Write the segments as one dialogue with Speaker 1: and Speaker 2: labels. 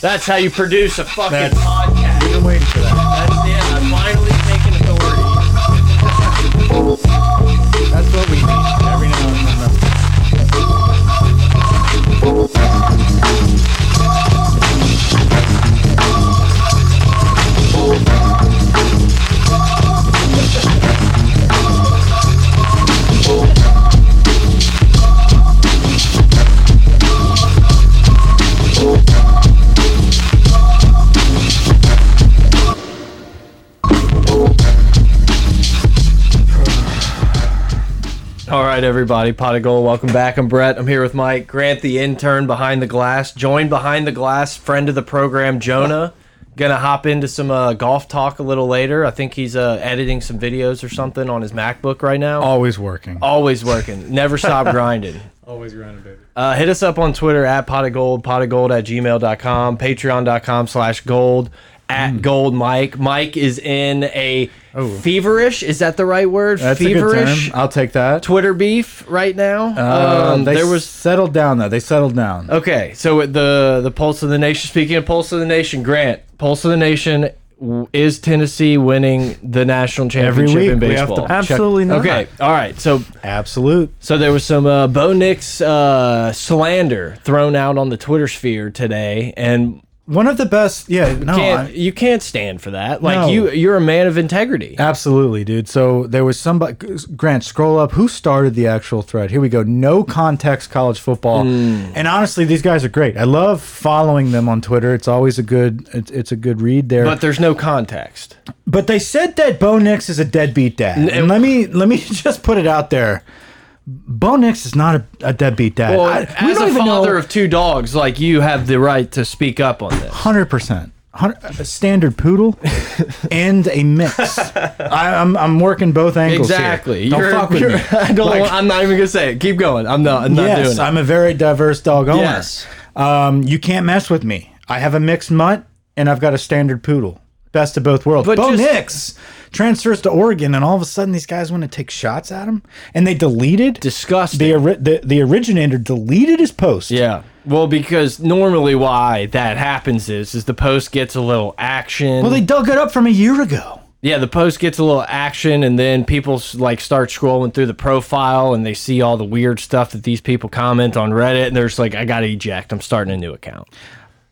Speaker 1: That's how you produce a fucking
Speaker 2: That's-
Speaker 1: podcast.
Speaker 2: I've been waiting for that.
Speaker 1: That's it. I'm finally taking authority.
Speaker 2: That's what we need every now and then.
Speaker 1: All right, everybody. Pot of Gold, welcome back. I'm Brett. I'm here with Mike Grant, the intern behind the glass. Joined behind the glass, friend of the program, Jonah. Gonna hop into some uh, golf talk a little later. I think he's uh, editing some videos or something on his MacBook right now.
Speaker 2: Always working.
Speaker 1: Always working. Never stop grinding.
Speaker 2: Always grinding, baby.
Speaker 1: Uh, hit us up on Twitter at pot of gold, pot of gold at gmail.com, patreon.com slash gold, at gold Mike. Mike is in a
Speaker 2: Hmm. Oh.
Speaker 1: feverish, is that the right word?
Speaker 2: That's
Speaker 1: feverish
Speaker 2: a good term. I'll take that.
Speaker 1: Twitter beef right now.
Speaker 2: Um,
Speaker 1: um,
Speaker 2: they
Speaker 1: there was
Speaker 2: settled down though. They settled down.
Speaker 1: Okay, so at the the pulse of the nation. Speaking of pulse of the nation, Grant, pulse of the nation w- is Tennessee winning the national
Speaker 2: Every
Speaker 1: championship
Speaker 2: week
Speaker 1: in
Speaker 2: we have
Speaker 1: baseball.
Speaker 2: to check-
Speaker 3: Absolutely not.
Speaker 1: okay, all right. So
Speaker 2: Absolute.
Speaker 1: so there was some uh, Bo Nix uh, slander thrown out on the Twitter sphere today, and
Speaker 2: One of the best. Yeah. No.
Speaker 1: can't,
Speaker 2: I-
Speaker 1: you can't stand for that. Like
Speaker 2: No.
Speaker 1: you you're a man of integrity.
Speaker 2: Absolutely, dude. So there was somebody. Grant, scroll up. Who started the actual thread? Here we go. No context college football.
Speaker 1: Hmm.
Speaker 2: And honestly, these guys are great. I love following them on Twitter. It's always a good. It's, it's a good read there.
Speaker 1: But there's no context.
Speaker 2: But they said that Bo Nix is a deadbeat dad. And let me let me just put it out there. Bo Nix is not a, a deadbeat dad.
Speaker 1: Well,
Speaker 2: I- we
Speaker 1: as
Speaker 2: don't
Speaker 1: a
Speaker 2: even
Speaker 1: father
Speaker 2: know
Speaker 1: of two dogs, like you have the right to speak up on this.
Speaker 2: 100%. Hun- A standard poodle and a mix. I, I'm, I'm working both angles. here.
Speaker 1: Exactly.
Speaker 2: Don't
Speaker 1: You're-
Speaker 2: fuck with
Speaker 1: you're-
Speaker 2: me.
Speaker 1: I don't.
Speaker 2: Like-
Speaker 1: want- I'm not even gonna say it. Keep going. I'm not. I'm not
Speaker 2: yes,
Speaker 1: doing it.
Speaker 2: I'm a very diverse dog owner.
Speaker 1: Yes.
Speaker 2: Um, you can't mess with me. I have a mixed mutt and I've got a standard poodle. Best of both worlds.
Speaker 1: But
Speaker 2: Bo
Speaker 1: just-
Speaker 2: Nix transfers to Oregon, and all of a sudden these guys want to take shots at him, and they deleted
Speaker 1: Disgusting.
Speaker 2: the, ori- the the originator deleted his post.
Speaker 1: yeah. Well, because normally why that happens is is the post gets a little action.
Speaker 2: Well, they dug it up from a year ago.
Speaker 1: yeah, the post gets a little action, and then people s- like start scrolling through the profile, and they see all the weird stuff that these people comment on Reddit, and they're just like, I gotta eject. I'm starting a new account.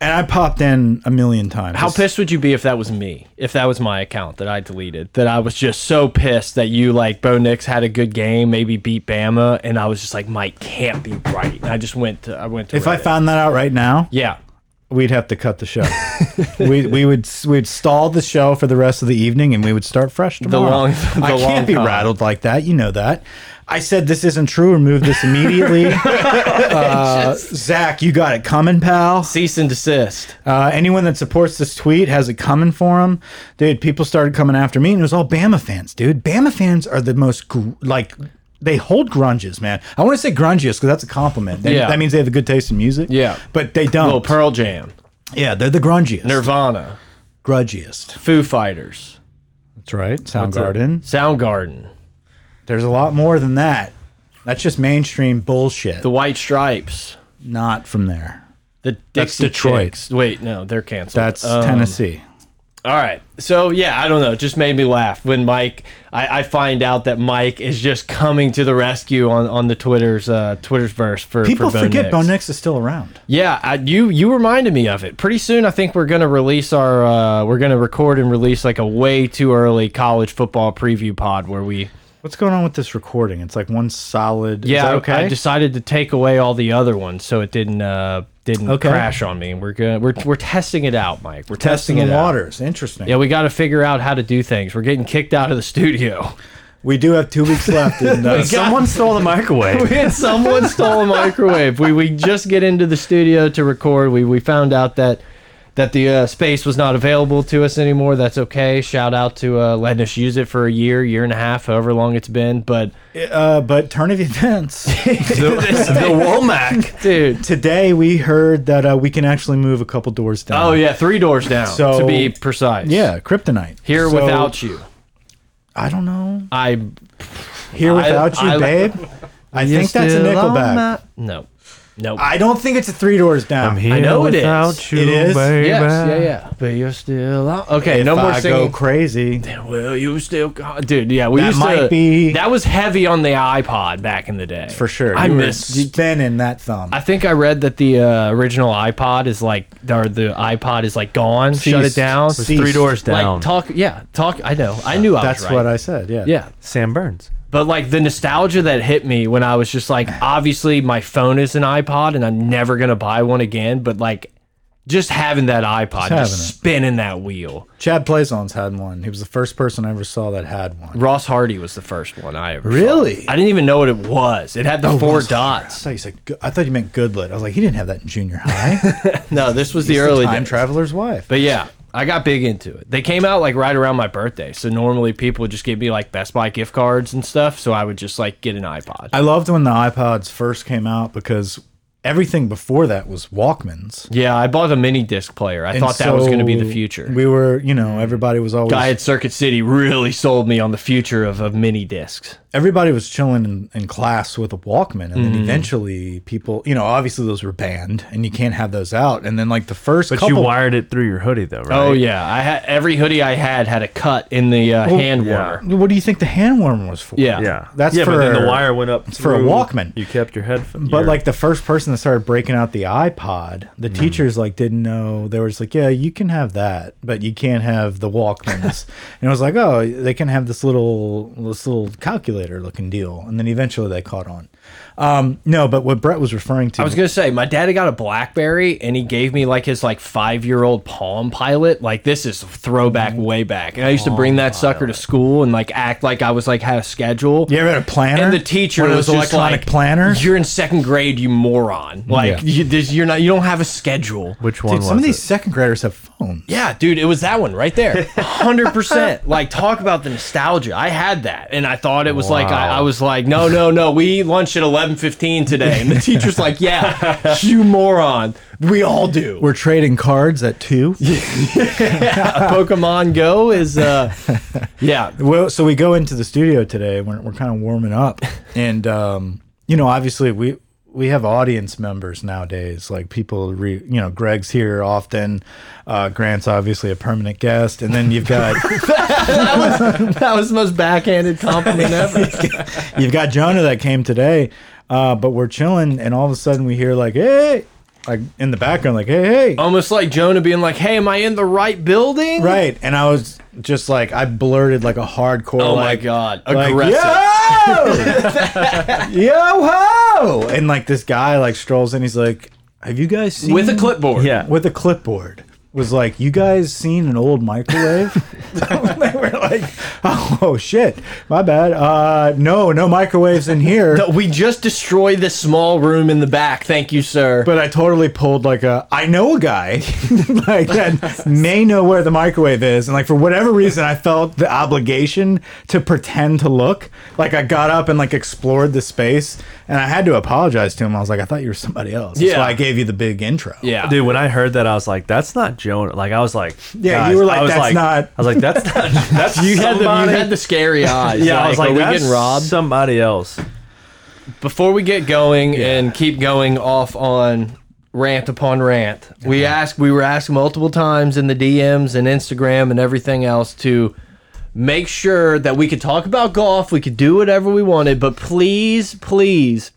Speaker 2: And I popped in a million times.
Speaker 1: How pissed would you be if that was me? If that was my account that I deleted, that I was just so pissed that you like Bo Nix had a good game, maybe beat Bama, and I was just like, Mike can't be right. And I just went to I went to
Speaker 2: If I
Speaker 1: Reddit.
Speaker 2: found that out right now,
Speaker 1: yeah.
Speaker 2: we'd have to cut the show. we we would s- we'd stall the show for the rest of the evening, and we would start fresh tomorrow.
Speaker 1: long- the
Speaker 2: I can't
Speaker 1: long
Speaker 2: be
Speaker 1: con.
Speaker 2: rattled like that. You know that. I said this isn't true. Remove this immediately. uh, Zach, you got it coming, pal.
Speaker 1: Cease and desist.
Speaker 2: Uh, anyone that supports this tweet has it coming for them, dude. People started coming after me, and it was all Bama fans, dude. Bama fans are the most gr like they hold grunges, man. I want to say grungiest because that's a compliment. They-
Speaker 1: Yeah.
Speaker 2: that means they have a good taste in music.
Speaker 1: Yeah.
Speaker 2: but they
Speaker 1: Little
Speaker 2: don't.
Speaker 1: Pearl Jam.
Speaker 2: yeah, they're the grungiest,
Speaker 1: Nirvana.
Speaker 2: grudgiest.
Speaker 1: Foo Fighters.
Speaker 2: That's right. Soundgarden.
Speaker 1: Soundgarden.
Speaker 2: There's a lot more than that. That's just mainstream bullshit.
Speaker 1: The White Stripes.
Speaker 2: Not from there.
Speaker 1: The Dixie
Speaker 2: That's Detroit.
Speaker 1: Chicks. Wait, no, they're canceled.
Speaker 2: That's
Speaker 1: Um,
Speaker 2: Tennessee.
Speaker 1: All right. So yeah, I don't know. It just made me laugh when Mike. I, I find out that Mike is just coming to the rescue on on the Twitter's uh, Twitter's verse for
Speaker 2: People
Speaker 1: for Bo
Speaker 2: forget
Speaker 1: Nix.
Speaker 2: Bo Nix is still around.
Speaker 1: Yeah, I, you you reminded me of it. Pretty soon, I think we're gonna release our uh, we're gonna record and release like a way too early college football preview pod where we
Speaker 2: What's going on with this recording? It's like one solid. is
Speaker 1: yeah
Speaker 2: that
Speaker 1: I-
Speaker 2: okay.
Speaker 1: I, decided to take away all the other ones so it didn't uh, didn't
Speaker 2: Okay.
Speaker 1: crash on me. We're gonna we're we're testing it out, Mike. We're testing,
Speaker 2: testing the
Speaker 1: it out.
Speaker 2: waters. Interesting.
Speaker 1: Yeah, we got to figure out how to do things. We're getting kicked out of the studio.
Speaker 2: We do have two weeks left. And, uh,
Speaker 3: Someone stole the microwave.
Speaker 1: and someone stole a microwave. We we just get into the studio to record. We we found out that that the uh, space was not available to us anymore. That's okay. Shout out to uh, letting us use it for a year, year and a half, however long it's been. But
Speaker 2: uh, but turn of events.
Speaker 3: the, the Womack.
Speaker 1: dude,
Speaker 2: Today we heard that uh, we can actually move a couple doors down.
Speaker 1: oh yeah, three doors down to
Speaker 2: So-
Speaker 1: be precise.
Speaker 2: Yeah, kryptonite.
Speaker 1: here
Speaker 2: So,
Speaker 1: without you,
Speaker 2: I don't know.
Speaker 1: I
Speaker 2: Here
Speaker 1: I-
Speaker 2: without you,
Speaker 1: I-
Speaker 2: babe. I think that's a
Speaker 1: Still on
Speaker 2: Nickelback.
Speaker 1: my- No, Nope.
Speaker 2: I don't think it's a three doors down.
Speaker 3: I'm here
Speaker 1: I know it is.
Speaker 3: without you,
Speaker 2: It is?
Speaker 3: baby.
Speaker 1: yes, yeah, yeah. But you're still out. Okay,
Speaker 2: If
Speaker 1: no more
Speaker 2: I
Speaker 1: singing.
Speaker 2: go crazy.
Speaker 1: Will you still, God, dude? Yeah, we
Speaker 2: That
Speaker 1: used to.
Speaker 2: might be-
Speaker 1: That was heavy on the iPod back in the day,
Speaker 2: For sure.
Speaker 1: I
Speaker 2: You were
Speaker 1: miss.
Speaker 2: spinning that thumb.
Speaker 1: I think I read that the uh, original iPod is like, or the iPod is like gone. Shut it
Speaker 2: Ceased.
Speaker 1: down.
Speaker 2: Ceased.
Speaker 3: Three doors down.
Speaker 1: Like talk, yeah, talk. I know. I knew I
Speaker 2: That's
Speaker 1: was right.
Speaker 2: what I said. Yeah.
Speaker 1: Yeah,
Speaker 3: Sam Burns.
Speaker 1: but like the nostalgia that hit me when I was just like, obviously my phone is an iPod and I'm never gonna buy one again. But like, just having that iPod,
Speaker 2: having
Speaker 1: just
Speaker 2: it.
Speaker 1: spinning that wheel.
Speaker 2: Chad Plaison's had one. He was the first person I ever saw that had one.
Speaker 1: Ross Hardy was the first one I ever. saw.
Speaker 2: Really?
Speaker 1: I didn't even know what it was. It had the four
Speaker 2: Ross
Speaker 1: dots.
Speaker 2: So you said, Go- I thought you meant Goodlet. I was like, he didn't have that in junior high.
Speaker 1: No, this was the early
Speaker 2: time
Speaker 1: days.
Speaker 2: traveler's wife.
Speaker 1: But yeah, I got big into it. They came out like right around my birthday, so normally people would just give me like Best Buy gift cards and stuff. So I would just like get an iPod.
Speaker 2: I loved when the iPods first came out because everything before that was Walkmans.
Speaker 1: yeah, I bought a mini disc player. I
Speaker 2: And
Speaker 1: thought that was going to be the
Speaker 2: so
Speaker 1: future.
Speaker 2: We were, you know, everybody was always
Speaker 1: guy at Circuit City really sold me on the future of, of mini discs.
Speaker 2: everybody was chilling in, in class with a Walkman, and then
Speaker 1: Mm.
Speaker 2: eventually people, you know, obviously those were banned, and you can't have those out. And then like the first
Speaker 3: But
Speaker 2: couple,
Speaker 3: you wired it through your hoodie, though, right?
Speaker 1: Oh yeah, I had every hoodie I had had a cut in the uh, hand
Speaker 3: yeah.
Speaker 1: warmer.
Speaker 2: what do you think the hand warmer was for?
Speaker 1: Yeah.
Speaker 3: Yeah.
Speaker 2: That's
Speaker 3: yeah, but then
Speaker 2: for-
Speaker 3: the wire went up
Speaker 2: for a
Speaker 3: through-
Speaker 2: Walkman.
Speaker 3: You kept your headphone.
Speaker 2: But
Speaker 3: your-
Speaker 2: like the first person that started breaking out the iPod, the
Speaker 1: Mm.
Speaker 2: teachers like didn't know. They were just like, "Yeah, you can have that, but you can't have the Walkmans." and it was like, "Oh, they can have this little this little calculator looking deal." And then eventually they caught on. Um, no, but what Brett was referring to
Speaker 1: I was gonna say my dad had got a BlackBerry and he gave me like his like five year old Palm Pilot. Like this is throwback way back. And I used to bring that sucker to school and like act like I was like had a schedule.
Speaker 2: You ever had a planner?
Speaker 1: And the teacher
Speaker 2: One of
Speaker 1: was
Speaker 2: those
Speaker 1: just
Speaker 2: electronic
Speaker 1: like,
Speaker 2: planners.
Speaker 1: You're in second grade, you moron. Like
Speaker 2: Yeah.
Speaker 1: you, this, you're not. You don't have a schedule.
Speaker 3: which one
Speaker 2: Dude,
Speaker 3: was
Speaker 2: some of these
Speaker 3: it?
Speaker 2: second graders have phones.
Speaker 1: Yeah, dude, it was that one right there. 100%. like, talk about the nostalgia. I had that. And I thought it was like, I, I was like, no, no, no, we eat lunch at 11.15 today. And the teacher's like, yeah, you moron. We all do.
Speaker 2: We're trading cards at two.
Speaker 1: Pokemon Go is, uh, yeah.
Speaker 2: Well, so we go into the studio today. We're, we're kind of warming up, and um, you know, obviously we we have audience members nowadays. Like people, re, you know, Greg's here often. Uh, Grant's obviously a permanent guest, and then you've got
Speaker 1: That was the most backhanded compliment ever.
Speaker 2: you've got Jonah that came today. Uh, but we're chilling, and all of a sudden we hear like, hey, like in the background, like, hey, hey,
Speaker 1: Almost like Jonah being like, hey, am I in the right building?
Speaker 2: right. And I was just like, I blurted like a hardcore.
Speaker 1: Oh,
Speaker 2: like,
Speaker 1: my God.
Speaker 2: like,
Speaker 1: Aggressive.
Speaker 2: yo, yo ho, and like this guy like strolls in. He's like, "Have you guys seen
Speaker 1: With a clipboard.
Speaker 3: Yeah.
Speaker 2: with a clipboard?" Was like, "You guys seen an old microwave?" they were like, "Oh shit, my bad. Uh, no, no microwaves in here."
Speaker 1: No, we just destroyed this small room in the back. Thank you, sir.
Speaker 2: But I totally pulled like a I know a guy like that may know where the microwave is, and like for whatever reason, I felt the obligation to pretend to look. Like I got up and like explored the space, and I had to apologize to him. I was like, I thought you were somebody else. That's
Speaker 1: Yeah.
Speaker 2: why I gave you the big intro.
Speaker 1: yeah.
Speaker 3: Dude, when I heard that, I was like, "That's not Jonah." Like, I was like,
Speaker 2: Yeah,
Speaker 3: guys,
Speaker 2: you were like,
Speaker 3: I was
Speaker 2: "That's not-
Speaker 3: I was like, "That's not." That's
Speaker 1: You had, the, you
Speaker 3: somebody-
Speaker 1: had the scary eyes.
Speaker 3: Yeah, I was like,
Speaker 1: are we
Speaker 3: "That's
Speaker 1: getting robbed?
Speaker 3: Somebody else.
Speaker 1: Before we get going and keep going off on rant upon rant, we asked, we were asked multiple times in the DMs and Instagram and everything else to make sure that we could talk about golf, we could do whatever we wanted, but please, please,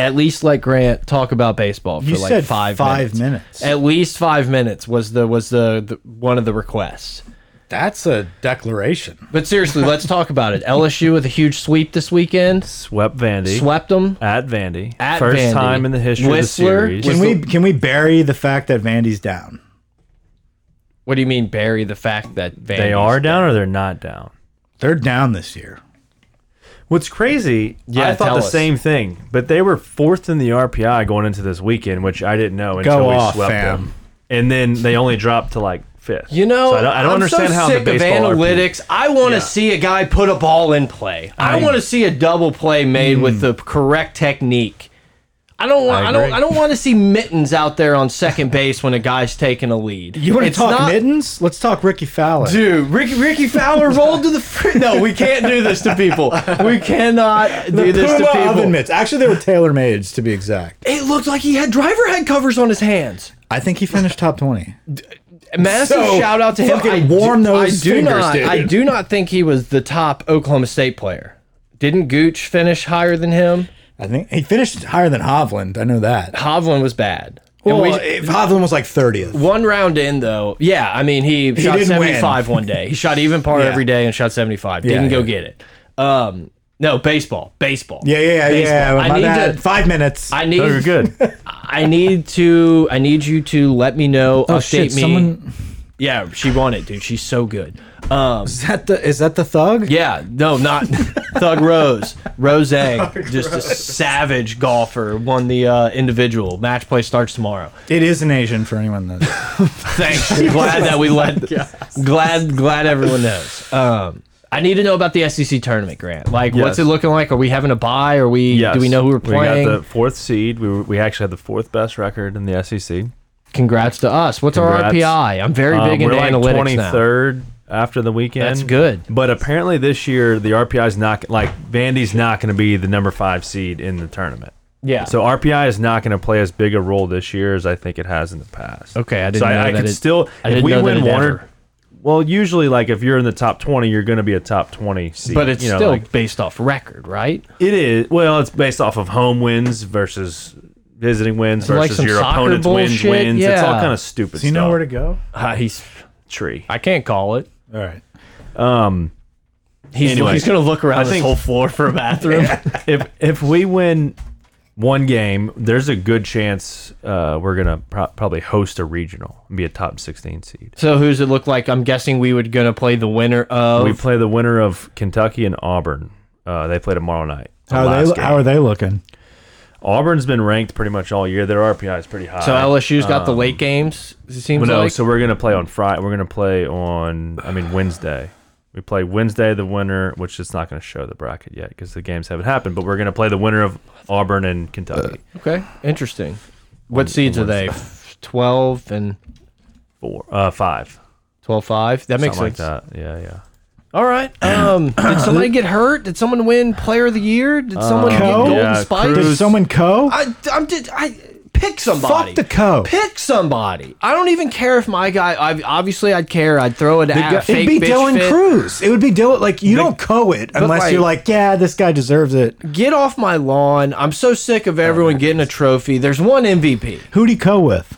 Speaker 1: at least let Grant talk about baseball for
Speaker 2: You
Speaker 1: like
Speaker 2: said
Speaker 1: five
Speaker 2: five minutes.
Speaker 1: At least five minutes was the was the, the one of the requests.
Speaker 2: That's a declaration.
Speaker 1: But seriously, let's talk about it. LSU with a huge sweep this weekend,
Speaker 3: Swept Vandy.
Speaker 1: swept them.
Speaker 3: at Vandy.
Speaker 1: At
Speaker 3: First
Speaker 1: Vandy.
Speaker 3: time in the history
Speaker 1: Whistler.
Speaker 3: of the series.
Speaker 2: Can
Speaker 1: Was
Speaker 2: we
Speaker 1: the-
Speaker 2: can we bury the fact that Vandy's down?
Speaker 1: What do you mean bury the fact that Vandy's
Speaker 3: they are down or they're not down.
Speaker 2: They're down this year.
Speaker 3: What's crazy,
Speaker 1: Yeah,
Speaker 3: I thought
Speaker 1: tell
Speaker 3: the
Speaker 1: us.
Speaker 3: same thing, but they were fourth in the RPI going into this weekend, which I didn't know until we
Speaker 2: off,
Speaker 3: swept
Speaker 2: fam.
Speaker 3: them. And then they only dropped to like fifth.
Speaker 1: You know,
Speaker 3: So I don't, I don't
Speaker 1: I'm
Speaker 3: understand
Speaker 1: so
Speaker 3: how
Speaker 1: sick
Speaker 3: the
Speaker 1: of
Speaker 3: baseball RPI
Speaker 1: analytics. I want to see a guy put a ball in play. I, want to see a double play made with the correct technique. I don't want.
Speaker 2: I
Speaker 1: I, don't.
Speaker 2: agree.
Speaker 1: I don't want to see mittens out there on second base when a guy's taking a lead.
Speaker 2: You want to
Speaker 1: It's
Speaker 2: talk
Speaker 1: not-
Speaker 2: mittens? Let's talk Ricky Fowler.
Speaker 1: Dude, Ricky, Ricky Fowler rolled to the. Fr- no, we can't do this to people. We cannot do this to
Speaker 2: Puma
Speaker 1: people.
Speaker 2: oven mitts. Actually, they were tailor made to be exact.
Speaker 1: It looked like he had driver head covers on his hands.
Speaker 2: I think he finished top twenty.
Speaker 1: Massive
Speaker 2: So,
Speaker 1: shout out to him.
Speaker 2: fucking
Speaker 1: I do-
Speaker 2: warm those
Speaker 1: I do
Speaker 2: fingers,
Speaker 1: not.
Speaker 2: dude.
Speaker 1: I do not think he was the top Oklahoma State player. Didn't Gooch finish higher than him?
Speaker 2: I think he finished higher than Hovland. I know that.
Speaker 1: Hovland was bad. And
Speaker 2: Well,
Speaker 1: we-
Speaker 2: if Hovland was like thirtieth.
Speaker 1: one round in though, yeah. I mean, he, shot
Speaker 2: didn't win.
Speaker 1: 75 one day. He shot even par
Speaker 2: Yeah.
Speaker 1: every day and shot 75. Didn't
Speaker 2: yeah.
Speaker 1: go get it. Um, no baseball, baseball.
Speaker 2: Yeah, yeah, yeah. yeah.
Speaker 1: Baseball.
Speaker 2: My
Speaker 1: I need
Speaker 2: bad.
Speaker 1: to.
Speaker 2: Five minutes.
Speaker 1: I
Speaker 3: No, you're
Speaker 1: need.
Speaker 3: good.
Speaker 1: I need to. I need you to let me know.
Speaker 3: Oh,
Speaker 1: update
Speaker 2: Oh, shit,
Speaker 1: me.
Speaker 2: someone-
Speaker 1: Yeah, she won it, dude. She's so good. Um,
Speaker 2: is that the is that the thug?
Speaker 1: yeah, no, not Thug Rose. Rose, just a savage golfer, won the uh, individual. Match play starts tomorrow.
Speaker 2: It is an Asian for anyone that.
Speaker 1: Thanks. glad that
Speaker 3: Oh
Speaker 1: we let. Glad, glad everyone knows. Um, I need to know about the SEC tournament, Grant. Like, what's
Speaker 3: Yes.
Speaker 1: it looking like? Are we having a buy? Are we?
Speaker 3: Yes.
Speaker 1: Do we know who we're playing?
Speaker 3: We got the fourth seed. We, were, we actually had the fourth best record in the E SEC.
Speaker 1: Congrats to us. What's our
Speaker 3: Congrats.
Speaker 1: RPI? I'm very
Speaker 3: Um,
Speaker 1: big
Speaker 3: we're
Speaker 1: into
Speaker 3: like
Speaker 1: analytics now.
Speaker 3: 23rd after the weekend.
Speaker 1: That's good.
Speaker 3: But apparently this year the RPI is not like Vandy's not going to be the number five seed in the tournament.
Speaker 1: Yeah.
Speaker 3: So RPI is not going to play as big a role this year as I think it has in the past.
Speaker 1: Okay, I didn't
Speaker 3: so
Speaker 1: know
Speaker 3: I, I
Speaker 1: that
Speaker 3: could
Speaker 1: it-
Speaker 3: still
Speaker 1: I
Speaker 3: if
Speaker 1: didn't
Speaker 3: we
Speaker 1: know that
Speaker 3: win
Speaker 1: it
Speaker 3: one
Speaker 1: ever-
Speaker 3: or well, usually like if you're in the top 20, you're going to be a top 20 seed.
Speaker 1: but it's
Speaker 3: you know,
Speaker 1: still
Speaker 3: like-
Speaker 1: based off record, right?
Speaker 3: it is. Well, it's based off of home wins versus visiting wins
Speaker 1: So, like,
Speaker 3: versus
Speaker 1: some
Speaker 3: your
Speaker 1: soccer
Speaker 3: opponent's wins.
Speaker 1: bullshit?
Speaker 3: Wins. It's all
Speaker 1: Yeah.
Speaker 3: kind of stupid.
Speaker 2: Do you
Speaker 3: stuff.
Speaker 2: know where to go?
Speaker 1: Uh, he's.
Speaker 3: tree?
Speaker 1: I can't call it.
Speaker 2: All right.
Speaker 1: He's,
Speaker 3: Anyway,
Speaker 1: he's gonna look around
Speaker 3: I
Speaker 1: this
Speaker 3: think-
Speaker 1: whole floor for a bathroom.
Speaker 3: if if we win one game, there's a good chance uh, we're gonna pro probably host a regional and be a top 16 seed.
Speaker 1: So who's it look like? I'm guessing we would gonna play the winner of.
Speaker 3: We play the winner of Kentucky and Auburn. Uh, they play tomorrow night. the
Speaker 2: How are
Speaker 3: last
Speaker 2: they?
Speaker 3: game.
Speaker 2: How are they looking?
Speaker 3: Auburn's been ranked pretty much all year. Their RPI is pretty high.
Speaker 1: so LSU's got the late games. It seems
Speaker 3: um, Well, no,
Speaker 1: like.
Speaker 3: so we're gonna play on Friday. We're gonna play on. I mean Wednesday. We play Wednesday the winner, which is not gonna show the bracket yet because the games haven't happened. But we're gonna play the winner of Auburn and Kentucky.
Speaker 1: okay, interesting. What seeds are they? Twelve and
Speaker 3: Four, uh, five,
Speaker 1: 12-5? That makes
Speaker 3: something like
Speaker 1: sense.
Speaker 3: that. Yeah, yeah.
Speaker 1: All right. Um, did somebody get hurt? Did someone win Player of the Year? Did someone get
Speaker 2: Co?
Speaker 1: Golden
Speaker 3: Um, Yeah,
Speaker 1: Spike?
Speaker 2: Did
Speaker 3: Cruz-
Speaker 2: someone co?
Speaker 1: I, I'm just, I pick somebody.
Speaker 2: Fuck the co.
Speaker 1: Pick somebody. I don't even care if my guy. I, obviously, I'd care. I'd throw it at
Speaker 2: It'd
Speaker 1: fake
Speaker 2: be
Speaker 1: bitch
Speaker 2: Dylan
Speaker 1: fit.
Speaker 2: Cruz. It would be Dylan. Like you don't co it unless
Speaker 1: like-
Speaker 2: you're like, yeah, this guy deserves it.
Speaker 1: Get off my lawn. I'm so sick of everyone getting a trophy. There's one MVP.
Speaker 2: Who'd he co with?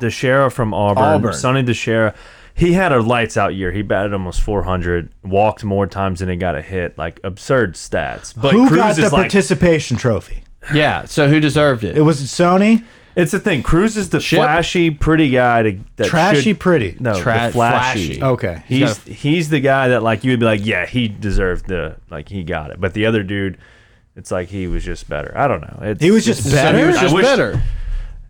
Speaker 3: DeShera from Auburn,
Speaker 1: Auburn.
Speaker 3: Sonny DeShera. He had a lights out year. He batted almost 400, walked more times than he got a hit. Like absurd stats. But
Speaker 2: Who
Speaker 3: Cruz
Speaker 2: got the
Speaker 3: is like
Speaker 2: participation trophy?
Speaker 1: Yeah. So who deserved it?
Speaker 2: It was Sony.
Speaker 3: it's the thing. Cruz is the
Speaker 1: Chip?
Speaker 3: flashy, pretty guy to that
Speaker 2: Trashy
Speaker 3: should-
Speaker 2: pretty.
Speaker 3: No,
Speaker 1: Tra-
Speaker 3: the flashy.
Speaker 1: flashy.
Speaker 2: Okay.
Speaker 3: He's
Speaker 1: He's
Speaker 3: he's the guy that like you would be like, yeah, he deserved the like he got it. But the other dude, it's like he was just better. I don't know. It's,
Speaker 2: He was just
Speaker 3: it's-
Speaker 2: better?
Speaker 1: He was
Speaker 3: I
Speaker 1: just
Speaker 3: wish-
Speaker 1: better.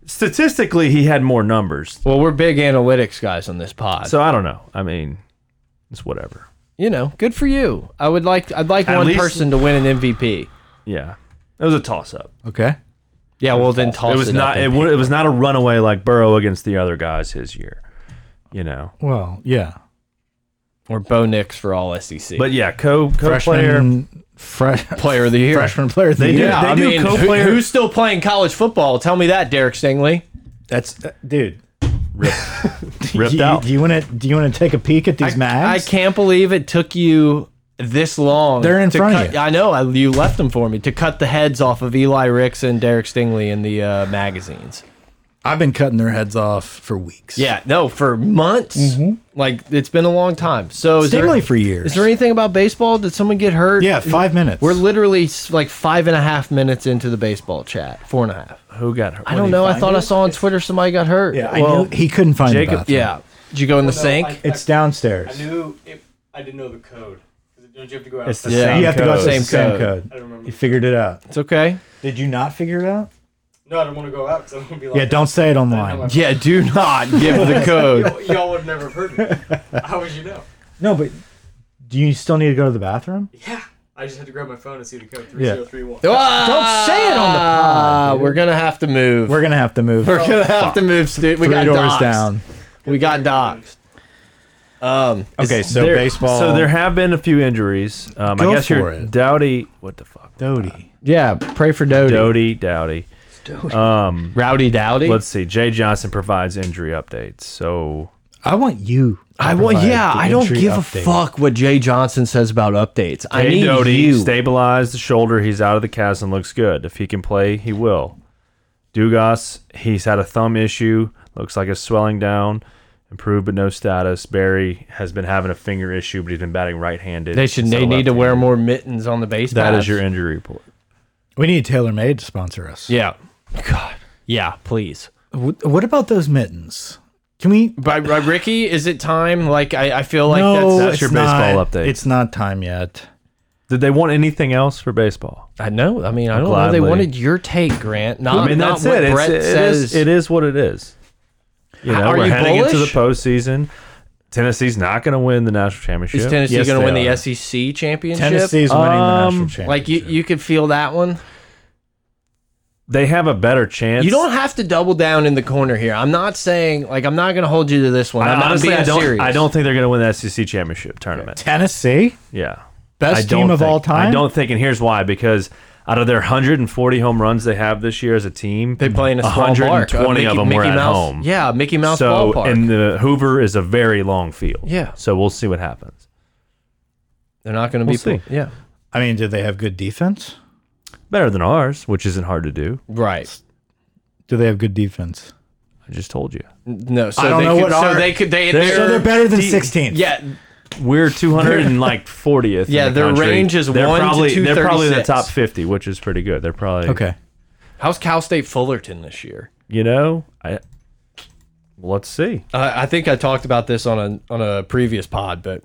Speaker 3: Statistically, he had more numbers.
Speaker 1: Well, we're big analytics guys on this pod.
Speaker 3: So I don't know. I mean, it's whatever.
Speaker 1: you know, good for you. I would like I'd like
Speaker 3: At
Speaker 1: one
Speaker 3: least-
Speaker 1: person to win an MVP.
Speaker 3: Yeah, it was a toss up.
Speaker 2: Okay.
Speaker 1: Yeah, well then toss
Speaker 3: it was not.
Speaker 1: Up
Speaker 3: It,
Speaker 1: and-
Speaker 3: wa- it was not a runaway like Burrow against the other guys his year. You know,
Speaker 2: Well, yeah.
Speaker 1: or Bo Nix for all E SEC.
Speaker 3: but yeah, co co player.
Speaker 2: Freshman, fresh,
Speaker 1: player of the year.
Speaker 2: freshman player. Of the
Speaker 3: They
Speaker 2: year.
Speaker 3: did-
Speaker 1: Yeah,
Speaker 3: they
Speaker 1: I
Speaker 3: do
Speaker 1: mean, who-
Speaker 3: co-player-
Speaker 1: who's still playing college football? Tell me that, Derek Stingley.
Speaker 2: That's uh, dude.
Speaker 3: Ripped
Speaker 2: do, you-
Speaker 3: out.
Speaker 2: Do you want to? Do you want to take a peek at these
Speaker 1: I
Speaker 2: mags?
Speaker 1: can't believe it took you this long.
Speaker 2: They're in
Speaker 1: to
Speaker 2: front of
Speaker 1: cut,
Speaker 2: you.
Speaker 1: I know. I, you left them for me to cut the heads off of Eli Ricks and Derek Stingley in the uh, magazines.
Speaker 2: I've been cutting their heads off for weeks.
Speaker 1: Yeah, no, for months. Like it's been a long time. So is
Speaker 2: Mm-hmm. Stingley
Speaker 1: there,
Speaker 2: for years.
Speaker 1: Is there anything about baseball? Did someone get hurt?
Speaker 2: Yeah, five minutes.
Speaker 1: We're literally s- like five and a half minutes into the baseball chat. Four and a half.
Speaker 3: Who got hurt?
Speaker 1: I don't know. I thought I saw on Twitter somebody got hurt.
Speaker 2: Yeah, I
Speaker 3: Well,
Speaker 2: knew he couldn't find the
Speaker 3: Jacob-
Speaker 2: bathroom.
Speaker 1: Yeah. Did you go in the sink?
Speaker 2: It's downstairs.
Speaker 4: I knew if I didn't know the code. 'Cause Don't you have to go out?
Speaker 3: It's the
Speaker 1: Yeah.
Speaker 3: same
Speaker 2: you have to go out to
Speaker 3: code.
Speaker 2: the
Speaker 1: Same
Speaker 2: same,
Speaker 1: code.
Speaker 2: code.
Speaker 4: I don't remember.
Speaker 2: You figured it out.
Speaker 1: it's okay.
Speaker 2: Did you not figure it out?
Speaker 4: No, I don't want to go out because I'm gonna be like.
Speaker 2: Yeah, don't say it online.
Speaker 4: online.
Speaker 1: Yeah, do not give the code.
Speaker 4: Y'all, "Oh, y'all would never have heard me. How would you know?
Speaker 2: No, but do you still need to go to the bathroom?
Speaker 4: Yeah. I just had to grab my phone and see the code
Speaker 2: Yeah.
Speaker 4: 3031.
Speaker 1: Don't
Speaker 2: say it on the pod,
Speaker 1: Ah,
Speaker 2: dude.
Speaker 1: We're gonna have to move. Oh,
Speaker 2: We're gonna have to move
Speaker 1: We're gonna have to move, dude. We
Speaker 2: three
Speaker 1: got
Speaker 2: doors
Speaker 1: doxxed.
Speaker 2: down.
Speaker 1: We got doxxed. Um,
Speaker 2: Okay, so
Speaker 3: There-
Speaker 2: baseball.
Speaker 3: So there have been a few injuries. Um,
Speaker 2: Go
Speaker 3: I guess
Speaker 2: for
Speaker 3: you're
Speaker 2: it.
Speaker 3: Dowdy. What the fuck?
Speaker 2: Doty.
Speaker 1: yeah, pray for Dodie.
Speaker 3: Dowdy, Dowdy. Um,
Speaker 1: Rowdy Dowdy.
Speaker 3: let's see. Jay Johnson provides injury updates. So
Speaker 2: I want you. to
Speaker 1: I want.
Speaker 2: provide
Speaker 1: Yeah,
Speaker 2: the
Speaker 1: I don't
Speaker 2: injury
Speaker 1: give
Speaker 2: update.
Speaker 1: a fuck what Jay Johnson says about updates. I
Speaker 3: Hey,
Speaker 1: need
Speaker 3: Doty
Speaker 1: you.
Speaker 3: stabilized the shoulder. He's out of the cast and looks good. If he can play, he will. Dugas, he's had a thumb issue. Looks like it's swelling down. Improved but no status. Barry has been having a finger issue, but he's been batting right-handed.
Speaker 1: they should.
Speaker 3: instead
Speaker 1: They
Speaker 3: of
Speaker 1: need to wear
Speaker 3: left-handed.
Speaker 1: more mittens on the base.
Speaker 3: That
Speaker 1: paths.
Speaker 3: is your injury report.
Speaker 2: We need Taylor Made to sponsor us.
Speaker 1: Yeah. God. Yeah, please.
Speaker 2: Wh- What about those mittens? Can we?
Speaker 1: By, by Ricky, is it time? Like I, I feel like
Speaker 2: no,
Speaker 1: that's
Speaker 3: that's your
Speaker 2: it's not.
Speaker 3: baseball update.
Speaker 2: It's not time yet.
Speaker 3: Did they want anything else for baseball?
Speaker 1: I know. I mean, I don't know. They
Speaker 3: Gladly.
Speaker 1: wanted your take, Grant. Not,
Speaker 3: I mean,
Speaker 1: not
Speaker 3: that's
Speaker 1: what
Speaker 3: it. It's-
Speaker 1: Brett
Speaker 3: it is-
Speaker 1: says.
Speaker 3: it is what it is. You know,
Speaker 1: Are
Speaker 3: we're
Speaker 1: you
Speaker 3: heading into the
Speaker 1: bullish?
Speaker 3: postseason. Tennessee's not going to win the national championship.
Speaker 1: Is Tennessee
Speaker 2: Yes,
Speaker 1: going to
Speaker 2: they
Speaker 1: win
Speaker 2: are.
Speaker 1: the SEC championship?
Speaker 2: Tennessee's winning the national
Speaker 3: Um,
Speaker 2: championship.
Speaker 1: Like you, you could feel that one.
Speaker 3: They have a better chance.
Speaker 1: you don't have to double down in the corner here. I'm not saying like I'm not going to hold you to this one.
Speaker 3: I,
Speaker 1: I'm
Speaker 3: honestly,
Speaker 1: not being
Speaker 3: I don't.
Speaker 1: serious.
Speaker 3: I don't think they're going to win the SEC championship tournament.
Speaker 2: Tennessee,
Speaker 3: Yeah,
Speaker 2: Best
Speaker 3: I don't
Speaker 2: team of
Speaker 3: think-
Speaker 2: all time?
Speaker 3: I don't think, and here's why: because out of their 140 home runs they have this year as a team,
Speaker 1: They play in a small ballpark. Uh,
Speaker 3: 120
Speaker 1: Mickey,
Speaker 3: of them were
Speaker 1: Mickey
Speaker 3: at
Speaker 1: Mouse,
Speaker 3: home.
Speaker 1: Yeah, Mickey Mouse
Speaker 3: so,
Speaker 1: ballpark.
Speaker 3: and the Hoover is a very long field.
Speaker 1: Yeah.
Speaker 3: So we'll see what happens.
Speaker 1: They're not going to be.
Speaker 3: We'll see.
Speaker 1: Yeah,
Speaker 2: I mean, do they have good defense?
Speaker 3: Better than ours, which isn't hard to do.
Speaker 1: right.
Speaker 2: Do they have good defense?
Speaker 3: I just told you.
Speaker 1: No, so
Speaker 2: I don't
Speaker 1: they
Speaker 2: know
Speaker 1: could,
Speaker 2: what
Speaker 1: so
Speaker 2: our-
Speaker 1: they could. They
Speaker 3: They're-
Speaker 2: So
Speaker 1: they're
Speaker 2: they're better than
Speaker 3: de-
Speaker 2: 16th.
Speaker 1: yeah.
Speaker 3: We're 200 and like 40th. in
Speaker 1: Yeah,
Speaker 3: the
Speaker 1: their
Speaker 3: country.
Speaker 1: range is
Speaker 3: they're
Speaker 1: 1 to
Speaker 3: probably, They're probably in the
Speaker 1: 236.
Speaker 3: top 50, which is pretty good. They're probably
Speaker 2: Okay.
Speaker 1: How's Cal State Fullerton this year?
Speaker 3: You know, I let's see.
Speaker 1: Uh, I think I talked about this on a on a previous pod, but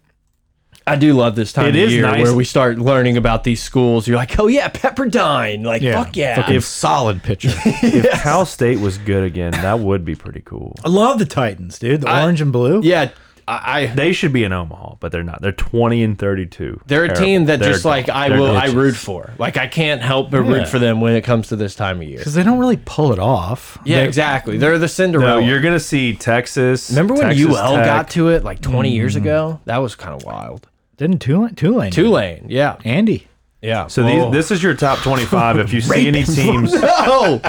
Speaker 1: I do love this time of
Speaker 3: It is
Speaker 1: year
Speaker 3: nice.
Speaker 1: where we start learning about these schools. You're like, oh yeah, Pepperdine, like fuck yeah.
Speaker 2: Fucking solid pitcher.
Speaker 3: If Cal State was good again, that would be pretty cool.
Speaker 2: I love the Titans, dude. The
Speaker 1: I-
Speaker 2: orange and blue.
Speaker 1: Yeah, I, I
Speaker 3: They should be in Omaha, but they're not. They're 20 and 32.
Speaker 1: they're a
Speaker 3: Terrible.
Speaker 1: team that
Speaker 3: They're
Speaker 1: just like
Speaker 3: dumb.
Speaker 1: I
Speaker 3: They're
Speaker 1: will I
Speaker 3: bitches.
Speaker 1: root for. Like I can't help but root for them when it comes to this time of year.
Speaker 2: Because they don't really pull it off.
Speaker 1: Yeah,
Speaker 2: They-
Speaker 1: exactly. They're the
Speaker 3: No,
Speaker 1: Cinderella.
Speaker 3: you're gonna see Texas.
Speaker 1: Remember when
Speaker 3: Texas
Speaker 1: UL
Speaker 3: Tech. Mm.
Speaker 1: got to it like 20 years ago? That was kind of wild.
Speaker 2: Didn't Tulane? Tulane.
Speaker 1: Tulane, yeah,
Speaker 2: Andy.
Speaker 1: yeah. Oh.
Speaker 3: So these, this is your top 25. If you see any teams,
Speaker 1: No,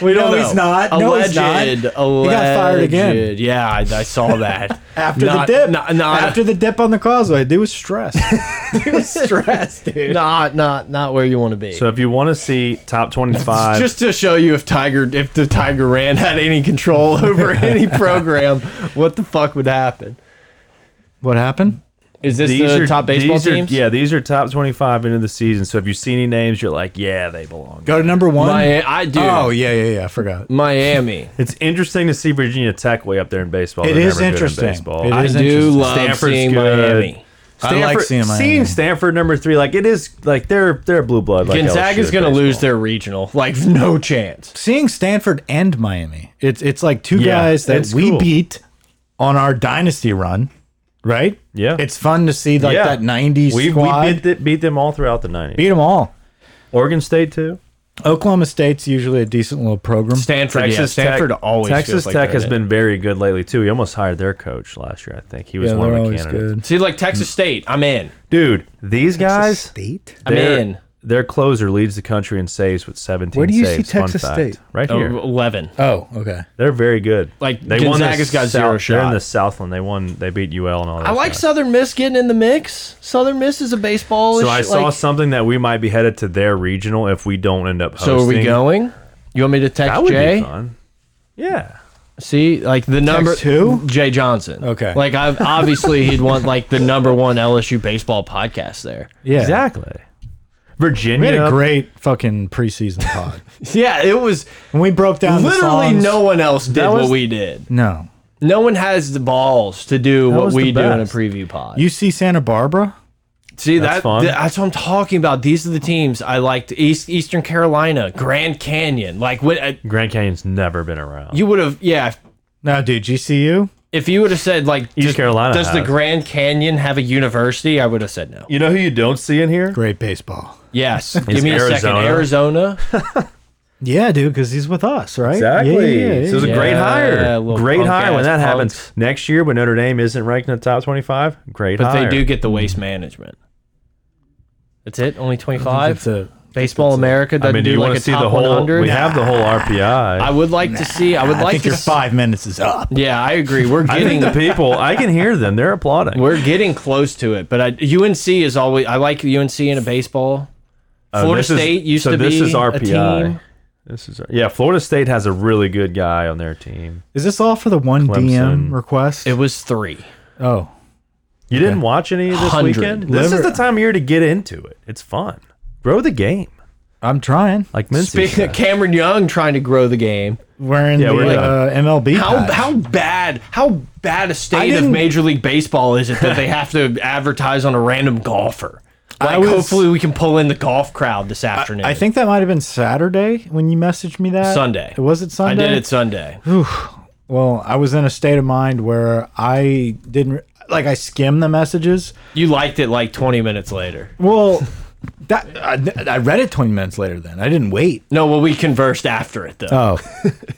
Speaker 1: we don't
Speaker 2: No,
Speaker 1: know.
Speaker 2: he's not. No,
Speaker 1: Alleged,
Speaker 2: he's not.
Speaker 1: Alleged.
Speaker 2: He got fired again.
Speaker 1: Yeah, I, I saw that.
Speaker 2: After
Speaker 1: Not-
Speaker 2: the dip.
Speaker 1: Not, not,
Speaker 2: After the dip on the causeway, dude was stressed.
Speaker 1: stress, dude. Not, not, not where you want to be.
Speaker 3: so if you want to see top 25,
Speaker 1: just to show you if Tiger, if the Tiger Rand had any control over any program, what the fuck would happen?
Speaker 2: what happened?
Speaker 1: Is this the top baseball
Speaker 3: these are-
Speaker 1: teams?
Speaker 3: yeah, these are top 25 into the season. So if you see any names, you're like, yeah, they belong.
Speaker 2: Go to number one.
Speaker 1: Mi- I do.
Speaker 2: Oh, yeah, yeah, yeah. I forgot.
Speaker 1: Miami.
Speaker 3: It's interesting to see Virginia Tech way up there in baseball.
Speaker 2: It
Speaker 3: They're
Speaker 2: is
Speaker 3: never good in
Speaker 2: interesting.
Speaker 3: baseball.
Speaker 2: It
Speaker 1: I
Speaker 2: is
Speaker 1: do
Speaker 2: interesting.
Speaker 1: love
Speaker 3: Stanford's
Speaker 1: seeing
Speaker 3: good.
Speaker 1: Miami.
Speaker 2: I like
Speaker 3: Stanford-
Speaker 2: seeing Miami.
Speaker 3: seeing Stanford number three. Like it is like they're they're blue blood. Like
Speaker 1: Gonzaga's
Speaker 3: LSU
Speaker 1: going to
Speaker 3: in
Speaker 1: lose
Speaker 3: baseball.
Speaker 1: their regional. Like, no chance.
Speaker 2: seeing Stanford and Miami, it's it's like two
Speaker 3: Yeah,
Speaker 2: guys that
Speaker 3: it's
Speaker 2: we
Speaker 3: cool.
Speaker 2: beat on our dynasty run, right?
Speaker 3: Yeah.
Speaker 2: it's fun to see like
Speaker 3: Yeah.
Speaker 2: that '90s
Speaker 3: We, we
Speaker 2: squad
Speaker 3: beat, th- beat them all throughout the 90s.
Speaker 2: beat them all.
Speaker 3: Oregon State too.
Speaker 2: Oklahoma State's usually a decent little program.
Speaker 1: Stanford, yeah.
Speaker 3: Texas Tech-
Speaker 1: Stanford always
Speaker 3: Texas
Speaker 1: feels like
Speaker 3: Tech
Speaker 1: they're
Speaker 3: has
Speaker 1: in it.
Speaker 3: been very good lately too. He almost hired their coach last year. I think he was
Speaker 2: yeah,
Speaker 3: one
Speaker 2: they're
Speaker 3: of the
Speaker 2: always
Speaker 3: candidates.
Speaker 2: good.
Speaker 1: See, like Texas State, I'm in.
Speaker 3: Dude, these guys.
Speaker 2: State.
Speaker 1: I'm
Speaker 3: their-
Speaker 1: in.
Speaker 3: Their closer leads the country in saves with 17
Speaker 2: Where do you see
Speaker 3: saves. Fun
Speaker 2: Texas
Speaker 3: fact.
Speaker 2: State?
Speaker 3: Right
Speaker 1: Oh,
Speaker 3: here.
Speaker 1: 11.
Speaker 2: Oh, okay.
Speaker 3: They're very good.
Speaker 1: Like,
Speaker 3: they won the
Speaker 1: Gonzaga's got
Speaker 3: South-
Speaker 1: zero
Speaker 3: They're
Speaker 1: shot.
Speaker 3: in the Southland. They won. They beat UL and all that.
Speaker 1: I like Southern Miss getting in the mix. Southern Miss is a baseball.
Speaker 3: So I saw something that we might be headed to their regional if we don't end up hosting.
Speaker 1: So are we going? You want me to
Speaker 3: That
Speaker 1: text
Speaker 3: would be
Speaker 1: Jay?
Speaker 3: fun. Yeah.
Speaker 1: See, like the number
Speaker 2: who?
Speaker 1: Jay Johnson.
Speaker 2: Okay.
Speaker 1: Like I obviously he'd want like the number one LSU baseball podcast there.
Speaker 2: Yeah,
Speaker 3: Exactly.
Speaker 2: We
Speaker 3: Virginia.
Speaker 2: had a great fucking preseason pod.
Speaker 1: Yeah, it was
Speaker 2: when we broke down the
Speaker 1: literally
Speaker 2: songs-
Speaker 1: no one else did
Speaker 3: That
Speaker 1: what
Speaker 3: was-
Speaker 1: we did.
Speaker 2: no.
Speaker 1: No one has the balls to do what
Speaker 3: was
Speaker 1: we
Speaker 3: the
Speaker 1: do in a
Speaker 3: best.
Speaker 1: preview pod.
Speaker 2: UC Santa Barbara.
Speaker 1: See
Speaker 3: That's
Speaker 1: that
Speaker 3: fun.
Speaker 1: th- that's what I'm talking about. These are the teams I liked: East Eastern Carolina, Grand Canyon. Like what uh,
Speaker 3: Grand Canyon's never been around.
Speaker 1: you would have, yeah.
Speaker 2: No, dude, GCU.
Speaker 1: If you would have said like,
Speaker 3: East
Speaker 1: does-
Speaker 3: Carolina
Speaker 1: does the
Speaker 3: has.
Speaker 1: Grand Canyon have a university? I would have said no.
Speaker 3: You know who you don't see in here?
Speaker 2: Great baseball.
Speaker 1: Yes, give me a second.
Speaker 3: Arizona.
Speaker 1: Arizona,
Speaker 2: Yeah, dude, because he's with us, right?
Speaker 3: Exactly.
Speaker 2: Yeah, yeah, yeah,
Speaker 3: So it was
Speaker 1: yeah.
Speaker 3: a great
Speaker 1: Yeah,
Speaker 3: hire.
Speaker 1: little
Speaker 3: Great
Speaker 1: punk
Speaker 3: hire when
Speaker 1: ass
Speaker 3: that happens.
Speaker 1: punks.
Speaker 3: Next year, when Notre Dame isn't ranked in the top 25, great
Speaker 1: but
Speaker 3: hire.
Speaker 1: they do get the waste management. That's it. Only twenty
Speaker 2: It's
Speaker 1: five.
Speaker 2: a,
Speaker 1: Baseball America doesn't
Speaker 3: I mean, do
Speaker 1: do,
Speaker 3: you
Speaker 1: like
Speaker 3: want
Speaker 1: a
Speaker 3: to see
Speaker 1: top
Speaker 3: the whole?
Speaker 1: 100.
Speaker 3: We have the whole RPI.
Speaker 1: I
Speaker 3: I,
Speaker 1: would like to see. I would
Speaker 2: I
Speaker 1: like
Speaker 2: think
Speaker 1: to.
Speaker 2: your
Speaker 1: s-
Speaker 2: five minutes is up.
Speaker 1: Yeah, I agree. We're getting
Speaker 3: think the people. I can hear them. They're applauding.
Speaker 1: we're getting close to it. But I, UNC is always. I like UNC in a baseball.
Speaker 3: Uh,
Speaker 1: Florida
Speaker 3: this is-
Speaker 1: State used
Speaker 3: so
Speaker 1: to
Speaker 3: this
Speaker 1: be
Speaker 3: is RPI.
Speaker 1: a team.
Speaker 3: This is yeah. Florida State has a really good guy on their team.
Speaker 2: Is this all for the one
Speaker 3: Clemson.
Speaker 2: DM request?
Speaker 1: It was three.
Speaker 2: oh,
Speaker 3: You didn't watch any of this
Speaker 1: 100.
Speaker 3: weekend. This is
Speaker 2: Liver-
Speaker 3: the time of year to get into it. It's fun. Grow the game,
Speaker 2: I'm trying.
Speaker 3: like Mincy.
Speaker 1: Speaking
Speaker 3: said.
Speaker 1: of Cameron Young trying to grow the game,
Speaker 2: Wearing
Speaker 3: Yeah,
Speaker 2: the
Speaker 3: we're
Speaker 2: uh, MLB.
Speaker 1: how
Speaker 2: patch.
Speaker 1: how bad how bad a state of
Speaker 2: didn't-
Speaker 1: Major League Baseball is it that they have to advertise on a random golfer? Like,
Speaker 2: was-
Speaker 1: hopefully, we can pull in the golf crowd this afternoon.
Speaker 2: I think that might have been Saturday when you messaged me that.
Speaker 1: Sunday.
Speaker 2: Was it
Speaker 1: I
Speaker 2: Sunday?
Speaker 1: did it Sunday.
Speaker 2: Well, I was in a state of mind where I didn't like I skimmed the messages.
Speaker 1: You liked it like 20 minutes later.
Speaker 2: Well, that I, I read it 20 minutes later then. I didn't wait.
Speaker 1: No, well, we conversed after it though.
Speaker 2: Oh.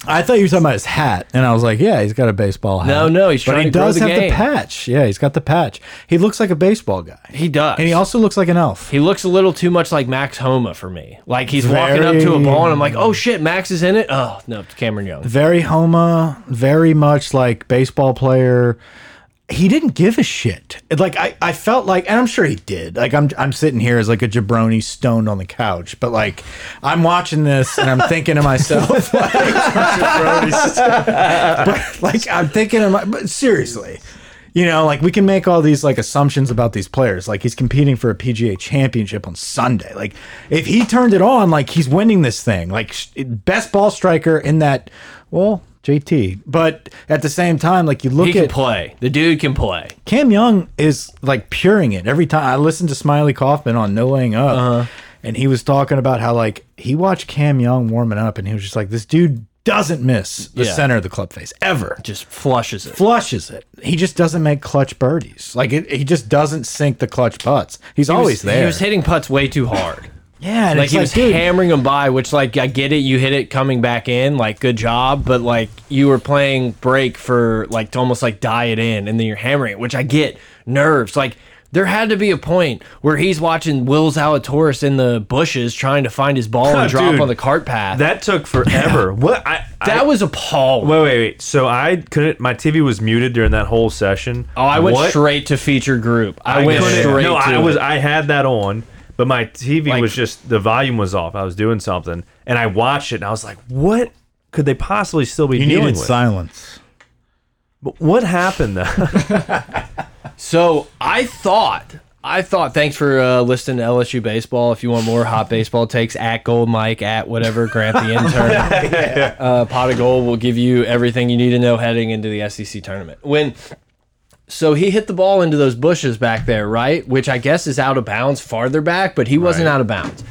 Speaker 2: I thought you were talking about his hat and I was like, yeah, he's got a baseball hat.
Speaker 1: No, no, he's
Speaker 2: But
Speaker 1: trying
Speaker 2: he
Speaker 1: to grow
Speaker 2: does
Speaker 1: the
Speaker 2: have
Speaker 1: game.
Speaker 2: the patch. Yeah, he's got the patch. He looks like a baseball guy.
Speaker 1: he does.
Speaker 2: And he also looks like an elf.
Speaker 1: He looks a little too much like Max Homa for me. Like he's walking up to a
Speaker 2: Very-
Speaker 1: ball, and I'm like, "Oh shit, Max is in it." Oh no, it's Cameron Young.
Speaker 2: Very Homa, very much like baseball player. He didn't give a shit. It- Like I, I felt like, and I'm sure he did. Like I'm, I'm sitting here as like a jabroni stoned on the couch, but like I'm watching this and I'm thinking to myself, like, but, like I'm thinking to my, but seriously, you know, like we can make all these like assumptions about these players. Like he's competing for a PGA championship on Sunday. Like if he turned it on, like he's winning this thing. Like sh- best ball striker in that. Well, JT, but at the same time, like you look
Speaker 1: He
Speaker 2: at
Speaker 1: can play. The dude can play.
Speaker 2: Cam Young is like puring it every time. I listened to Smiley Kaufman on No Laying Up,
Speaker 1: Uh-huh.
Speaker 2: and he was talking about how like he watched Cam Young warming up, and he was just like, "This dude doesn't miss the
Speaker 1: Yeah.
Speaker 2: center of the club face ever.
Speaker 1: Just flushes it.
Speaker 2: Flushes it. He just doesn't make clutch birdies. Like it, he just doesn't sink the clutch putts. He's
Speaker 1: He was-
Speaker 2: always there.
Speaker 1: He was hitting putts way too hard.
Speaker 2: yeah, and
Speaker 1: like
Speaker 2: it's
Speaker 1: he was
Speaker 2: dude,
Speaker 1: hammering them by, which like I get it. You hit it coming back in, like good job. But like you were playing break for like to almost like die it in, and then you're hammering it, which I get nerves. Like there had to be a point where he's watching Will Zalatoris in the bushes trying to find his ball and drop
Speaker 3: Dude,
Speaker 1: on the cart path. That,
Speaker 3: that took forever. what I, I
Speaker 1: was appalling.
Speaker 3: Wait, wait, wait. So I couldn't. My TV was muted during that whole session.
Speaker 1: Oh, I went
Speaker 3: What?
Speaker 1: straight to feature group. I, went
Speaker 3: couldn't-
Speaker 1: straight.
Speaker 3: No,
Speaker 1: to
Speaker 3: I was.
Speaker 1: it.
Speaker 3: I had that on, but my TV
Speaker 1: Like-
Speaker 3: was just the volume was off. I was doing something, and I watched it, and I was like, "What could they possibly still be
Speaker 2: you
Speaker 3: dealing
Speaker 2: needed
Speaker 3: with?
Speaker 2: silence.
Speaker 3: But what happened though?
Speaker 1: So I thought, I thought. Thanks for uh, listening to LSU baseball. If you want more hot baseball takes, at Gold Mike, at whatever Grant the intern, uh, pot of gold will give you everything you need to know heading into the SEC tournament. When so he hit the ball into those bushes back there, right? Which I guess is out of bounds farther back, but he wasn't
Speaker 3: Right.
Speaker 1: out of bounds.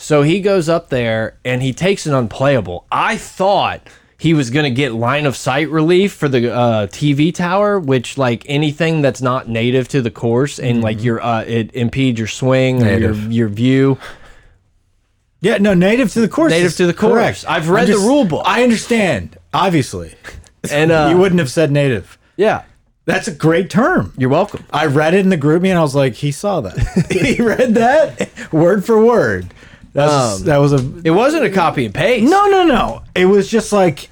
Speaker 1: So he goes up there and he takes an unplayable. I thought he was going to get line of sight relief for the uh, TV tower, which like anything that's not native to the course and like your uh, it impedes your swing or your
Speaker 2: Mm-hmm. Native.
Speaker 1: your view.
Speaker 2: Yeah, no, native to the course.
Speaker 1: Native
Speaker 2: is
Speaker 1: to the course.
Speaker 2: correct.
Speaker 1: I've
Speaker 2: I'm
Speaker 1: read the
Speaker 2: just-
Speaker 1: rule book.
Speaker 2: I understand. Obviously,
Speaker 1: And uh,
Speaker 2: you wouldn't have said native.
Speaker 1: yeah,
Speaker 2: That's a great term.
Speaker 1: you're welcome.
Speaker 2: I read it in the group me and I was like, he saw that. he read that word for word. That's,
Speaker 1: Um,
Speaker 2: that was a
Speaker 1: It wasn't a copy and paste.
Speaker 2: no, no, no. It was just like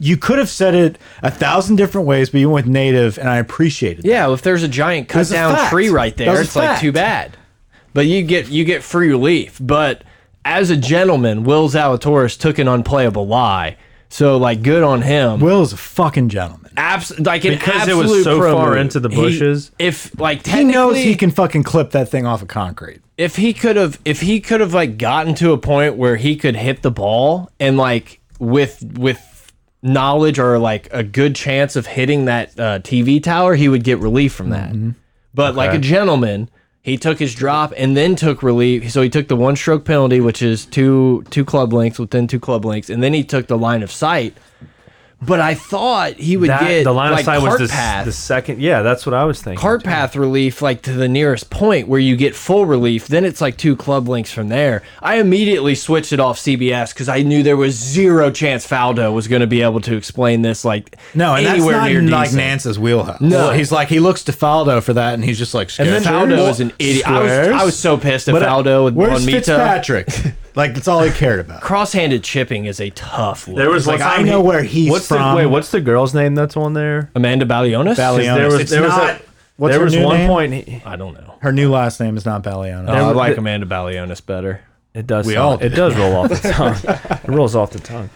Speaker 2: you could have said it a thousand different ways, but you went native, and I appreciated.
Speaker 1: Yeah, if there's a giant cut
Speaker 2: That's a
Speaker 1: down
Speaker 2: fact.
Speaker 1: tree right there,
Speaker 2: That's a
Speaker 1: it's like
Speaker 2: fact.
Speaker 1: too bad. But you get you get free relief. But as a gentleman, Will Zalatoris took an unplayable lie. So like, good on him.
Speaker 2: Will is a fucking gentleman.
Speaker 1: Abs like an
Speaker 3: Because it was
Speaker 1: absolute
Speaker 3: so
Speaker 1: pro
Speaker 3: far
Speaker 1: move.
Speaker 3: into the
Speaker 1: He-
Speaker 3: bushes.
Speaker 1: if like
Speaker 2: He
Speaker 1: technically,
Speaker 2: knows he can fucking clip that thing off of concrete.
Speaker 1: if he could have if he could have like gotten to a point where he could hit the ball and like with with knowledge or like a good chance of hitting that uh, TV tower, he would get relief from that.
Speaker 3: Mm-hmm.
Speaker 1: But like a gentleman, he took his drop and then took relief. So he took the one stroke penalty, which is two two club lengths within two club lengths, and then he took the line of sight. But I thought he would
Speaker 3: That-
Speaker 1: get
Speaker 3: the line
Speaker 1: like,
Speaker 3: of sight was
Speaker 1: cart
Speaker 3: the,
Speaker 1: path,
Speaker 3: the second. Yeah, that's what I was thinking.
Speaker 1: cart path relief, like to the nearest point where you get full relief. Then it's like two club links from there. I immediately switched it off CBS because I knew there was zero chance Faldo was going to be able to explain this. Like
Speaker 2: No, and
Speaker 1: anywhere
Speaker 2: that's not
Speaker 1: near
Speaker 2: in, like
Speaker 1: decent.
Speaker 2: Nance's wheelhouse.
Speaker 1: No.
Speaker 2: he's like he looks to Faldo for that, and he's just like scared.
Speaker 1: And then Faldo is an idiot. I was,
Speaker 3: Squares.
Speaker 1: I was so pissed at
Speaker 2: But, uh,
Speaker 1: Faldo with
Speaker 2: Where's
Speaker 1: on Mito.
Speaker 2: Fitzpatrick? like that's all he cared about.
Speaker 1: Cross-handed chipping is a tough look.
Speaker 3: There was
Speaker 2: Like
Speaker 3: one
Speaker 2: I
Speaker 3: time
Speaker 2: know
Speaker 3: he-
Speaker 2: where he's
Speaker 3: what's
Speaker 2: from.
Speaker 3: The, wait, what's the girl's name that's on there?
Speaker 1: Amanda Balionis.
Speaker 2: Balionis.
Speaker 3: There was
Speaker 2: It's
Speaker 3: there was
Speaker 2: not-
Speaker 3: a,
Speaker 2: what's
Speaker 3: there
Speaker 2: her
Speaker 3: was
Speaker 2: new
Speaker 3: one
Speaker 2: name?
Speaker 3: point. He,
Speaker 1: I don't know.
Speaker 2: Her new last name is not Balliano.
Speaker 1: I
Speaker 3: was-
Speaker 1: like
Speaker 3: the-
Speaker 1: Amanda Balionis better.
Speaker 3: it does.
Speaker 2: We
Speaker 3: sound-
Speaker 2: all
Speaker 3: it
Speaker 2: did.
Speaker 3: does roll off the tongue. it rolls off the tongue.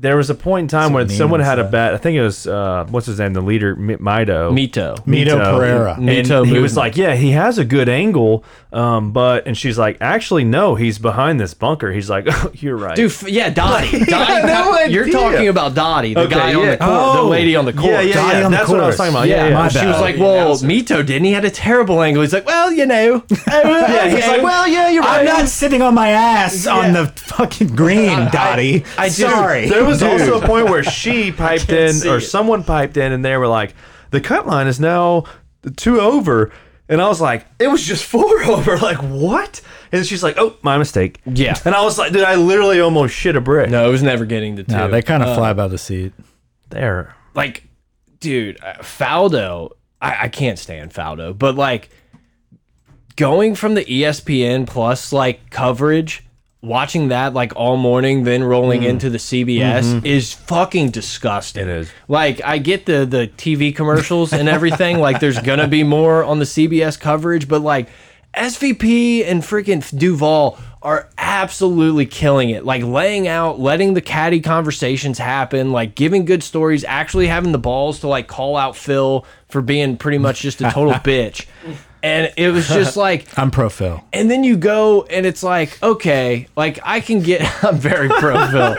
Speaker 3: There was a point in time when
Speaker 2: mean
Speaker 3: someone had a
Speaker 2: stuff.
Speaker 3: bet. I think it was uh, what's his name, the leader Mi- Mido.
Speaker 1: Mito.
Speaker 2: Mito Pereira.
Speaker 3: And
Speaker 1: Mito
Speaker 3: he
Speaker 1: movement.
Speaker 3: was like, "Yeah, he has a good angle, um, but," and she's like, "Actually, no, he's behind this bunker." He's like, oh, "You're right,
Speaker 1: Dude, f- yeah, Dottie. Dottie
Speaker 3: no
Speaker 1: you're
Speaker 3: idea.
Speaker 1: talking about Dottie, the
Speaker 3: Okay,
Speaker 1: guy on
Speaker 3: yeah.
Speaker 1: the court, the
Speaker 3: Oh.
Speaker 1: lady on the court.
Speaker 3: Yeah, yeah,
Speaker 2: Dottie
Speaker 3: yeah.
Speaker 2: on the
Speaker 3: That's what I was
Speaker 2: course.
Speaker 3: talking about. Yeah,
Speaker 2: Yeah,
Speaker 3: yeah.
Speaker 2: my
Speaker 1: she
Speaker 2: bad.
Speaker 1: was like,
Speaker 4: Yeah,
Speaker 1: "Well,
Speaker 4: that's it.
Speaker 1: Mito didn't. He had a terrible angle." He's like, "Well, you know." yeah,
Speaker 3: he's like, "Well, yeah, you're right."
Speaker 2: I'm not sitting on my ass on the fucking green, Dottie.
Speaker 1: I do-
Speaker 2: sorry.
Speaker 3: There was
Speaker 2: Dude.
Speaker 3: also a point where she piped in,
Speaker 1: see
Speaker 3: or
Speaker 1: it.
Speaker 3: someone piped in, and they were like, "The cut line is now two over," and I was like, "It was just four over." Like what? And she's like, "Oh, my mistake."
Speaker 1: Yeah.
Speaker 3: And I was like, "Dude, I literally almost shit a brick."
Speaker 1: No, it was never getting to two.
Speaker 2: No, they
Speaker 1: Uh,
Speaker 2: kind of fly by the seat.
Speaker 3: There.
Speaker 1: like, dude, uh, Faldo, I, I can't stand Faldo, but like going from the E ESPN plus like coverage, watching that like all morning, then rolling into the CBS is fucking disgusting.
Speaker 3: It is.
Speaker 1: Like, I get the the TV commercials and everything. like, there's gonna be more on the CBS coverage, but like SVP and freaking Duval are absolutely killing it. Like laying out, letting the caddy conversations happen, like giving good stories, actually having the balls to like call out Phil for being pretty much just a total bitch. And it was just like
Speaker 2: I'm pro Phil.
Speaker 1: and then you go and it's like, okay, like I can get I'm very pro Phil.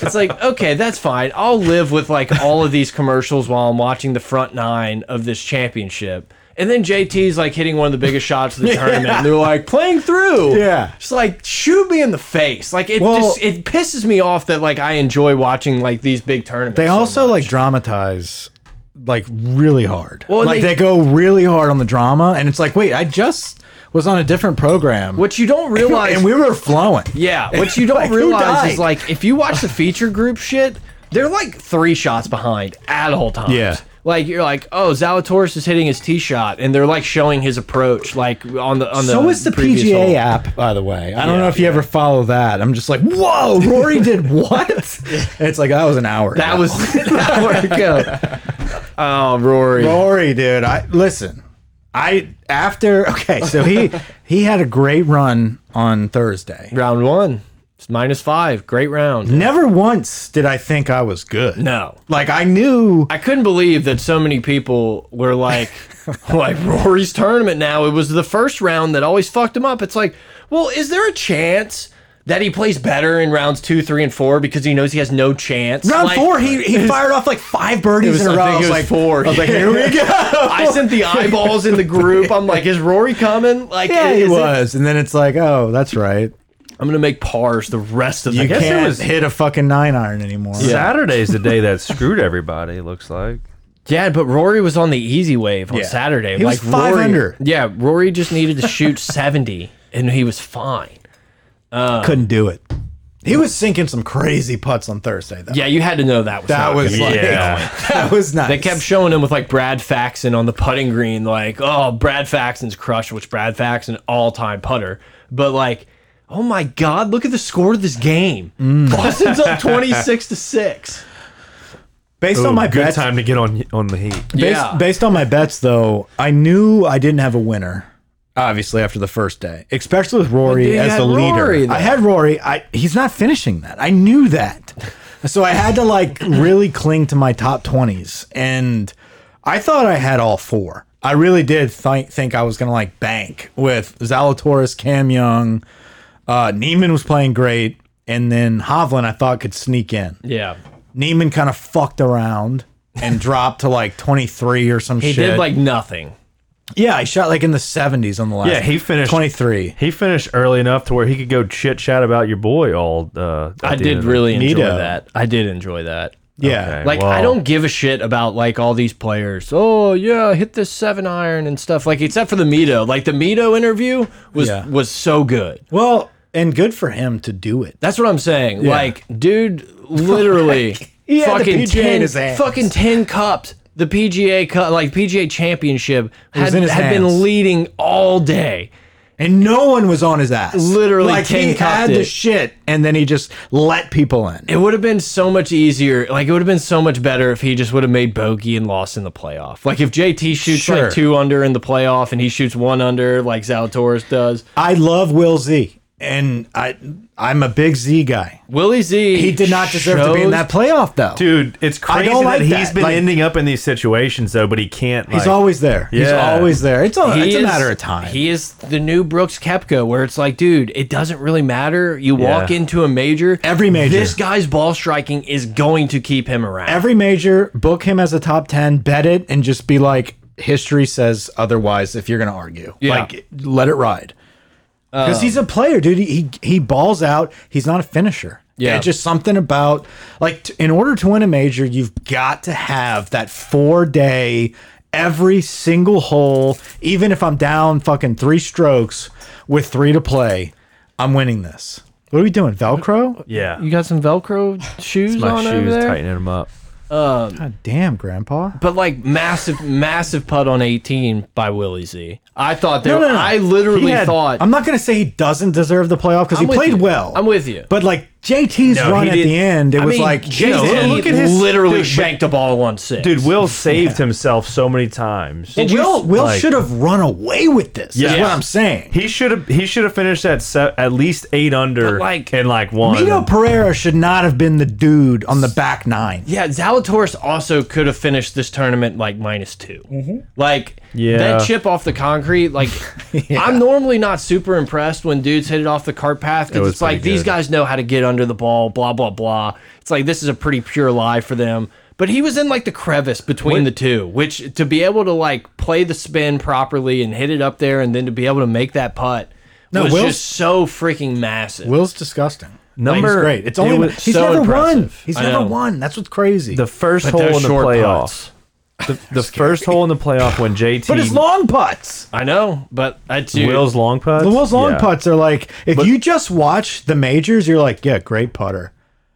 Speaker 1: it's like, okay, that's fine. I'll live with like all of these commercials while I'm watching the front nine of this championship. And then JT's like hitting one of the biggest shots of the tournament. And they're like, playing through.
Speaker 2: Yeah.
Speaker 1: Just like shoot me in the face. Like it
Speaker 2: Well-
Speaker 1: just it pisses me off that like I enjoy watching like these big tournaments.
Speaker 2: They
Speaker 1: so
Speaker 2: also
Speaker 1: much.
Speaker 2: like dramatize like really hard.
Speaker 1: Well,
Speaker 2: like
Speaker 1: they-
Speaker 2: they, go really hard on the drama and it's like, wait, I just was on a different program.
Speaker 1: what you don't realize
Speaker 2: and we were flowing.
Speaker 1: Yeah, what you don't
Speaker 2: Like, who
Speaker 1: realize
Speaker 2: died?
Speaker 1: is like if you watch the feature group shit, they're like three shots behind at all times.
Speaker 2: Yeah.
Speaker 1: Like you're like, oh, Zalatoris is hitting his tee shot, and they're like showing his approach, like on the on the.
Speaker 2: So is the
Speaker 1: previous
Speaker 2: PGA
Speaker 1: hole.
Speaker 2: app, by the way. I don't
Speaker 1: Yeah,
Speaker 2: know if you ever follow that. I'm just like, whoa, Rory did what? And it's like that was an hour.
Speaker 1: That
Speaker 2: ago.
Speaker 1: was an hour ago. Oh, Rory.
Speaker 2: Rory, dude. I listen. I after okay, so he he had a great run on Thursday.
Speaker 1: round one, it's minus five. Great round.
Speaker 2: Never once did I think I was good.
Speaker 1: No.
Speaker 2: Like I knew
Speaker 1: I couldn't believe that so many people were like, like Rory's tournament now. It was the first round that always fucked him up. It's like, well, is there a chance that he plays better in rounds two, three, and four because he knows he has no chance?
Speaker 2: Round
Speaker 1: Like,
Speaker 2: four, he, he fired off like five birdies
Speaker 1: was-
Speaker 2: in a
Speaker 1: I
Speaker 2: row.
Speaker 1: think it was
Speaker 2: like
Speaker 1: four.
Speaker 2: I was like, here we go.
Speaker 1: I sent the eyeballs in the group. I'm like, is Rory coming? Like,
Speaker 2: yeah, he
Speaker 1: is it-
Speaker 2: was, and then it's like, oh, that's right.
Speaker 1: I'm gonna make pars the rest of the
Speaker 2: You
Speaker 1: game.
Speaker 3: guess it
Speaker 2: can't
Speaker 3: was-
Speaker 2: hit a fucking nine iron anymore.
Speaker 3: Saturday's the day that screwed everybody. It looks like.
Speaker 1: Yeah, but Rory was on the easy wave on
Speaker 2: Yeah.
Speaker 1: Saturday.
Speaker 2: He was five
Speaker 1: Rory,
Speaker 2: under.
Speaker 1: Yeah, Rory just needed to shoot 70, and he was fine.
Speaker 2: couldn't do it. He was sinking some crazy putts on Thursday though.
Speaker 1: Yeah, you had to know that was
Speaker 2: that
Speaker 1: not
Speaker 2: was
Speaker 1: gonna
Speaker 2: like
Speaker 1: be going.
Speaker 2: that was nice.
Speaker 1: They kept showing him with like Brad Faxon on the putting green, like, oh, Brad Faxon's crush, which Brad Faxon all time putter. But like, oh my God, look at the score of this game.
Speaker 2: Mm.
Speaker 1: Boston's up 26 to 6.
Speaker 2: based on my
Speaker 3: good
Speaker 2: bets.
Speaker 3: time to get on on the heat.
Speaker 2: Based,
Speaker 1: Yeah.
Speaker 2: based on my bets though, I knew I didn't have a winner. Obviously, after the first day, especially with
Speaker 1: But
Speaker 2: Rory
Speaker 1: you
Speaker 2: as
Speaker 1: had
Speaker 2: the leader,
Speaker 1: Rory, though.
Speaker 2: I had Rory. I he's not finishing that. I knew that, so I had to like really cling to my top twenties, and I thought I had all four. I really did th think I was gonna like bank with Zalatoris, Cam Young, uh, Neiman was playing great, and then Hovland I thought could sneak in.
Speaker 1: Yeah.
Speaker 2: Neiman kind of fucked around and dropped to like 23 or some
Speaker 1: He
Speaker 2: shit.
Speaker 1: did like nothing.
Speaker 2: yeah, he shot like in the 70s on the last.
Speaker 3: Yeah, he finished-
Speaker 2: 23.
Speaker 3: He finished early enough to where he could go chit chat about your boy all. Uh, at
Speaker 1: I
Speaker 3: the end
Speaker 1: did
Speaker 3: of it.
Speaker 1: really enjoy
Speaker 2: Neato.
Speaker 1: that. I did enjoy that.
Speaker 2: Yeah.
Speaker 3: Okay,
Speaker 1: Like I
Speaker 3: well,
Speaker 1: don't give a shit about like all these players. Oh yeah, I hit this seven iron and stuff. Like except for the Mito. Like the Mito interview was
Speaker 2: Yeah.
Speaker 1: was so good.
Speaker 2: Well, and good for him to do it.
Speaker 1: That's what I'm saying. Like dude, literally
Speaker 2: He had the
Speaker 1: fucking
Speaker 2: PGA in
Speaker 1: ten
Speaker 2: his hands.
Speaker 1: fucking ten cups. The PGA cup, like PGA Championship,
Speaker 2: was
Speaker 1: had,
Speaker 2: in his
Speaker 1: had
Speaker 2: hands.
Speaker 1: been leading all day.
Speaker 2: And no one was on his ass.
Speaker 1: Literally
Speaker 2: like he
Speaker 1: 10 cupped
Speaker 2: had the
Speaker 1: it.
Speaker 2: shit, and then he just let people in.
Speaker 1: It would have been so much easier. Like it would have been so much better if he just would have made bogey and lost in the playoff. Like if JT shoots
Speaker 2: Sure.
Speaker 1: like two under in the playoff and he shoots one under like Zalatoris does.
Speaker 2: I love Will Z, and I I'm a big Z guy.
Speaker 1: Willie Z.
Speaker 2: He did not deserve to be in
Speaker 1: shows-
Speaker 2: that playoff though.
Speaker 3: dude. It's
Speaker 2: I
Speaker 3: crazy
Speaker 2: don't like
Speaker 3: that he's
Speaker 2: that.
Speaker 3: been
Speaker 2: Like-
Speaker 3: ending up in these situations though, but he can't.
Speaker 2: he's
Speaker 3: like-
Speaker 2: always there. He's
Speaker 3: Yeah.
Speaker 2: always there. It's a,
Speaker 1: He
Speaker 2: it's a
Speaker 1: is-
Speaker 2: matter of time.
Speaker 1: He is the new Brooks Kepka, where it's like, dude, it doesn't really matter. You walk
Speaker 3: Yeah.
Speaker 1: into a major,
Speaker 2: Every major.
Speaker 1: This guy's ball striking is going to keep him around.
Speaker 2: Every major, book him as a top ten, bet it, and just be like, history says otherwise. If you're gonna argue,
Speaker 1: Yeah. Um,
Speaker 2: like let it ride. Because he's a player, dude. He, he he balls out. He's not a finisher.
Speaker 1: Yeah.
Speaker 2: it's just something about like t in order to win a major, you've got to have that four day, every single hole. Even if I'm down fucking three strokes with three to play, I'm winning this. What are we doing,
Speaker 1: Uh,
Speaker 2: Velcro?
Speaker 3: Yeah,
Speaker 1: you got some Velcro shoes
Speaker 3: my
Speaker 1: on over
Speaker 3: shoes
Speaker 1: there.
Speaker 3: tightening him up.
Speaker 2: God damn, Grandpa.
Speaker 1: But like massive, massive putt on 18 by Willie Z. I thought there.
Speaker 2: No, no, no.
Speaker 1: I literally
Speaker 2: He had-
Speaker 1: thought
Speaker 2: I'm not going to say he doesn't deserve the playoff because he
Speaker 1: I'm with
Speaker 2: played
Speaker 1: you.
Speaker 2: well.
Speaker 1: I'm with you.
Speaker 2: But like JT's
Speaker 3: No,
Speaker 2: run
Speaker 3: he
Speaker 2: at
Speaker 3: did-
Speaker 2: the end, it
Speaker 1: I
Speaker 2: was
Speaker 1: mean,
Speaker 2: like
Speaker 1: JT
Speaker 2: Jesus.
Speaker 3: look at his-
Speaker 1: literally
Speaker 3: dude, but-
Speaker 1: shanked a ball on six.
Speaker 3: Dude, Will saved himself so many times.
Speaker 1: Did you-
Speaker 2: Will, Will
Speaker 3: like-
Speaker 2: should have run away with this. Is
Speaker 3: Yeah.
Speaker 2: what I'm saying.
Speaker 3: He should have. He should have finished at se- at least eight under,
Speaker 1: But, like,
Speaker 3: in like one.
Speaker 2: Mito Pereira should not have been the dude on the back nine.
Speaker 1: yeah, Zalatoris also could have finished this tournament like minus 2
Speaker 3: Mm-hmm.
Speaker 1: Like
Speaker 3: Yeah.
Speaker 1: that chip off the concrete. Like I'm normally not super impressed when dudes hit it off the cart path
Speaker 3: It
Speaker 1: because
Speaker 3: was
Speaker 1: it's like
Speaker 3: pretty
Speaker 1: these
Speaker 3: good.
Speaker 1: guys know how to get under the ball. Blah blah blah. It's like this is a pretty pure lie for them. But he was in like the crevice between the two, which to be able to like play the spin properly and hit it up there, and then to be able to make that putt
Speaker 2: No,
Speaker 1: was
Speaker 2: Will's-
Speaker 1: just so freaking massive.
Speaker 2: Will's disgusting.
Speaker 3: Number-
Speaker 2: he's great. It's
Speaker 3: it
Speaker 2: only
Speaker 3: was
Speaker 2: he's
Speaker 1: so
Speaker 2: never won.
Speaker 1: impressive.
Speaker 2: He's
Speaker 1: I
Speaker 2: never
Speaker 1: know.
Speaker 2: won. That's what's crazy.
Speaker 3: the first hole in
Speaker 1: those
Speaker 3: the
Speaker 1: short
Speaker 3: playoffs.
Speaker 1: putts.
Speaker 3: The, the first hole in the playoff when JT
Speaker 2: but his long putts.
Speaker 1: I know, but I dude,
Speaker 3: Will's long putts.
Speaker 2: The Will's long
Speaker 3: Yeah.
Speaker 2: putts are like if you just watch the majors, you're like, yeah, great putter.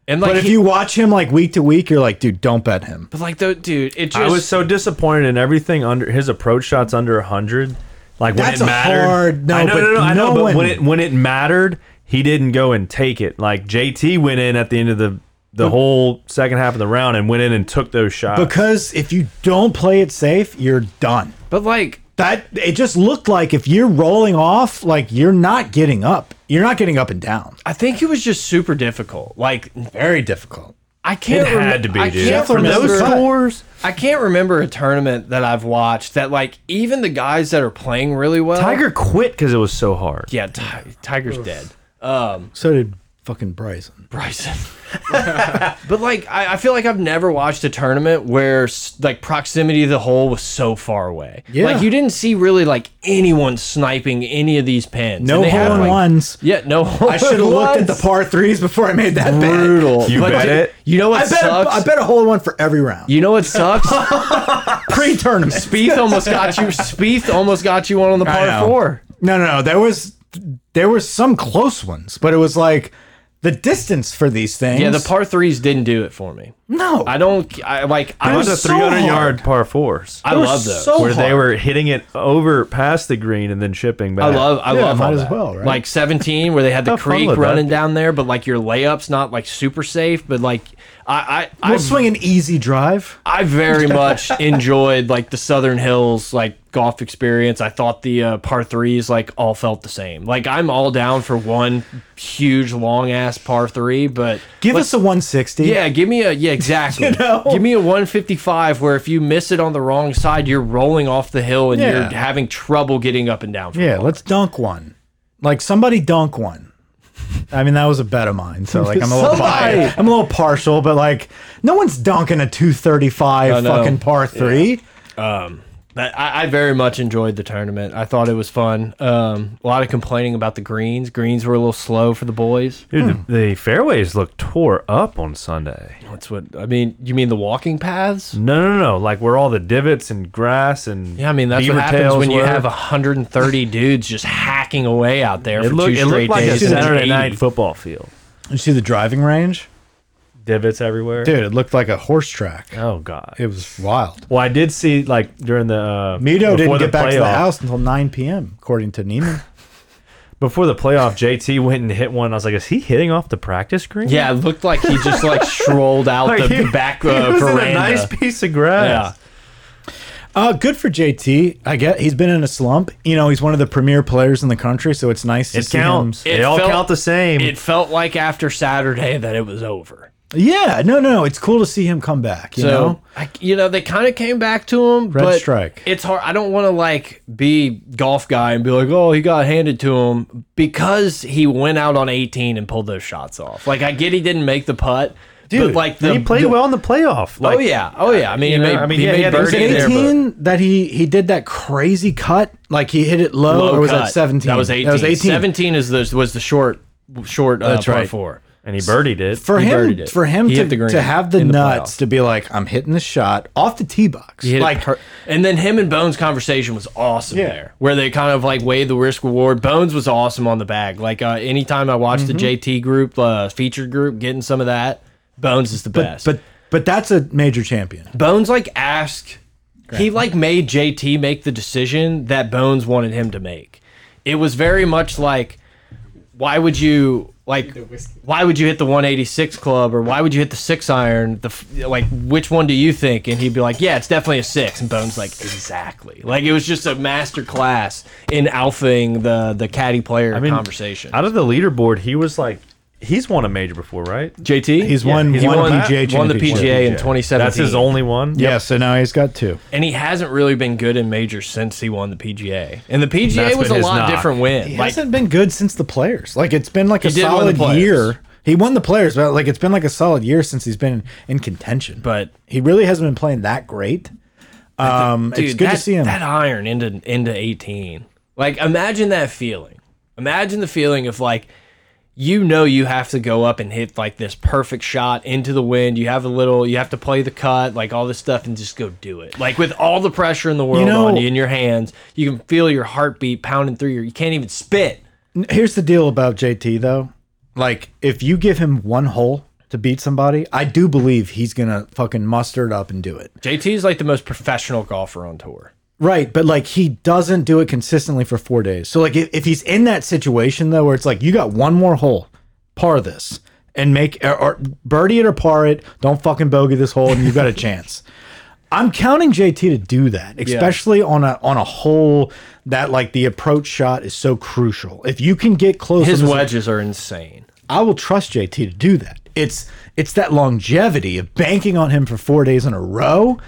Speaker 1: and like
Speaker 2: but if
Speaker 1: he-
Speaker 2: you watch him like week to week, you're like, dude, don't bet him.
Speaker 1: but like the dude, it just
Speaker 3: I was so disappointed in everything under his approach shots under hundred. Like when
Speaker 2: That's
Speaker 3: it
Speaker 2: a
Speaker 3: mattered.
Speaker 2: hard- no,
Speaker 3: I know,
Speaker 2: but
Speaker 3: no, no, I
Speaker 2: no
Speaker 3: know, but
Speaker 2: one-
Speaker 3: when it when it mattered, he didn't go and take it. Like JT went in at the end of the the whole second half of the round and went in and took those shots.
Speaker 2: Because if you don't play it safe, you're done.
Speaker 1: but like
Speaker 2: That it just looked like if you're rolling off, like you're not getting up. You're not getting up and down.
Speaker 1: I think it was just super difficult. Like
Speaker 2: Very difficult.
Speaker 1: I can't.
Speaker 3: It
Speaker 1: rem-
Speaker 3: had to be,
Speaker 1: I
Speaker 3: dude.
Speaker 1: can't
Speaker 2: For those
Speaker 1: remember-
Speaker 2: scores?
Speaker 1: I can't remember a tournament that I've watched that like even the guys that are playing really well.
Speaker 3: Tiger quit because it was so hard.
Speaker 1: yeah, Ti- Tiger's dead.
Speaker 2: So did fucking Bryson.
Speaker 1: Bryson. but like, I, I feel like I've never watched a tournament where s- like proximity to the hole was so far away.
Speaker 2: Yeah.
Speaker 1: Like you didn't see really like anyone sniping any of these pins.
Speaker 2: No
Speaker 1: And they had,
Speaker 2: hole in
Speaker 1: like-
Speaker 2: ones.
Speaker 1: Yeah, no. Hole
Speaker 2: I should have looked at the
Speaker 1: part.
Speaker 2: par threes before I made that bet.
Speaker 1: brutal.
Speaker 3: You bet
Speaker 1: you-
Speaker 3: it?
Speaker 1: You know what
Speaker 2: I bet, a,
Speaker 1: sucks?
Speaker 2: I bet a hole in one for every round.
Speaker 1: You know what sucks?
Speaker 2: Pre-tournament.
Speaker 1: Spieth almost got you. Spieth almost got you one on the
Speaker 2: I
Speaker 1: par
Speaker 2: know.
Speaker 1: four.
Speaker 2: No, no, no. There was there were some close ones, but it was like the distance for these things.
Speaker 1: Yeah, the par threes didn't do it for me.
Speaker 2: No,
Speaker 1: I don't. I like. I
Speaker 3: It
Speaker 1: was.
Speaker 3: was
Speaker 2: They're
Speaker 3: a
Speaker 2: so
Speaker 3: 300 yard
Speaker 2: hard.
Speaker 3: par fours.
Speaker 1: I
Speaker 2: They were
Speaker 1: love those.
Speaker 2: so
Speaker 3: where they
Speaker 2: hard.
Speaker 3: were hitting it over past the green and then chipping back.
Speaker 1: I love. I
Speaker 2: Yeah,
Speaker 1: love.
Speaker 2: might
Speaker 1: all
Speaker 2: as
Speaker 1: that.
Speaker 2: well, right?
Speaker 1: Like seventeen, where they had the
Speaker 3: Have fun
Speaker 1: creek
Speaker 3: with that.
Speaker 1: running down there, but like your layups not like super safe. But like I, I,
Speaker 2: We'll
Speaker 1: I,
Speaker 2: swing an easy drive.
Speaker 1: I very much enjoyed like the Southern Hills like golf experience. I thought the uh, par threes like all felt the same. Like I'm all down for one huge long ass par three, but
Speaker 2: Give
Speaker 1: like,
Speaker 2: us a 160.
Speaker 1: yeah, give me a yeah exactly.
Speaker 2: know?
Speaker 1: Give me a 155 where if you miss it on the wrong side, you're rolling off the hill and
Speaker 2: Yeah.
Speaker 1: you're having trouble getting up and down. From
Speaker 2: Yeah, let's dunk one. Like somebody dunk one. I mean, that was a bet of mine. So like I'm a little
Speaker 1: Somebody.
Speaker 2: biased. I'm a little partial, but like no one's dunking a 235
Speaker 1: no.
Speaker 2: fucking par 3.
Speaker 1: But I, I very much enjoyed the tournament. I thought it was fun. Um, a lot of complaining about the greens. Greens were a little slow for the boys.
Speaker 3: Dude, the, the fairways look tore up on Sunday.
Speaker 1: That's what I mean. You mean the walking paths?
Speaker 3: No, no, no. Like where all the divots and grass and
Speaker 1: Yeah, I mean that's
Speaker 3: beaver
Speaker 1: what happens
Speaker 3: tails
Speaker 1: when you
Speaker 3: were.
Speaker 1: have 130 dudes just hacking away out there
Speaker 3: It
Speaker 1: for
Speaker 3: looked,
Speaker 1: two
Speaker 3: it
Speaker 1: straight
Speaker 3: looked like a
Speaker 1: days. and then
Speaker 3: Saturday
Speaker 1: 80.
Speaker 3: night football field.
Speaker 2: You see the driving range,
Speaker 3: Divots everywhere.
Speaker 2: dude. It looked like a horse track.
Speaker 3: Oh god.
Speaker 2: It was wild.
Speaker 3: Well, I did see like during the uh,
Speaker 2: Mito
Speaker 3: before
Speaker 2: didn't get back to the
Speaker 3: playoff-
Speaker 2: house until 9 p.m. according to Neiman.
Speaker 3: before the playoff. JT went and hit one. I was like, is he hitting off the practice green?
Speaker 1: Yeah, it looked like he just like strolled out
Speaker 3: Like,
Speaker 1: the,
Speaker 3: he-
Speaker 1: the back
Speaker 3: It
Speaker 1: uh,
Speaker 3: was in
Speaker 1: veranda.
Speaker 3: a nice piece of grass.
Speaker 2: Uh, good for JT. I get he's been in a slump. You know, he's one of the premier players in the country, so it's nice to
Speaker 3: It
Speaker 2: see
Speaker 3: counts.
Speaker 2: him.
Speaker 1: It
Speaker 3: they all
Speaker 1: felt-
Speaker 3: count the same.
Speaker 1: It felt like after Saturday that it was over.
Speaker 2: Yeah, no, no, it's cool to see him come back. You
Speaker 1: so
Speaker 2: know,
Speaker 1: I, you know they kind of came back to him.
Speaker 2: Red
Speaker 1: but
Speaker 2: strike.
Speaker 1: It's hard. I don't want to like be golf guy and be like, oh, he got handed to him because he went out on 18 and pulled those shots off. Like I get he didn't make the putt, but like the
Speaker 3: and he played
Speaker 1: the-
Speaker 3: well in the playoff. Like,
Speaker 1: oh yeah, oh yeah. I mean, he
Speaker 3: know,
Speaker 1: made,
Speaker 3: I mean,
Speaker 1: he
Speaker 3: yeah, he
Speaker 1: made
Speaker 3: had those
Speaker 2: was it
Speaker 1: birdie there. but-
Speaker 2: 18 that he he did that crazy cut? Like he hit it low,
Speaker 1: Low
Speaker 2: or was
Speaker 1: cut.
Speaker 2: that 17?
Speaker 1: That was 18.
Speaker 2: That was 18.
Speaker 1: 17 is the was the short short uh,
Speaker 2: That's
Speaker 1: par
Speaker 2: right.
Speaker 1: four.
Speaker 3: and he birdied it.
Speaker 2: For
Speaker 1: He birdied
Speaker 2: him,
Speaker 1: it.
Speaker 2: for him
Speaker 1: He
Speaker 2: to,
Speaker 1: hit the green
Speaker 2: to have the
Speaker 1: in the
Speaker 2: nuts
Speaker 1: playoff.
Speaker 2: to be like, I'm hitting the shot off the tee box.
Speaker 1: He hit it
Speaker 2: Like,
Speaker 1: per- and then him and Bones' conversation was awesome
Speaker 2: Yeah.
Speaker 1: there, where they kind of like weighed the risk reward. Bones was awesome on the bag. Like uh, anytime I watch the JT group uh, featured group, getting some of that, Bones is the
Speaker 2: but,
Speaker 1: best.
Speaker 2: but but that's a major champion.
Speaker 1: Bones like asked, he like made JT make the decision that Bones wanted him to make. It was very much like, why would you like, why would you hit the 186 club or why would you hit the six iron? The f- like, which one do you think? And he'd be like, yeah, it's definitely a six. And Bones like, exactly. Like it was just a master class in alphing the the caddy player
Speaker 3: I mean,
Speaker 1: conversation.
Speaker 3: Out of the leaderboard, he was like, he's won a major before, right?
Speaker 1: JT,
Speaker 2: He's won
Speaker 3: he's
Speaker 2: one
Speaker 3: won that-
Speaker 2: PGA championship.
Speaker 1: won the PGA in 2017.
Speaker 3: That's his only one.
Speaker 2: Yeah, so now he's got two.
Speaker 1: and he hasn't really been good in majors since he won the PGA. And the PGA
Speaker 3: That's
Speaker 1: was
Speaker 3: been
Speaker 1: a
Speaker 3: his
Speaker 1: lot
Speaker 3: knock.
Speaker 1: different win.
Speaker 2: He
Speaker 1: like
Speaker 2: hasn't been good since the players. Like it's been like a
Speaker 1: did win the
Speaker 2: solid
Speaker 1: Players.
Speaker 2: year. He won the players, but like it's been like a solid year since he's been in contention.
Speaker 1: But-
Speaker 2: he really hasn't been playing that great. Um,
Speaker 1: dude,
Speaker 2: it's good
Speaker 1: that,
Speaker 2: to see him.
Speaker 1: That iron into into 18. Like imagine that feeling. Imagine the feeling of like you know you have to go up and hit like this perfect shot into the wind. You have a little you have to play the cut, like all this stuff and just go do it. Like with all the pressure in the world
Speaker 2: know-
Speaker 1: on you in your hands, you can feel your heartbeat pounding through your you can't even spit.
Speaker 2: Here's the deal about JT though. Like if you give him one hole to beat somebody, I do believe he's gonna fucking muster it up and do it.
Speaker 1: JT is like the most professional golfer on tour.
Speaker 2: Right, but like he doesn't do it consistently for four days. So like if, if he's in that situation though, where it's like you got one more hole, par this and make or, or birdie it or par it. Don't fucking bogey this hole, and you've got a chance. I'm counting JT to do that, especially on a on a hole that like the approach shot is so crucial. If you can get close,
Speaker 1: His
Speaker 2: on this-
Speaker 1: wedges are insane.
Speaker 2: I will trust JT to do that. It's it's that longevity of banking on him for four days in a row.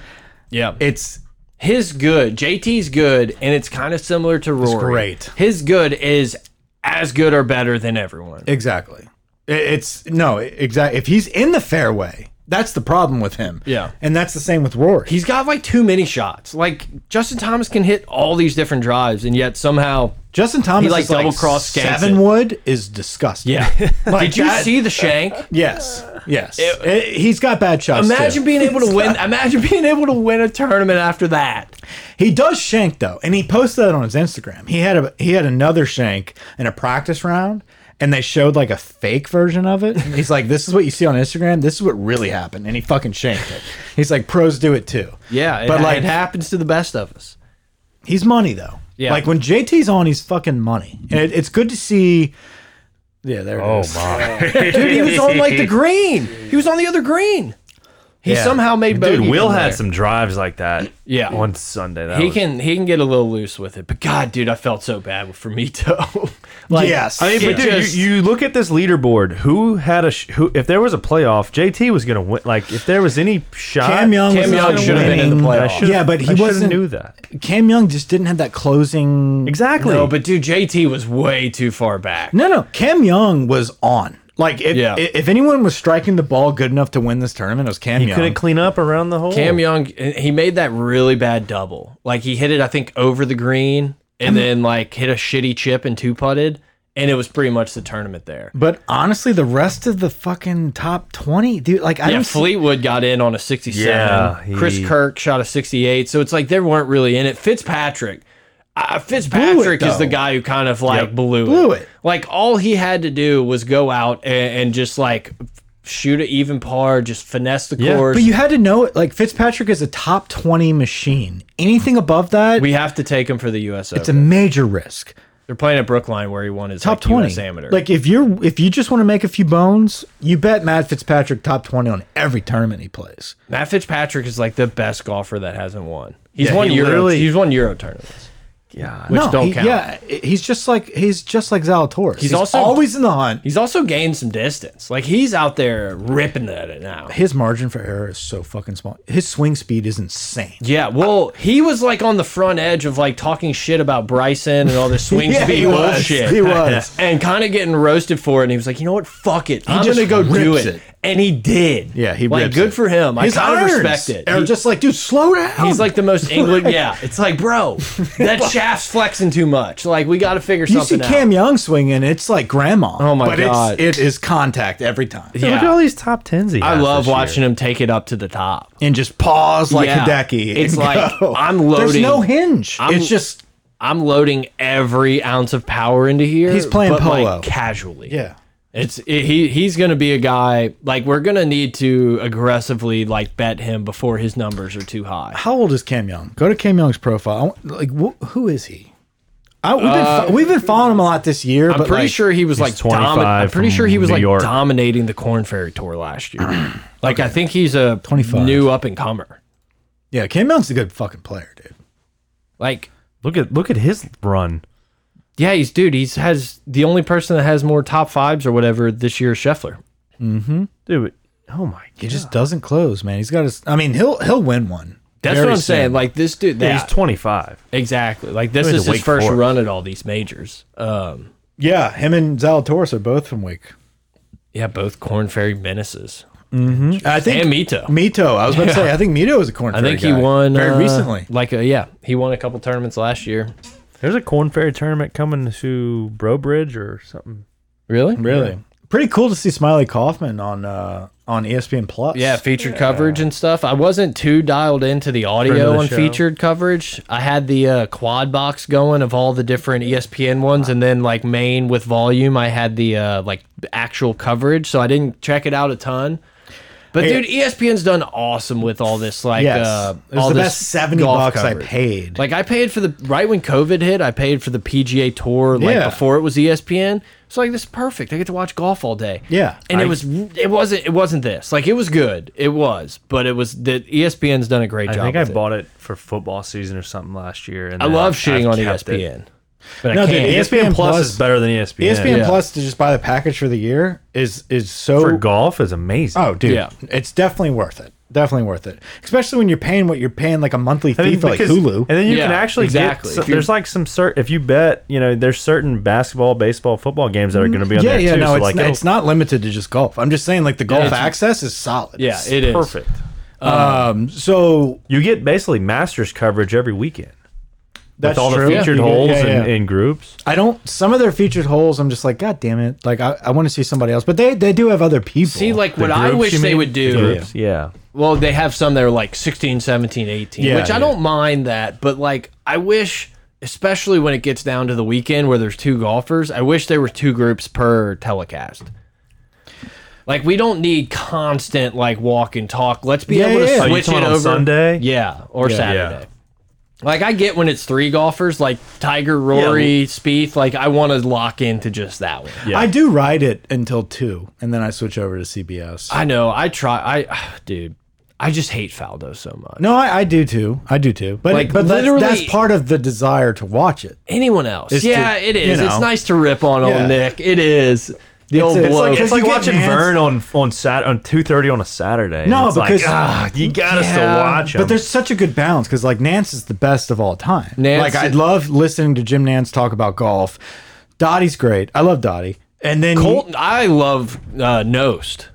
Speaker 1: Yeah.
Speaker 2: It's
Speaker 1: His good, JT's good, and it's kind of similar to Rory.
Speaker 2: great.
Speaker 1: His good is as good or better than everyone.
Speaker 2: Exactly. I- It's no, exactly. If he's in the fairway, that's the problem with him.
Speaker 1: Yeah.
Speaker 2: And that's the same with Rory.
Speaker 1: He's got like too many shots. Like Justin Thomas can hit all these different drives, and yet somehow.
Speaker 2: Justin Thomas
Speaker 1: like,
Speaker 2: is
Speaker 1: double-crossed Skansen.
Speaker 2: seven wood is disgusting. Like
Speaker 1: Did you
Speaker 2: that-
Speaker 1: see the shank?
Speaker 2: Yes. Yes. I- he's got bad shots.
Speaker 1: Imagine
Speaker 2: too.
Speaker 1: being able to win. Imagine being able to win a tournament after that.
Speaker 2: He does shank though, and he posted that on his Instagram. He had a he had another shank in a practice round, and they showed like a fake version of it. And he's like, "This is what you see on Instagram. This is what really happened," and he fucking shanked it. He's like, "Pros do it too."
Speaker 1: but
Speaker 2: but
Speaker 1: it
Speaker 2: like
Speaker 1: happens to the best of us.
Speaker 2: He's money though.
Speaker 1: Yeah.
Speaker 2: Like when JT's on, he's fucking money, and it, it's good to see. Yeah, there it
Speaker 3: Oh
Speaker 2: is.
Speaker 3: my.
Speaker 1: Dude, he was on like the green. He was on the other green. He
Speaker 2: Yeah.
Speaker 1: somehow made.
Speaker 3: Dude,
Speaker 1: bogey
Speaker 3: Will
Speaker 1: from
Speaker 3: had
Speaker 1: there.
Speaker 3: some drives like that.
Speaker 1: Yeah.
Speaker 3: On Sunday. That
Speaker 1: He
Speaker 3: was-
Speaker 1: can he can get a little loose with it, but God, dude, I felt so bad for Mito. like,
Speaker 2: Yes.
Speaker 3: I mean,
Speaker 1: it
Speaker 3: but dude,
Speaker 1: just-
Speaker 3: you, you look at this leaderboard. Who had a sh who? If there was a playoff, JT was gonna win. Like if there was any shot,
Speaker 2: Cam Young
Speaker 1: Cam
Speaker 2: was
Speaker 1: Young
Speaker 2: fucking
Speaker 1: should've been in the
Speaker 2: winning.
Speaker 1: playoff.
Speaker 3: I should've-
Speaker 2: Yeah, but he
Speaker 3: I should've
Speaker 2: wasn't-
Speaker 3: Knew that
Speaker 2: Cam Young just didn't have that closing.
Speaker 3: exactly.
Speaker 1: no, but dude, JT was way too far back.
Speaker 2: No, no. Cam Young was on. Like if
Speaker 1: Yeah.
Speaker 2: if if anyone was striking the ball good enough to win this tournament, it was Cam
Speaker 3: He
Speaker 2: Young.
Speaker 3: couldn't clean up around the hole.
Speaker 1: Cam Young, eh, he made that really bad double. Like he hit it, I think, over the green, and then like hit a shitty chip and two putted, and it was pretty much the tournament there.
Speaker 2: But honestly, the rest of the fucking top twenty, dude. Like I
Speaker 1: Yeah,
Speaker 2: don't see-
Speaker 1: Fleetwood got in on a 67.
Speaker 3: Yeah, he-
Speaker 1: Chris Kirk shot a 68. So it's like they weren't really in it. Fitzpatrick. Uh, Fitzpatrick is
Speaker 2: though.
Speaker 1: the guy who kind of like blew,
Speaker 2: blew it.
Speaker 1: Like all he had to do was go out and, and just like shoot an even par, just finesse the course.
Speaker 2: But you had to know it. Like Fitzpatrick is a top twenty machine. Anything above that,
Speaker 1: we have to take him for the US
Speaker 2: it's a
Speaker 1: Open.
Speaker 2: major risk.
Speaker 1: They're playing at Brookline where he won his
Speaker 2: Top
Speaker 1: like,
Speaker 2: twenty
Speaker 1: US amateur.
Speaker 2: Like if you're if you just want to make a few bones, you bet Matt Fitzpatrick top twenty on every tournament he plays.
Speaker 1: Matt Fitzpatrick is the best golfer that hasn't won. He's
Speaker 3: Yeah,
Speaker 1: won
Speaker 3: he
Speaker 1: Euro.
Speaker 3: literally-
Speaker 1: He's won Euro tournaments.
Speaker 3: Yeah.
Speaker 1: Which don't
Speaker 2: he-
Speaker 1: count.
Speaker 2: Yeah, he's just like he's just like Zalatoris. He's,
Speaker 1: also-
Speaker 2: always in the hunt.
Speaker 1: He's also gained some distance. Like he's out there ripping at it now.
Speaker 2: His margin for error is so fucking small. His swing speed is insane.
Speaker 1: Yeah, well, he was like on the front edge of like talking shit about Bryson and all this swing
Speaker 2: Yeah,
Speaker 1: speed
Speaker 2: he was.
Speaker 1: bullshit.
Speaker 2: He was.
Speaker 1: and kind of getting roasted for it. And he was like, you know what? Fuck it. I'm
Speaker 2: just
Speaker 1: gonna go do
Speaker 2: rips
Speaker 1: it.
Speaker 2: it.
Speaker 1: And he did.
Speaker 2: Yeah, he
Speaker 1: like
Speaker 2: rips
Speaker 1: good
Speaker 2: it.
Speaker 1: for him.
Speaker 2: His
Speaker 1: I kind of
Speaker 2: irons
Speaker 1: respect it.
Speaker 2: Are
Speaker 1: He-
Speaker 2: just like, dude, slow down.
Speaker 1: he's like the most England. Yeah, it's like, bro, that shaft's flexing too much. Like we got to figure
Speaker 2: you see
Speaker 1: something
Speaker 2: Cam
Speaker 1: out.
Speaker 2: Young swinging, it's like grandma.
Speaker 1: Oh my
Speaker 2: but
Speaker 1: God.
Speaker 2: It's, it is contact every time.
Speaker 1: Yeah.
Speaker 3: Look at all these top tens he
Speaker 1: I
Speaker 3: has
Speaker 1: love
Speaker 3: this year.
Speaker 1: watching him take it up to the top.
Speaker 2: And just pause like
Speaker 1: Yeah.
Speaker 2: Hideki. and
Speaker 1: It's like,
Speaker 2: go.
Speaker 1: I'm
Speaker 2: There's
Speaker 1: loading.
Speaker 2: no hinge.
Speaker 1: I'm-
Speaker 2: it's just
Speaker 1: I'm loading every ounce of power into here.
Speaker 2: He's playing
Speaker 1: but, like,
Speaker 2: polo.
Speaker 1: casually.
Speaker 2: yeah.
Speaker 1: It's it, he he's going to be a guy like we're going to need to aggressively like bet him before his numbers are too high.
Speaker 2: How old is Cam Young? Go to Cam Young's profile. I want- Like, wh who is he? I, we've, been, fo- we've been following him a lot this year.
Speaker 1: Uh, I'm
Speaker 2: but
Speaker 1: pretty
Speaker 2: like,
Speaker 1: sure he was like domi- I'm
Speaker 3: 25
Speaker 1: pretty sure he
Speaker 3: from
Speaker 1: was
Speaker 3: New
Speaker 1: like
Speaker 3: York.
Speaker 1: dominating the Corn Ferry Tour last year. like I think he's a
Speaker 2: 25.
Speaker 1: new up and comer.
Speaker 2: Yeah, Cam Young's a good fucking player, dude.
Speaker 1: Like
Speaker 3: Look at look at his run.
Speaker 1: yeah, he's dude. He's has the only person that has more top fives or whatever this year is Scheffler.
Speaker 3: Dude, oh my god.
Speaker 2: He just doesn't close, man. He's got his. I mean, he'll he'll win one.
Speaker 1: That's
Speaker 2: very
Speaker 1: what I'm
Speaker 2: soon.
Speaker 1: saying. Like this dude,
Speaker 3: Dude,
Speaker 1: yeah,
Speaker 3: He's 25.
Speaker 1: exactly. Like this
Speaker 3: Going to
Speaker 1: is his
Speaker 3: Wake
Speaker 1: first
Speaker 3: Forest.
Speaker 1: run at all these majors. Um,
Speaker 2: Yeah, him and Zalatoris are both from Wake.
Speaker 1: yeah, both Corn Ferry menaces.
Speaker 2: I think
Speaker 1: And Mito.
Speaker 2: Mito. I was about to say. I think Mito is a corn.
Speaker 1: I
Speaker 2: fairy
Speaker 1: think
Speaker 2: guy.
Speaker 1: he won
Speaker 2: very
Speaker 1: uh,
Speaker 2: recently.
Speaker 1: Like a, yeah, he won a couple tournaments last year.
Speaker 3: There's a Corn Ferry tournament coming to Brobridge or something.
Speaker 1: Really?
Speaker 2: Really, pretty cool to see Smiley Kaufman on uh, on ESPN Plus.
Speaker 1: Yeah, featured coverage and stuff. I wasn't too dialed into the
Speaker 3: Friend of
Speaker 1: audio
Speaker 3: the
Speaker 1: on
Speaker 3: show.
Speaker 1: featured coverage. I had the uh, quad box going of all the different E ESPN ones, and then like main with volume, I had the uh, like actual coverage, so I didn't check it out a ton. But
Speaker 2: Hey-
Speaker 1: dude, E ESPN's done awesome with all this. Like,
Speaker 2: yes,
Speaker 1: uh,
Speaker 2: it was
Speaker 1: all
Speaker 2: the
Speaker 1: this
Speaker 2: best seventy
Speaker 1: golf
Speaker 2: bucks
Speaker 1: coverage.
Speaker 2: I paid.
Speaker 1: Like I paid for the right when COVID hit, I paid for the PGA Tour like
Speaker 2: Yeah.
Speaker 1: before it was E ESPN. So like this is perfect. I get to watch golf all day.
Speaker 2: Yeah.
Speaker 1: and
Speaker 3: I-
Speaker 1: it was it wasn't it wasn't this. Like it was good, it was, but it was the E ESPN's done a great
Speaker 3: I
Speaker 1: job.
Speaker 3: think I
Speaker 1: with it.
Speaker 3: bought it for football season or something last year. And
Speaker 1: I
Speaker 3: then
Speaker 1: love
Speaker 3: I've
Speaker 1: shitting on E
Speaker 3: kept it. E
Speaker 1: ESPN, but
Speaker 2: No,
Speaker 1: I
Speaker 2: dude,
Speaker 1: can't.
Speaker 2: ES-
Speaker 3: ESPN, Plus,
Speaker 2: Plus- E
Speaker 3: is better than E ESPN.
Speaker 2: ESPN
Speaker 1: Yeah.
Speaker 2: Plus to just buy the package for the year is is so
Speaker 3: for golf is amazing.
Speaker 2: Oh, dude,
Speaker 1: Yeah.
Speaker 2: it's definitely worth it. Definitely worth it, especially when you're paying what you're paying like a monthly fee
Speaker 3: I mean,
Speaker 2: for like
Speaker 3: because-
Speaker 2: Hulu.
Speaker 3: and then you
Speaker 1: Yeah,
Speaker 3: can actually
Speaker 1: exactly.
Speaker 3: exactly.
Speaker 1: If
Speaker 3: Get, so,
Speaker 1: you're-
Speaker 3: there's like some certain if you bet, you know, there's certain basketball, baseball, football games that are going to be on
Speaker 2: yeah,
Speaker 3: there
Speaker 2: yeah,
Speaker 3: too.
Speaker 2: no,
Speaker 3: so
Speaker 2: it's,
Speaker 3: like,
Speaker 2: not,
Speaker 3: it'll-
Speaker 2: it's not limited to just golf. I'm just saying, like the golf
Speaker 1: it's-
Speaker 2: access is solid.
Speaker 1: yeah, it is
Speaker 3: perfect.
Speaker 2: Um, so
Speaker 3: You get basically Masters coverage every weekend
Speaker 2: that's
Speaker 3: with all
Speaker 2: true.
Speaker 3: the featured
Speaker 2: You get-
Speaker 3: holes
Speaker 2: yeah, yeah.
Speaker 3: And, and groups.
Speaker 2: I don't. Some of their featured holes, I'm just like, God damn it! Like I, I want to see somebody else, but they they do have other people.
Speaker 1: See, like what
Speaker 3: The
Speaker 1: I
Speaker 3: groups,
Speaker 1: wish
Speaker 3: you
Speaker 1: they
Speaker 3: mean?
Speaker 1: would do.
Speaker 3: The groups, yeah.
Speaker 1: Well, they have some that are like 16, 17, 18,
Speaker 2: Yeah,
Speaker 1: which I
Speaker 2: yeah.
Speaker 1: don't mind that, but like I wish especially when it gets down to the weekend where there's two golfers, I wish there were two groups per telecast. Like we don't need constant like walk and talk. Let's be
Speaker 2: Yeah,
Speaker 1: able to
Speaker 2: yeah, yeah. Oh,
Speaker 3: you
Speaker 1: switch
Speaker 3: talking
Speaker 1: it
Speaker 3: on
Speaker 1: over
Speaker 3: Sunday?
Speaker 1: Yeah, or
Speaker 2: Yeah.
Speaker 1: Saturday. Like I get when it's three golfers, like Tiger, Rory, Spieth. Like I want to lock into just that one.
Speaker 3: Yeah.
Speaker 2: I do ride it until two, and then I switch over to CBS.
Speaker 1: I know. I try. I, dude, I just hate Faldo so much.
Speaker 2: no, I, I do too. I do too. But
Speaker 1: Like,
Speaker 2: but that's, that's
Speaker 1: literally-
Speaker 2: part of the desire to watch it.
Speaker 1: anyone else.
Speaker 2: It's
Speaker 1: yeah,
Speaker 2: to-
Speaker 1: it
Speaker 2: you
Speaker 1: is.
Speaker 2: know.
Speaker 1: It's nice to rip on old
Speaker 2: Yeah.
Speaker 1: Nick. It is. The
Speaker 2: It's
Speaker 1: old
Speaker 2: a- it's
Speaker 1: bloke.
Speaker 2: like-
Speaker 3: It's
Speaker 2: you
Speaker 3: like
Speaker 2: get
Speaker 3: watching
Speaker 2: hands-
Speaker 3: Vern on on Sat on two thirty on a Saturday.
Speaker 2: No,
Speaker 3: it's
Speaker 2: because-
Speaker 3: like, ah, you gotta
Speaker 1: Yeah,
Speaker 3: still watch him.
Speaker 2: But there's such a good balance because like Nance is the best of all time.
Speaker 1: Nance-
Speaker 2: like I love listening to Jim Nance talk about golf. Dottie's great. I love Dottie. And then
Speaker 1: Colton, I love uh, Nost.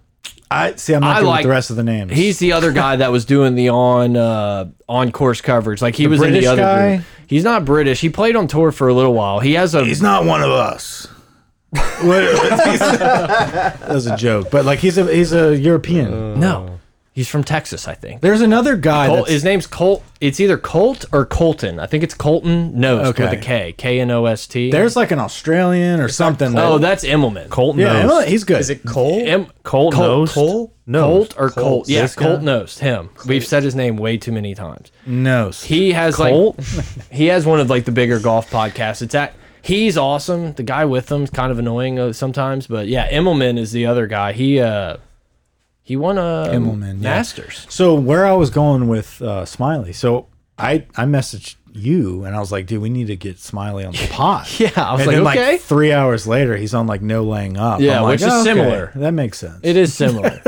Speaker 2: I see. I'm not
Speaker 1: I
Speaker 2: good
Speaker 1: like-
Speaker 2: with the rest of the names.
Speaker 1: He's the other guy that was doing the on uh, on course coverage. Like he was in
Speaker 2: British
Speaker 1: the other
Speaker 2: guy?
Speaker 1: group. He's not British. He played on tour for a little while. He has a
Speaker 2: he's not one of us. that was a joke, but like he's a he's a European.
Speaker 1: no. He's from Texas, I think.
Speaker 2: There's another guy.
Speaker 1: Uh. Col-
Speaker 2: Oh. that's,
Speaker 1: his name's Colt. It's either Colt or Colton. I think it's Colton Nost with
Speaker 2: Okay.
Speaker 1: a K. K N O S T.
Speaker 2: there's like an Australian or something.
Speaker 1: oh,
Speaker 2: that,
Speaker 1: that's Immelman.
Speaker 3: Colt
Speaker 2: yeah,
Speaker 3: knows.
Speaker 2: he's good.
Speaker 4: Is it Cole?
Speaker 1: Em-
Speaker 3: Colt
Speaker 1: Colt,
Speaker 3: knows.
Speaker 1: Colt,
Speaker 3: Knows.
Speaker 1: Colt or Colt.
Speaker 4: Colt,
Speaker 1: Yeah,
Speaker 4: this guy?
Speaker 1: Colt knows him. We've said his name way too many times.
Speaker 2: no?
Speaker 1: He has like he has one of like the bigger golf podcasts. It's at he's awesome. The guy with him is kind of annoying uh, sometimes, but yeah, Immelman is the other guy. He uh he won a
Speaker 2: Immelman, yeah.
Speaker 1: Masters.
Speaker 2: So where I was going with uh, Smiley, so I I messaged you and I was like, dude, we need to get Smiley on the pod.
Speaker 1: Yeah, I was
Speaker 2: and
Speaker 1: like,
Speaker 2: then
Speaker 1: okay.
Speaker 2: like three hours later, he's on like no laying up.
Speaker 1: Yeah,
Speaker 2: I'm like,
Speaker 1: which is
Speaker 2: okay,
Speaker 1: similar.
Speaker 2: That makes sense.
Speaker 1: It is similar.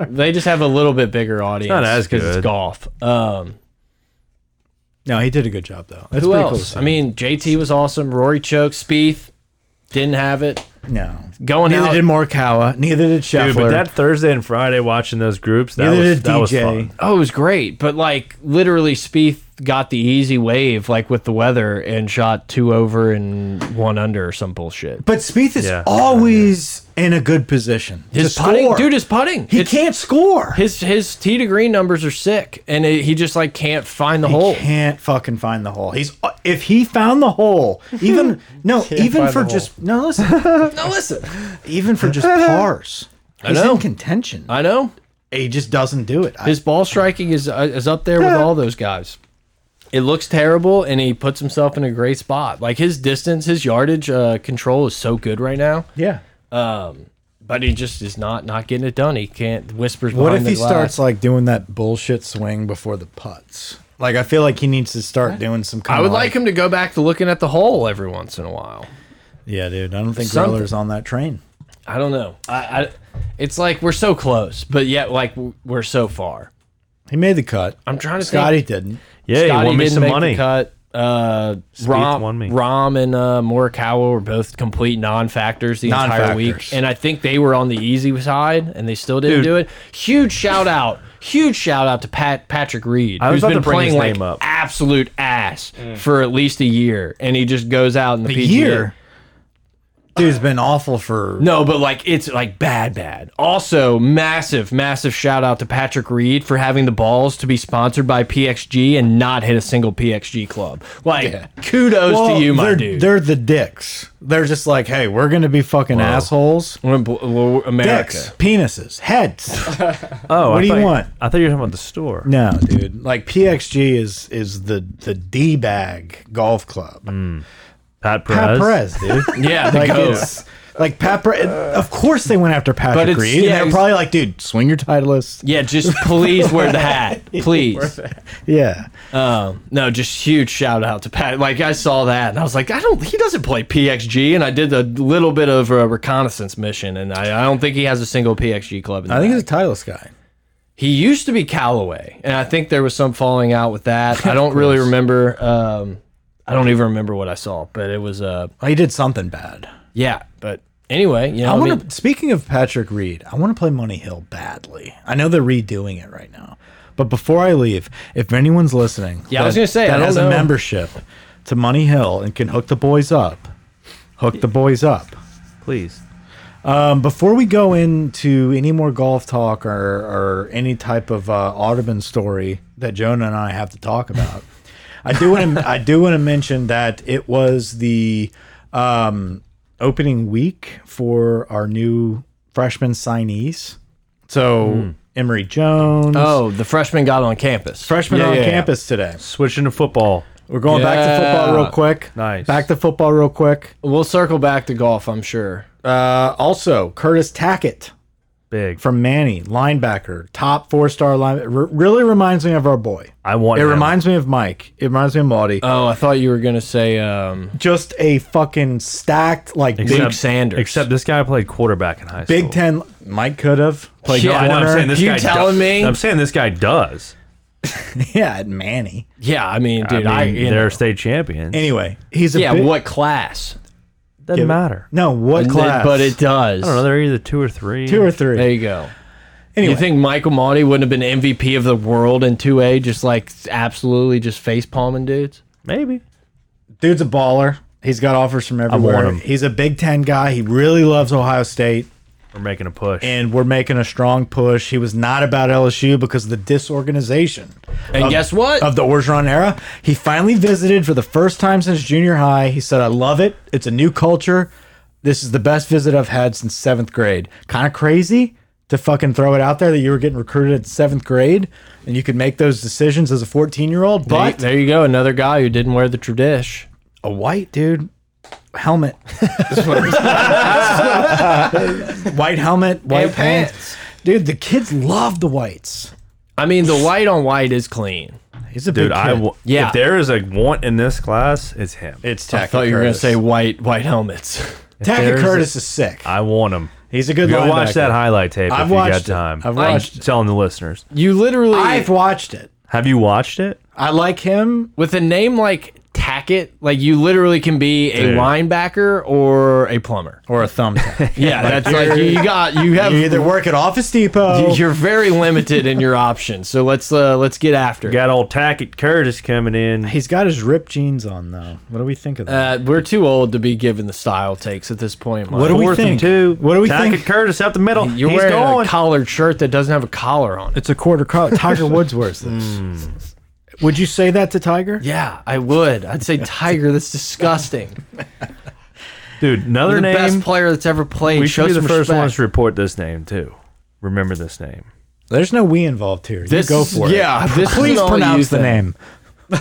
Speaker 1: They just have a little bit bigger audience.
Speaker 3: not as
Speaker 1: 'cause it's
Speaker 3: good.
Speaker 1: golf. Um,
Speaker 2: no, he did a good job though. That's
Speaker 1: who
Speaker 2: pretty
Speaker 1: else?
Speaker 2: cool.
Speaker 1: I mean, JT was awesome. Rory choked. Spieth didn't have it.
Speaker 2: no,
Speaker 1: Going
Speaker 2: neither
Speaker 1: out.
Speaker 2: did Morikawa, neither did Scheffler,
Speaker 3: Dude, but that Thursday and Friday watching those groups, that
Speaker 2: neither
Speaker 3: was
Speaker 2: did
Speaker 3: that was
Speaker 2: DJ.
Speaker 3: fun.
Speaker 1: Oh, it was great, but like literally, Spieth got the easy wave, like with the weather, and shot two over and one under or some bullshit.
Speaker 2: But Spieth is
Speaker 3: Yeah.
Speaker 2: always in a good position.
Speaker 1: His
Speaker 2: to
Speaker 1: putting,
Speaker 2: score.
Speaker 1: dude, his putting.
Speaker 2: he
Speaker 1: It's-
Speaker 2: can't score.
Speaker 1: His his tee to green numbers are sick, and it, he just like can't find the hole.
Speaker 2: He can't fucking find the hole. He's uh, if he found the hole, even no, even
Speaker 4: find
Speaker 2: for
Speaker 4: the
Speaker 2: just no, listen,
Speaker 1: No, listen,
Speaker 2: even for just pars, he's
Speaker 1: know.
Speaker 2: in contention.
Speaker 1: I know
Speaker 2: He just doesn't do it. I-
Speaker 1: his ball striking is uh, is up there with all those guys. It looks terrible, and he puts himself in a great spot. Like his distance, his yardage uh, control is so good right now.
Speaker 2: yeah.
Speaker 1: But he just is not not getting it done. He can't whispers.
Speaker 2: What
Speaker 1: behind
Speaker 2: if
Speaker 1: the
Speaker 2: he
Speaker 1: glass.
Speaker 2: starts like doing that bullshit swing before the putts? Like I feel like he needs to start doing some. Kind
Speaker 1: I would
Speaker 2: of
Speaker 1: like him to go back to looking at the hole every once in a while.
Speaker 2: Yeah, dude. I don't think
Speaker 1: Something.
Speaker 2: Reller's on that train.
Speaker 1: I don't know. I, I it's like we're so close, but yet like we're so far.
Speaker 2: He made the cut.
Speaker 1: I'm trying to
Speaker 2: Scotty
Speaker 1: think.
Speaker 2: didn't.
Speaker 3: Yeah, he won me
Speaker 1: didn't
Speaker 3: some
Speaker 1: make the
Speaker 3: money.
Speaker 1: Cut. Uh, Rom,
Speaker 3: won me.
Speaker 1: Rom and uh, Morikawa were both complete non-factors the entire week,
Speaker 2: Non-factors.
Speaker 1: and I think they were on the easy side, and they still didn't
Speaker 3: Dude.
Speaker 1: do it. Huge shout out, huge shout out to Pat Patrick Reed,
Speaker 3: was
Speaker 1: who's
Speaker 3: about
Speaker 1: been
Speaker 3: to bring
Speaker 1: playing
Speaker 3: his
Speaker 1: like
Speaker 3: name up.
Speaker 1: absolute ass for at least a year, and he just goes out in the,
Speaker 2: The
Speaker 1: PGA.
Speaker 2: year. Dude's been awful for
Speaker 1: No, but like it's like bad, bad. Also, massive, massive shout out to Patrick Reed for having the balls to be sponsored by PXG and not hit a single PXG club. Like, kudos
Speaker 2: Well,
Speaker 1: to you, my
Speaker 2: they're,
Speaker 1: dude.
Speaker 2: They're the dicks. They're just like, hey, we're gonna be fucking assholes.
Speaker 1: We're in bl- we're America.
Speaker 2: Dicks, penises, heads.
Speaker 3: Oh,
Speaker 2: What
Speaker 3: I
Speaker 2: do you
Speaker 3: thought-
Speaker 2: want?
Speaker 3: I thought you were talking about the store.
Speaker 2: no, dude. Like PXG is is the the d bag golf club.
Speaker 3: Pat Perez.
Speaker 2: Pat Perez, dude.
Speaker 1: Yeah, the
Speaker 2: like
Speaker 1: goat.
Speaker 2: it's like Pat. Perez, of course they went after Patrick
Speaker 1: it's-
Speaker 2: Reed.
Speaker 1: yeah,
Speaker 2: and they're
Speaker 1: it's-
Speaker 2: probably like, dude, swing your Titleist.
Speaker 1: Yeah, just please wear the hat, please.
Speaker 2: Yeah,
Speaker 1: Um, no, just huge shout out to Pat. Like I saw that and I was like, I don't. He doesn't play PXG, and I did a little bit of a reconnaissance mission, and I, I don't think he has a single PXG club. In the
Speaker 2: I think
Speaker 1: bag.
Speaker 2: he's a Titleist guy.
Speaker 1: He used to be Callaway, and I think there was some falling out with that. I don't really remember. Um, I don't even remember what I saw, but it was uh,
Speaker 2: Oh, he did something bad.
Speaker 1: yeah. But anyway, you know,
Speaker 2: I
Speaker 1: I
Speaker 2: want
Speaker 1: mean,
Speaker 2: to. Speaking of Patrick Reed, I want to play Money Hill badly. I know they're redoing it right now, but before I leave, if anyone's listening,
Speaker 1: Yeah, I was gonna say, I
Speaker 2: that
Speaker 1: don't
Speaker 2: has
Speaker 1: know.
Speaker 2: a membership to Money Hill and can hook the boys up, hook the boys up.
Speaker 3: Please.
Speaker 2: Um, before we go into any more golf talk or, or any type of uh, Audubon story that Jonah and I have to talk about, I do want to I do want to mention that it was the um, opening week for our new freshman signees. So Emory
Speaker 1: Hmm.
Speaker 2: Jones,
Speaker 1: oh, the freshman got on campus.
Speaker 2: freshman
Speaker 1: Yeah,
Speaker 2: on
Speaker 1: yeah, yeah.
Speaker 2: campus today.
Speaker 3: Switching to football.
Speaker 2: We're going back to football
Speaker 1: Yeah.
Speaker 2: real quick.
Speaker 3: Nice.
Speaker 2: Back to football real quick.
Speaker 1: We'll circle back to golf, I'm sure.
Speaker 2: Uh, also, Curtis Tackett.
Speaker 3: Big.
Speaker 2: from Manny, linebacker, top four star line. Re really reminds me of our boy.
Speaker 3: I want
Speaker 2: It
Speaker 3: him.
Speaker 2: reminds me of Mike. It reminds me of Maudie.
Speaker 3: Uh,
Speaker 1: Oh, I thought you were gonna say um,
Speaker 2: Just a fucking stacked like
Speaker 1: Duke
Speaker 3: Except-
Speaker 1: Sanders.
Speaker 3: Except this guy played quarterback in high school.
Speaker 2: Big Big Ten. Mike could have played
Speaker 1: Yeah,
Speaker 3: I know, I'm
Speaker 2: corner.
Speaker 3: saying this
Speaker 1: You
Speaker 3: guy
Speaker 1: telling
Speaker 3: do-
Speaker 1: me?
Speaker 3: I'm saying this guy does.
Speaker 2: yeah, at Manny.
Speaker 1: yeah, I mean, dude, I,
Speaker 3: I mean,
Speaker 1: you
Speaker 3: they're
Speaker 1: know.
Speaker 3: state champions.
Speaker 2: Anyway, he's a
Speaker 1: yeah,
Speaker 2: big-
Speaker 1: what class?
Speaker 3: Doesn't
Speaker 2: Give it-
Speaker 3: matter.
Speaker 2: No, what class?
Speaker 1: But it does.
Speaker 3: I don't know. They're either two or three.
Speaker 2: two or three.
Speaker 1: There you go.
Speaker 2: Anyway.
Speaker 1: You think Michael Monty wouldn't have been MVP of the world in 2A, just like absolutely just face palming dudes?
Speaker 3: Maybe.
Speaker 2: Dude's a baller. He's got offers from
Speaker 3: want
Speaker 2: everywhere.
Speaker 3: him.
Speaker 2: He's a Big Ten guy. He really loves Ohio State,
Speaker 3: We're making a push.
Speaker 2: and we're making a strong push. He was not about LSU because of the disorganization
Speaker 1: And guess what?
Speaker 2: of the Orgeron era. He finally visited for the first time since junior high. He said, I love it. It's a new culture. This is the best visit I've had since seventh grade. Kind of crazy to fucking throw it out there that you were getting recruited at seventh grade and you could make those decisions as a 14 year old,
Speaker 1: There-
Speaker 2: but
Speaker 1: there you go, another guy who didn't wear the tradish.
Speaker 2: a white dude helmet white helmet white pants. dude the kids love the whites
Speaker 1: I mean, the white on white is clean.
Speaker 2: he's a big
Speaker 3: Dude, I
Speaker 2: kid.
Speaker 3: w-
Speaker 1: Yeah.
Speaker 3: if there is a want in this class, it's him.
Speaker 2: it's
Speaker 1: I thought you were going to say white white helmets.
Speaker 2: Tackett
Speaker 3: there's
Speaker 2: Curtis is sick
Speaker 3: I want him.
Speaker 2: he's a good
Speaker 3: Go
Speaker 2: linebacker.
Speaker 3: watch that highlight tape
Speaker 2: I've
Speaker 3: if you got
Speaker 2: watched it.
Speaker 3: time.
Speaker 2: I've
Speaker 3: I'm
Speaker 2: watched it.
Speaker 3: telling the listeners.
Speaker 1: You literally
Speaker 2: I've watched it
Speaker 3: Have you watched it?
Speaker 2: I like him
Speaker 1: with a name like Tackett, like you literally can be a
Speaker 3: Dude.
Speaker 1: linebacker or a plumber.
Speaker 2: or a thumbtack
Speaker 1: Yeah, that's like you, you got you have
Speaker 2: you either work at Office Depot
Speaker 1: you're very limited in your options. So let's uh let's get after. it.
Speaker 3: We got old Tackett Curtis coming in.
Speaker 2: he's got his ripped jeans on though what do we think of that
Speaker 1: Uh, we're too old to be given the style takes at this point. Mike.
Speaker 2: What do we
Speaker 3: Fourth
Speaker 2: think?
Speaker 3: and two.
Speaker 2: What do we
Speaker 3: Tackett
Speaker 2: think?
Speaker 3: Curtis up the middle.
Speaker 1: You're
Speaker 3: He's
Speaker 1: wearing
Speaker 3: going.
Speaker 1: a collared shirt that doesn't have a collar on it.
Speaker 2: it's a quarter cut Tiger Woods wears this Hmm. would you say that to Tiger
Speaker 1: Yeah, I would. I'd say Tiger. That's disgusting.
Speaker 3: Dude, another
Speaker 1: You're the best
Speaker 3: name.
Speaker 1: player that's ever played.
Speaker 3: We
Speaker 1: Show
Speaker 3: should be the
Speaker 1: some
Speaker 3: first
Speaker 1: respect.
Speaker 3: ones to report this name, too. Remember this name.
Speaker 2: There's no we involved here.
Speaker 1: This-
Speaker 2: you go for it.
Speaker 1: yeah, this is
Speaker 2: please
Speaker 1: all you
Speaker 2: pronounce the
Speaker 1: think.
Speaker 2: name.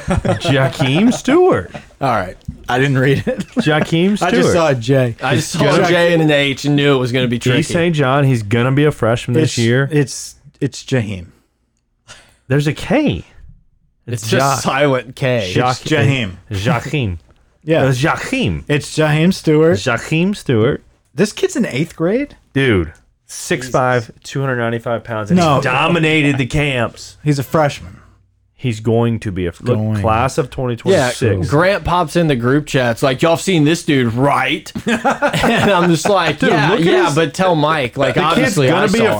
Speaker 3: Jakeem Stewart.
Speaker 2: All right, I didn't read it.
Speaker 3: Jakeem Stewart.
Speaker 2: I just saw a J.
Speaker 1: I just saw
Speaker 2: Jack-
Speaker 1: a J and an H and knew it was going to be tricky.
Speaker 3: He's St. John. He's going to be a freshman
Speaker 2: It's-
Speaker 3: this year.
Speaker 2: It's it's Jaheim.
Speaker 3: There's a K.
Speaker 1: it's just silent K.
Speaker 3: Jack-
Speaker 2: It's Jaheim.
Speaker 3: Jakeem.
Speaker 2: Yeah,
Speaker 3: It's Jakeem.
Speaker 2: it's Jaheim Stewart.
Speaker 3: Jakeem Stewart.
Speaker 2: This kid's in eighth grade.
Speaker 3: Dude. 6'5", 295 pounds, and
Speaker 2: No.
Speaker 3: he dominated the camps.
Speaker 2: He's a freshman.
Speaker 3: He's going to be a look,
Speaker 2: Going.
Speaker 3: class of
Speaker 1: Yeah,
Speaker 3: 2026.
Speaker 1: Grant pops in the group chats like y'all have seen this dude, right? and I'm just like, yeah,
Speaker 3: look at
Speaker 1: yeah,
Speaker 3: his-
Speaker 1: but tell Mike, like,
Speaker 3: the kid's
Speaker 1: obviously,
Speaker 3: going
Speaker 1: I
Speaker 3: to be
Speaker 1: saw
Speaker 3: a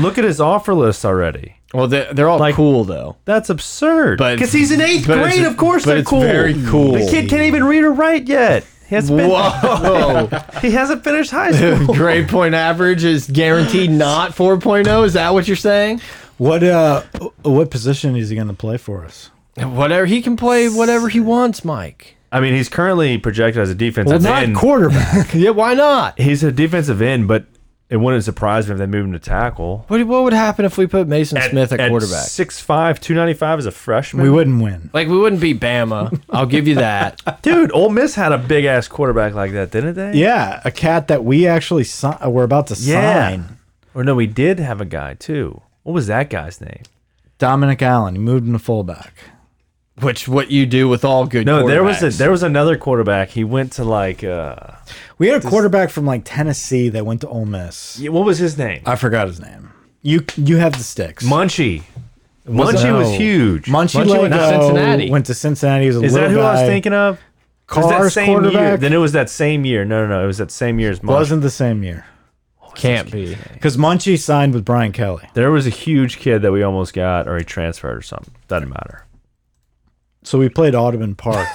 Speaker 3: Look at his offer list already.
Speaker 1: It. Well, they're, they're all
Speaker 3: Like-
Speaker 1: cool though.
Speaker 3: That's absurd.
Speaker 1: But-
Speaker 3: Because he's in eighth
Speaker 1: but it's-
Speaker 3: grade, of course
Speaker 1: but
Speaker 3: they're
Speaker 1: it's
Speaker 3: cool.
Speaker 1: very cool.
Speaker 3: The kid can't even read or write yet. He hasn't, been-
Speaker 1: Whoa,
Speaker 3: he hasn't finished high school.
Speaker 1: grade point average is guaranteed not 4.0. Is that what you're saying?
Speaker 2: What uh, what position is he going to play for us?
Speaker 1: Whatever he can play, whatever he wants, Mike.
Speaker 3: I mean, he's currently projected as a defensive
Speaker 2: Well, not
Speaker 3: end.
Speaker 2: quarterback.
Speaker 1: Yeah, why not?
Speaker 3: he's a defensive end, but it wouldn't surprise me if they moved him to tackle.
Speaker 1: What, what would happen if we put Mason Smith at, quarterback?
Speaker 3: 6'5", 295 as a freshman.
Speaker 2: we wouldn't win.
Speaker 1: Like we wouldn't be Bama. I'll give you that.
Speaker 3: Dude, Ole Miss had a big ass quarterback like that, didn't they?
Speaker 2: Yeah, a cat that we actually si- uh, we're about to
Speaker 3: Yeah.
Speaker 2: sign.
Speaker 3: Or no, we did have a guy too. What was that guy's name?
Speaker 2: Dominic Allen. He moved into fullback.
Speaker 1: Which what you do with all good.
Speaker 3: No, there was a,
Speaker 1: quarterbacks.
Speaker 3: there was another quarterback. He went to like uh,
Speaker 2: We had a quarterback from like Tennessee that went to Ole Miss.
Speaker 3: yeah, what was his name?
Speaker 2: I forgot his name. You you have the sticks.
Speaker 3: Munchie. Munchie was
Speaker 2: No.
Speaker 3: huge.
Speaker 2: Munchie,
Speaker 1: Munchie
Speaker 2: went to Cincinnati. Went to Cincinnati. He was a
Speaker 3: Is
Speaker 2: little
Speaker 3: that who I was
Speaker 2: guy.
Speaker 3: thinking of? It was
Speaker 2: Carr's
Speaker 3: that same year.
Speaker 2: quarterback?
Speaker 3: Then it was that same year. No, no, no. It was that same year as Munchie.
Speaker 2: Wasn't the same year
Speaker 1: can't be.
Speaker 2: because Munchie signed with Brian Kelly.
Speaker 3: There was a huge kid that we almost got, or he transferred or something. Doesn't matter.
Speaker 2: So we played Audubon Park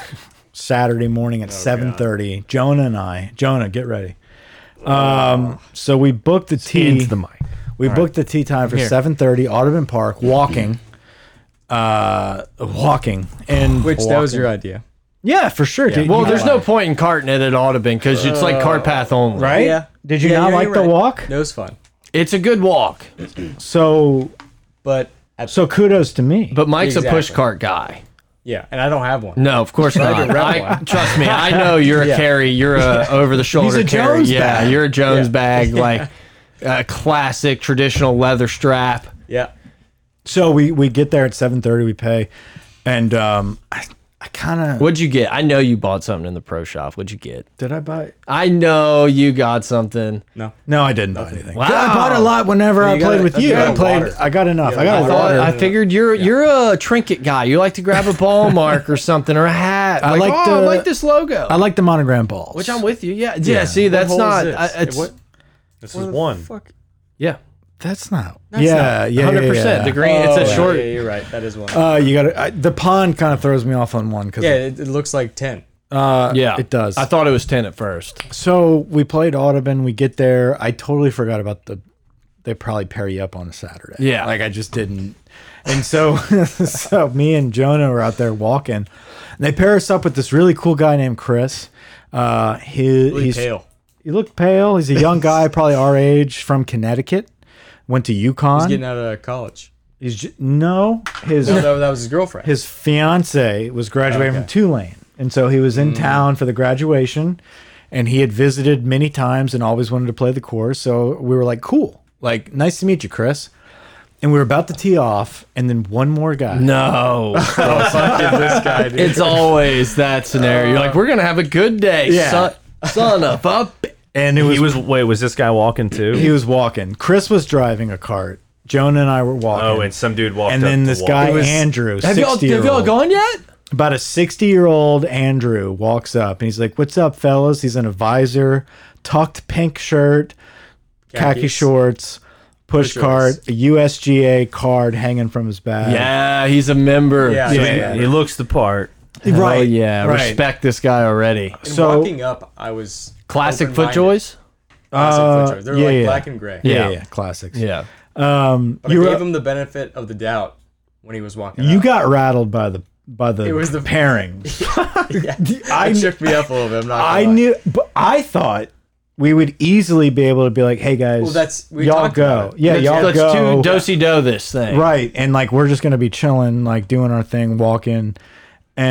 Speaker 2: Saturday morning at seven thirty. Jonah and I. Jonah, get ready. Um, so we booked the tea.
Speaker 3: Into the mic.
Speaker 2: we booked the tea time for
Speaker 1: Here.
Speaker 2: seven thirty. Audubon Park, walking, uh, walking, and
Speaker 5: Which that was your idea.
Speaker 2: yeah, for sure. dude.
Speaker 1: Well,
Speaker 2: You-
Speaker 1: there's no point in carting it at Audubon because it's like cart path only.
Speaker 2: right.
Speaker 5: Yeah.
Speaker 2: Did you
Speaker 5: Yeah,
Speaker 2: not
Speaker 5: you're-
Speaker 2: like
Speaker 5: you're
Speaker 2: the
Speaker 5: right.
Speaker 2: walk?
Speaker 5: That was fun.
Speaker 1: It's a good walk,
Speaker 2: So
Speaker 5: But at,
Speaker 2: so kudos to me.
Speaker 1: but Mike's
Speaker 5: Exactly.
Speaker 1: a push cart guy.
Speaker 5: yeah, and I don't have one.
Speaker 1: No, of course not.
Speaker 5: rebel
Speaker 1: I,
Speaker 5: one.
Speaker 1: trust me, I know you're a
Speaker 5: Yeah.
Speaker 1: carry. You're a over the shoulder
Speaker 2: He's a
Speaker 1: carry.
Speaker 2: Jones
Speaker 1: yeah,
Speaker 2: bag.
Speaker 1: you're a Jones bag, like a classic traditional leather strap.
Speaker 5: Yeah.
Speaker 2: So we we get there at seven thirty. We pay, and um, I, I kind of
Speaker 1: What'd you get? I know you bought something in the pro shop. What'd you get?
Speaker 2: did. I buy.
Speaker 1: I know you got something.
Speaker 5: No.
Speaker 2: No, I didn't buy anything.
Speaker 1: Wow.
Speaker 2: I bought a lot whenever I
Speaker 5: got
Speaker 2: played
Speaker 5: a-
Speaker 2: with
Speaker 5: you
Speaker 2: you.
Speaker 5: got
Speaker 2: I
Speaker 5: a
Speaker 2: played.
Speaker 5: water.
Speaker 2: I got enough. I got
Speaker 1: I
Speaker 2: a
Speaker 5: water.
Speaker 1: thought
Speaker 2: lot.
Speaker 1: I figured you're you're a trinket guy. You like to grab a ball mark or something or a hat.
Speaker 2: I
Speaker 1: Like,
Speaker 2: like
Speaker 1: oh, I
Speaker 2: the-
Speaker 1: like this logo.
Speaker 2: I like the monogram balls.
Speaker 1: which I'm with you. Yeah. Yeah. See, that's
Speaker 5: hole is
Speaker 1: not.
Speaker 5: this?
Speaker 1: I, it's
Speaker 5: What-
Speaker 3: This is one.
Speaker 5: Fuck.
Speaker 1: yeah.
Speaker 2: That's not. yeah, yeah, yeah,
Speaker 1: Hundred percent. The
Speaker 2: yeah.
Speaker 1: green. it's a
Speaker 5: Oh, yeah,
Speaker 1: short.
Speaker 5: Yeah, you're right. That is one.
Speaker 2: Uh, you got I The pond kind of throws me off on one because
Speaker 5: yeah, it, it looks like ten.
Speaker 2: uh,
Speaker 1: Yeah.
Speaker 2: it does.
Speaker 1: I thought it was ten at first.
Speaker 2: So we played Audubon. We get there. I totally forgot about the. They probably pair you up on a Saturday.
Speaker 1: Yeah.
Speaker 2: like I just didn't. And so, so me and Jonah were out there walking. And they pair us up with this really cool guy named Chris. Uh, he, he's
Speaker 5: pale.
Speaker 2: He looked pale. He's a young guy, probably our age, from Connecticut. Went to UConn.
Speaker 5: Getting out of college.
Speaker 2: He's ju- no, his
Speaker 5: No, that, that was his girlfriend.
Speaker 2: his fiance was graduating from
Speaker 5: Okay.
Speaker 2: Tulane, and so he was in town for the graduation, and he had visited many times and always wanted to play the course. So we were like, "Cool, like nice to meet you, Chris." And we were about to tee off, and then one more guy.
Speaker 1: No. It's always that scenario. You're like, we're gonna have a good day,
Speaker 2: Yeah.
Speaker 1: son, son of a. b-"
Speaker 2: and it was
Speaker 3: He was wait, was this guy walking too?
Speaker 2: he was walking. Chris was driving a cart. Jonah and I were walking.
Speaker 3: oh, and some dude walked.
Speaker 2: and
Speaker 3: up
Speaker 2: then
Speaker 3: the
Speaker 2: this
Speaker 3: wall.
Speaker 2: guy
Speaker 3: It was-
Speaker 2: Andrew,
Speaker 1: Have y'all have
Speaker 2: 60 -year-old,
Speaker 1: y'all gone yet?
Speaker 2: about a 60 year old Andrew walks up and he's like, What's up, fellas? He's in a visor, tucked pink shirt, khaki
Speaker 5: Khakis.
Speaker 2: shorts, push
Speaker 5: Push
Speaker 2: cart,
Speaker 5: shorts.
Speaker 2: a USGA card hanging from his bag.
Speaker 1: Yeah, he's a member.
Speaker 5: Yeah.
Speaker 3: So
Speaker 2: Yeah.
Speaker 3: He, he looks the part.
Speaker 1: Hell
Speaker 2: Right.
Speaker 1: yeah.
Speaker 2: Right.
Speaker 1: Respect this guy already.
Speaker 5: And
Speaker 2: so-
Speaker 5: walking up, I was
Speaker 1: Classic foot
Speaker 5: open-minded.
Speaker 1: joys.
Speaker 5: Classic
Speaker 2: Uh,
Speaker 5: foot joys. They're
Speaker 2: yeah,
Speaker 5: like
Speaker 2: yeah.
Speaker 5: black and gray.
Speaker 2: Yeah,
Speaker 1: Yeah.
Speaker 2: yeah, classics.
Speaker 1: Yeah.
Speaker 2: Um,
Speaker 5: But I
Speaker 2: you,
Speaker 5: gave
Speaker 2: were-
Speaker 5: him the benefit of the doubt when he was walking.
Speaker 2: you
Speaker 5: out.
Speaker 2: got rattled by the by the,
Speaker 5: It was the-
Speaker 2: pairing. I-
Speaker 5: I shook me up a little bit. I'm not. Gonna
Speaker 2: I
Speaker 5: lie.
Speaker 2: knew, but I thought we would easily be able to be like, "Hey guys,
Speaker 5: Well, that's- we
Speaker 2: y'all
Speaker 5: talked about
Speaker 2: go,
Speaker 5: it.
Speaker 2: yeah,
Speaker 1: let's,
Speaker 2: y'all
Speaker 1: let's
Speaker 2: go."
Speaker 1: do dosey do this thing.
Speaker 2: right and like we're just gonna be chilling like doing our thing walking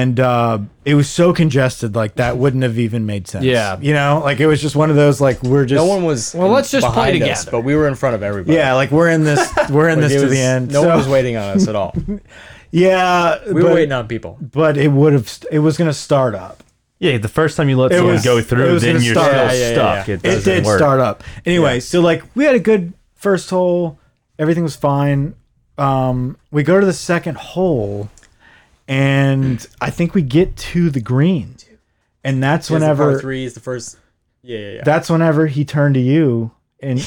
Speaker 2: and uh it was so congested like that wouldn't have even made sense
Speaker 1: Yeah.
Speaker 2: you know like it was just one of those like we're just
Speaker 5: No one was.
Speaker 1: Well, let's just play
Speaker 5: behind us,
Speaker 1: together.
Speaker 5: but we were in front of everybody.
Speaker 2: yeah like we're in this we're in
Speaker 5: Like,
Speaker 2: this
Speaker 5: it
Speaker 2: to
Speaker 5: was-
Speaker 2: the end
Speaker 5: No
Speaker 2: so,
Speaker 5: one was waiting on us at all. We
Speaker 2: yeah
Speaker 5: were
Speaker 2: but,
Speaker 5: waiting on people.
Speaker 2: but it would have st- it was gonna start up
Speaker 3: Yeah, the first time you let
Speaker 2: It
Speaker 3: someone
Speaker 2: was-
Speaker 3: go
Speaker 2: it
Speaker 3: through,
Speaker 2: was
Speaker 3: then
Speaker 2: gonna
Speaker 3: you're
Speaker 2: start.
Speaker 3: still
Speaker 2: Yeah,
Speaker 5: yeah,
Speaker 3: stuck.
Speaker 5: yeah.
Speaker 3: It
Speaker 2: it
Speaker 3: doesn't
Speaker 2: did
Speaker 3: work.
Speaker 2: start up anyway so like we had a good first hole everything was fine um we go to the second hole and i think we get to the green and that's
Speaker 5: It's the
Speaker 2: whenever
Speaker 5: par three is the first. Yeah, yeah, yeah.
Speaker 2: that's whenever he turned to you and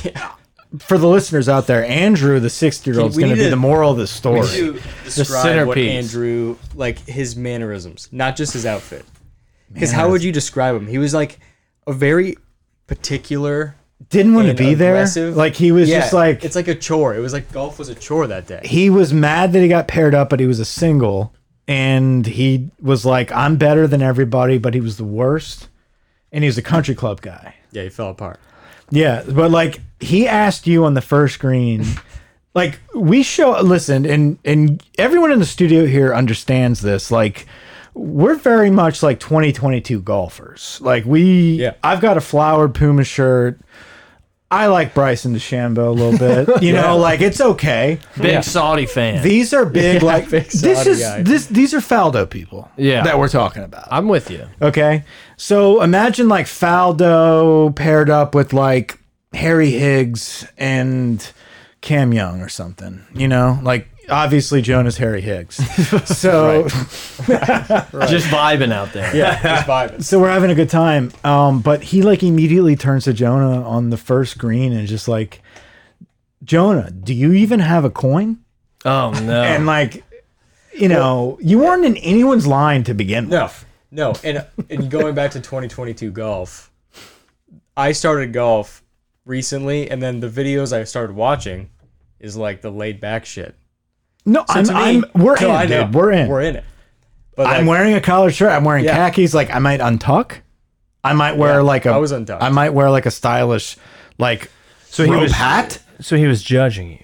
Speaker 2: for the listeners out there andrew the 60 year old is
Speaker 5: We
Speaker 2: going to
Speaker 5: need
Speaker 2: be
Speaker 5: to-
Speaker 2: the moral of the story
Speaker 5: to describe what
Speaker 1: centerpiece.
Speaker 5: Andrew like his mannerisms, not just his outfit. Because how would you describe him? He was like a very particular.
Speaker 2: didn't want to
Speaker 5: and
Speaker 2: be there
Speaker 5: aggressive-
Speaker 2: like he was
Speaker 5: Yeah,
Speaker 2: just like
Speaker 5: it's like a chore. It was like golf was a chore that day.
Speaker 2: he was mad that he got paired up but he was a single and he was like i'm better than everybody but he was the worst and he was a country club guy
Speaker 5: Yeah, he fell apart.
Speaker 2: Yeah, but like he asked you on the first green. like we show listen and and everyone in the studio here understands this like we're very much like 2022 golfers. Like we
Speaker 5: Yeah.
Speaker 2: I've got a flowered Puma shirt. I like Bryson DeChambeau a little bit. You know, like it's okay.
Speaker 1: Big Saudi fan.
Speaker 2: These are big like
Speaker 5: big
Speaker 2: this
Speaker 5: Saudi
Speaker 2: is
Speaker 5: guy.
Speaker 2: this these are Faldo people.
Speaker 1: Yeah.
Speaker 2: That we're talking about.
Speaker 1: I'm with you.
Speaker 2: Okay. So imagine like Faldo paired up with like Harry Higgs and Cam Young or something, you know? Like obviously Jonah's Harry Higgs. So
Speaker 1: Just vibing out there. Yeah.
Speaker 5: Just vibing.
Speaker 2: so we're having a good time. Um but he like immediately turns to Jonah on the first green and just like Jonah, do you even have a coin?
Speaker 1: Oh no.
Speaker 2: And like you know, you weren't in anyone's line to begin with.
Speaker 5: No, no. And and going back to 2022 golf, I started golf recently, and then the videos I started watching is like the laid back shit.
Speaker 2: No, I'm,
Speaker 5: to me-
Speaker 2: I'm we're
Speaker 5: No, I
Speaker 2: in,
Speaker 5: know.
Speaker 2: dude. We're in.
Speaker 5: We're in it. But
Speaker 2: I'm
Speaker 5: like,
Speaker 2: wearing a collared shirt. I'm wearing
Speaker 5: Yeah.
Speaker 2: khakis. Like I might untuck. I might wear
Speaker 5: Yeah,
Speaker 2: like a.
Speaker 5: I was untucked.
Speaker 2: I might wear like a stylish, like
Speaker 3: So he
Speaker 2: rope
Speaker 3: was
Speaker 2: hat.
Speaker 3: So he was judging you.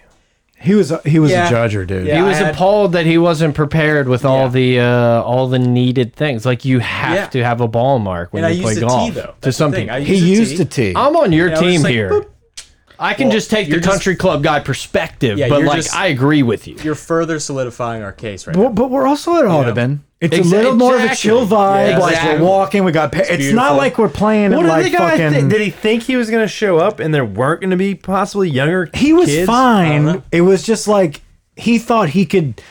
Speaker 2: He was a, he was
Speaker 5: Yeah.
Speaker 2: a judger, dude.
Speaker 5: Yeah.
Speaker 1: he was
Speaker 5: I had-
Speaker 1: appalled that he wasn't prepared with all
Speaker 5: Yeah.
Speaker 1: the uh, all the needed things. Like you have
Speaker 5: Yeah.
Speaker 1: to have a ball mark when
Speaker 5: and I
Speaker 1: you play
Speaker 5: used a
Speaker 1: golf
Speaker 5: tee though.
Speaker 1: to
Speaker 5: That's the
Speaker 1: some
Speaker 5: thing.
Speaker 1: people.
Speaker 5: I
Speaker 2: He used a tee.
Speaker 1: I'm on your
Speaker 5: And I was
Speaker 1: team
Speaker 5: just like,
Speaker 1: here.
Speaker 5: boop.
Speaker 1: I can just take the
Speaker 5: you're just-
Speaker 1: country club guy perspective,
Speaker 5: Yeah,
Speaker 1: but
Speaker 5: you're
Speaker 1: like
Speaker 5: just-
Speaker 1: I agree with you.
Speaker 5: You're further solidifying our case right now.
Speaker 2: Well, but we're also at Audubon. It's
Speaker 1: Exa-
Speaker 2: a little more of a
Speaker 1: exactly.
Speaker 2: chill vibe.
Speaker 5: Yeah,
Speaker 2: like
Speaker 1: exactly.
Speaker 2: we're walking, we got. Pa- it's not
Speaker 5: beautiful.
Speaker 2: like we're playing. in,
Speaker 3: What did
Speaker 2: like
Speaker 3: the guy
Speaker 2: fucking,
Speaker 3: think? Did he think he was going to show up and there weren't going to be possibly younger
Speaker 2: he was
Speaker 3: kids?
Speaker 2: fine. It was just like he thought he could.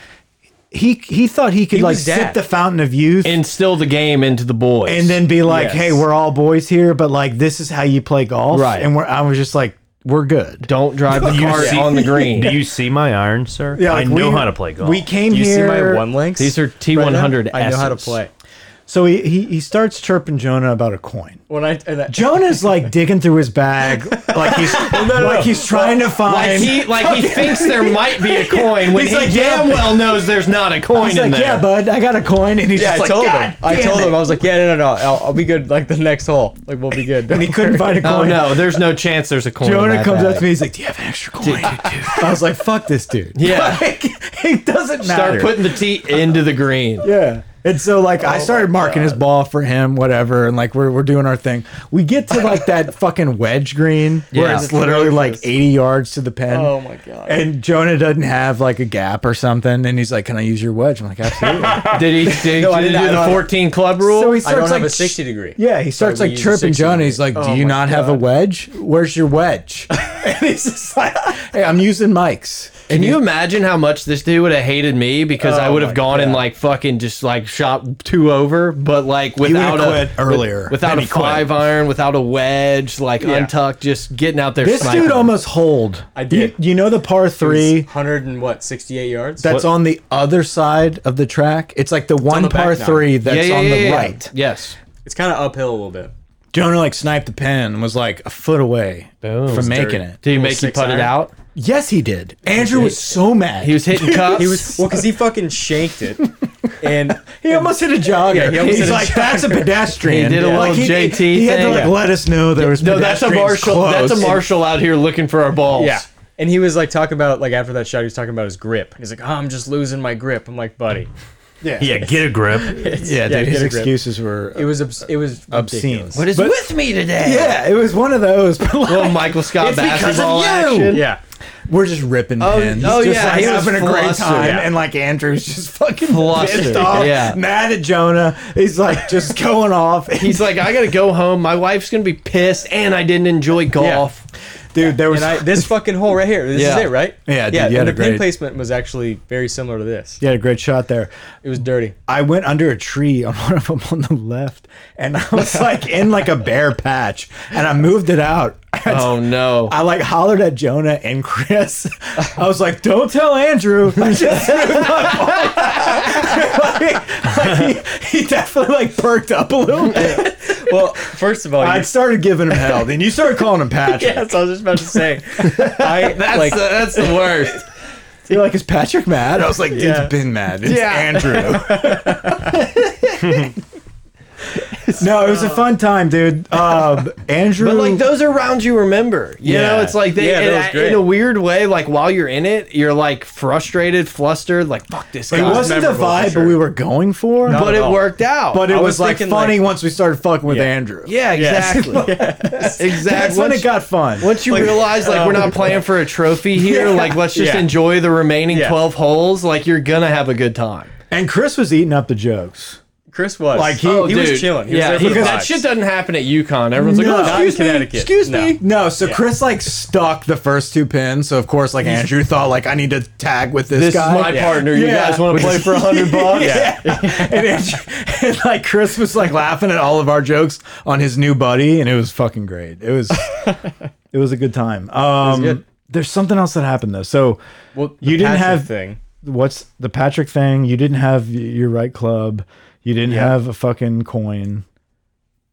Speaker 2: He he thought he could like
Speaker 5: was dad.
Speaker 2: sip the fountain of youth
Speaker 1: Instill the game into the boys,
Speaker 2: and then be like,
Speaker 5: Yes.
Speaker 2: "Hey, we're all boys here, but like this is how you play golf."
Speaker 1: Right.
Speaker 2: And we're, I was just like, "We're good."
Speaker 1: don't drive the car
Speaker 3: see-
Speaker 1: on the green.
Speaker 3: Do you see my iron, sir?
Speaker 2: like,
Speaker 3: I know
Speaker 2: we-
Speaker 3: how to play golf.
Speaker 2: We came
Speaker 5: Do you
Speaker 2: here.
Speaker 5: see my one links?
Speaker 1: These are
Speaker 5: right now?
Speaker 1: T100.
Speaker 5: I know how to play.
Speaker 2: So he, he he starts chirping Jonah about a coin.
Speaker 5: When I and I-
Speaker 2: Jonah's like digging through his bag, like he's like he's trying to
Speaker 1: Like
Speaker 2: find.
Speaker 1: he, like he thinks there might be a coin when
Speaker 2: He's
Speaker 1: he
Speaker 2: like,
Speaker 1: damn
Speaker 2: yeah.
Speaker 1: well knows there's not a coin
Speaker 2: he's
Speaker 1: in
Speaker 2: like,
Speaker 1: there.
Speaker 2: "Yeah, bud, I got a coin," and he's
Speaker 5: yeah, I
Speaker 2: just like,
Speaker 5: told
Speaker 2: "God
Speaker 5: him. I
Speaker 2: damn
Speaker 5: told
Speaker 2: it."
Speaker 5: him. I was like, yeah, no, no, no. I'll, I'll be good. Like the next hole. Like we'll be good.
Speaker 2: and he couldn't find a
Speaker 1: oh
Speaker 2: coin.
Speaker 1: no, there's no chance there's a coin. in
Speaker 2: Jonah
Speaker 1: that
Speaker 2: comes
Speaker 1: bag.
Speaker 2: up to me. He's like, "Do you have an extra coin?" I was like, "Fuck this dude."
Speaker 1: Yeah.
Speaker 2: like, it doesn't matter.
Speaker 1: Start putting the tee into the green.
Speaker 2: yeah. And so like
Speaker 5: Oh
Speaker 2: I started marking his ball for him, whatever, and like we're we're doing our thing. We get to like that fucking wedge green where
Speaker 1: Yeah.
Speaker 2: it's literally like eighty yards to the pen.
Speaker 5: oh my god.
Speaker 2: And Jonah doesn't have like a gap or something, and he's like, "Can I use your wedge?" I'm like, "Absolutely."
Speaker 1: Did he, did,
Speaker 5: No, I
Speaker 1: did he
Speaker 5: did
Speaker 1: do
Speaker 5: not.
Speaker 1: the
Speaker 5: I don't-
Speaker 1: 14 club rule?
Speaker 2: so he
Speaker 5: I don't
Speaker 2: starts like
Speaker 5: have a sixty degree.
Speaker 2: Yeah, he starts
Speaker 5: Sorry, we
Speaker 2: like
Speaker 5: use a
Speaker 2: chirping
Speaker 5: 60
Speaker 2: Jonah.
Speaker 5: degree.
Speaker 2: He's like, "Do
Speaker 5: Oh
Speaker 2: you
Speaker 5: my
Speaker 2: not have a
Speaker 5: God.
Speaker 2: wedge? Where's your wedge?" and he's just like, "Hey, I'm using Mike's."
Speaker 1: Can you imagine how much this dude would have hated me because I
Speaker 5: Oh
Speaker 1: would have
Speaker 5: my
Speaker 1: gone and like fucking just like shot two over, but like
Speaker 2: would've
Speaker 1: without a
Speaker 2: quit earlier.
Speaker 1: without
Speaker 2: Then
Speaker 1: a
Speaker 2: he quit.
Speaker 1: five iron, without a wedge, like untucked, just getting out there.
Speaker 2: This
Speaker 1: sniping.
Speaker 2: dude almost hold.
Speaker 5: I did.
Speaker 2: You, you know the par three
Speaker 5: Hundred and what? Sixty eight yards.
Speaker 2: that's on the other side of the track. It's like the one
Speaker 5: the back
Speaker 2: par
Speaker 5: nine.
Speaker 2: three that's
Speaker 1: yeah, yeah,
Speaker 2: on
Speaker 1: yeah,
Speaker 2: the
Speaker 1: yeah.
Speaker 2: right.
Speaker 1: Yes,
Speaker 5: it's kind of uphill a little bit.
Speaker 2: Jonah like sniped the pin and was like a foot away from making
Speaker 5: dirty.
Speaker 2: it.
Speaker 1: did he
Speaker 5: Little
Speaker 1: make you
Speaker 5: six
Speaker 1: put it
Speaker 5: iron.
Speaker 1: out?
Speaker 2: Yes, he did. Andrew was so mad.
Speaker 1: He was hitting cups.
Speaker 5: He was well because he fucking shanked it, and
Speaker 2: He almost hit a jogger.
Speaker 5: Yeah, he almost
Speaker 2: He's
Speaker 5: hit a
Speaker 2: like, that's a pedestrian.
Speaker 1: He did a
Speaker 2: Yeah.
Speaker 1: little
Speaker 2: he,
Speaker 1: JT
Speaker 2: He had to
Speaker 1: thing.
Speaker 2: like let us know there was
Speaker 1: no, that's a
Speaker 2: pedestrians
Speaker 1: Marshall. That's
Speaker 2: close.
Speaker 1: a Marshall out here looking for our balls.
Speaker 5: yeah. And he was like talking about like after that shot, he was talking about his grip. He's like, "Oh, I'm just losing my grip." I'm like, "Buddy,
Speaker 3: yeah, get a grip.
Speaker 2: Yeah,
Speaker 5: Yeah,
Speaker 2: dude,
Speaker 5: get
Speaker 2: his
Speaker 5: a grip.
Speaker 2: excuses were
Speaker 5: It was obs- it was
Speaker 2: obscene.
Speaker 5: ridiculous.
Speaker 1: what is with me today?
Speaker 2: Yeah, it was one of those. but, like,
Speaker 1: little Michael Scott
Speaker 2: It's because
Speaker 1: basketball
Speaker 2: of you!
Speaker 1: action.
Speaker 5: Yeah,
Speaker 2: We're just ripping
Speaker 1: Oh,
Speaker 2: pins.
Speaker 1: oh,
Speaker 2: just
Speaker 1: yeah,
Speaker 2: like
Speaker 1: he was
Speaker 2: having a great
Speaker 1: flustered.
Speaker 2: time,
Speaker 1: Yeah.
Speaker 2: and like Andrew's just fucking
Speaker 1: Flustered,
Speaker 2: pissed off,
Speaker 1: yeah.
Speaker 2: mad at Jonah. He's like just going off.
Speaker 1: He's like, I gotta go home. My wife's gonna be pissed, and I didn't enjoy golf.
Speaker 2: dude, there was
Speaker 5: and I this fucking hole right here. This
Speaker 1: Yeah.
Speaker 5: is it, right?
Speaker 2: Yeah, dude,
Speaker 5: yeah.
Speaker 2: you had
Speaker 5: and
Speaker 2: a
Speaker 5: the
Speaker 2: great-
Speaker 5: pin placement was actually very similar to this.
Speaker 2: yeah, a great shot there.
Speaker 5: It was dirty.
Speaker 2: I went under a tree on one of them on the left, and I was like in like a bare patch, and I moved it out.
Speaker 1: Oh no!
Speaker 2: I like hollered at Jonah and Chris. I was like, "Don't tell Andrew." I just moved my ball. like, like, he, he definitely like perked up a little bit.
Speaker 5: Well, first of all,
Speaker 2: I
Speaker 5: you-
Speaker 2: started giving him hell. Then you started calling him Patrick.
Speaker 5: yes, I was just about to say, I
Speaker 1: That's
Speaker 5: like
Speaker 1: the, that's the worst.
Speaker 2: You're like, "Is Patrick mad?" I was like, "Dude's
Speaker 5: Yeah.
Speaker 2: been mad. It's
Speaker 1: Yeah.
Speaker 2: Andrew." no, it was a fun time, dude. Um, Andrew,
Speaker 1: But like those are rounds you remember. You
Speaker 2: Yeah.
Speaker 1: know, it's like they
Speaker 5: Yeah, that
Speaker 1: and
Speaker 5: was
Speaker 1: I-
Speaker 5: great.
Speaker 1: in a weird way. Like while you're in it, you're like frustrated, flustered, like fuck this guy.
Speaker 2: it wasn't the
Speaker 5: memorable for
Speaker 2: vibe
Speaker 5: sure.
Speaker 2: we were going for,
Speaker 1: but
Speaker 5: at
Speaker 1: it
Speaker 5: all.
Speaker 1: worked out.
Speaker 2: but it
Speaker 5: I
Speaker 2: was,
Speaker 5: was
Speaker 2: like
Speaker 5: thinking, like-
Speaker 2: funny once we started fucking with Andrew.
Speaker 1: yeah, exactly, exactly.
Speaker 2: That's when
Speaker 1: Once-
Speaker 2: it got fun.
Speaker 1: Once you realize like we're not playing for a trophy here, like let's just
Speaker 5: Yeah.
Speaker 1: enjoy the remaining
Speaker 5: Yeah.
Speaker 1: twelve holes. Like you're gonna have a good time.
Speaker 2: And Chris was eating up the jokes.
Speaker 5: Chris was Oh,
Speaker 2: Like, he-
Speaker 5: he
Speaker 1: dude.
Speaker 5: was chilling. He
Speaker 1: yeah,
Speaker 5: was there for the
Speaker 1: because that
Speaker 5: vibes.
Speaker 1: shit doesn't happen at UConn. Everyone's
Speaker 2: No.
Speaker 1: like, oh,
Speaker 5: Not in
Speaker 1: excuse me,
Speaker 5: Connecticut.
Speaker 1: excuse
Speaker 5: No.
Speaker 1: me.
Speaker 2: No, so Chris like stuck the first two pins. So of course, like Andrew thought, like I need to tag with this,
Speaker 1: This
Speaker 2: guy.
Speaker 1: is my partner. You
Speaker 2: Yeah.
Speaker 1: guys want to play for a hundred bucks?
Speaker 2: Yeah. and, Andrew, and like Chris was like laughing at all of our jokes on his new buddy, and it was fucking great. It was, it was a good time. Um,
Speaker 5: good.
Speaker 2: there's something else that happened though. So
Speaker 5: Well,
Speaker 2: you didn't
Speaker 5: Patrick
Speaker 2: have
Speaker 5: thing.
Speaker 2: what's the Patrick thing? You didn't have y- your right club. You didn't have a fucking coin.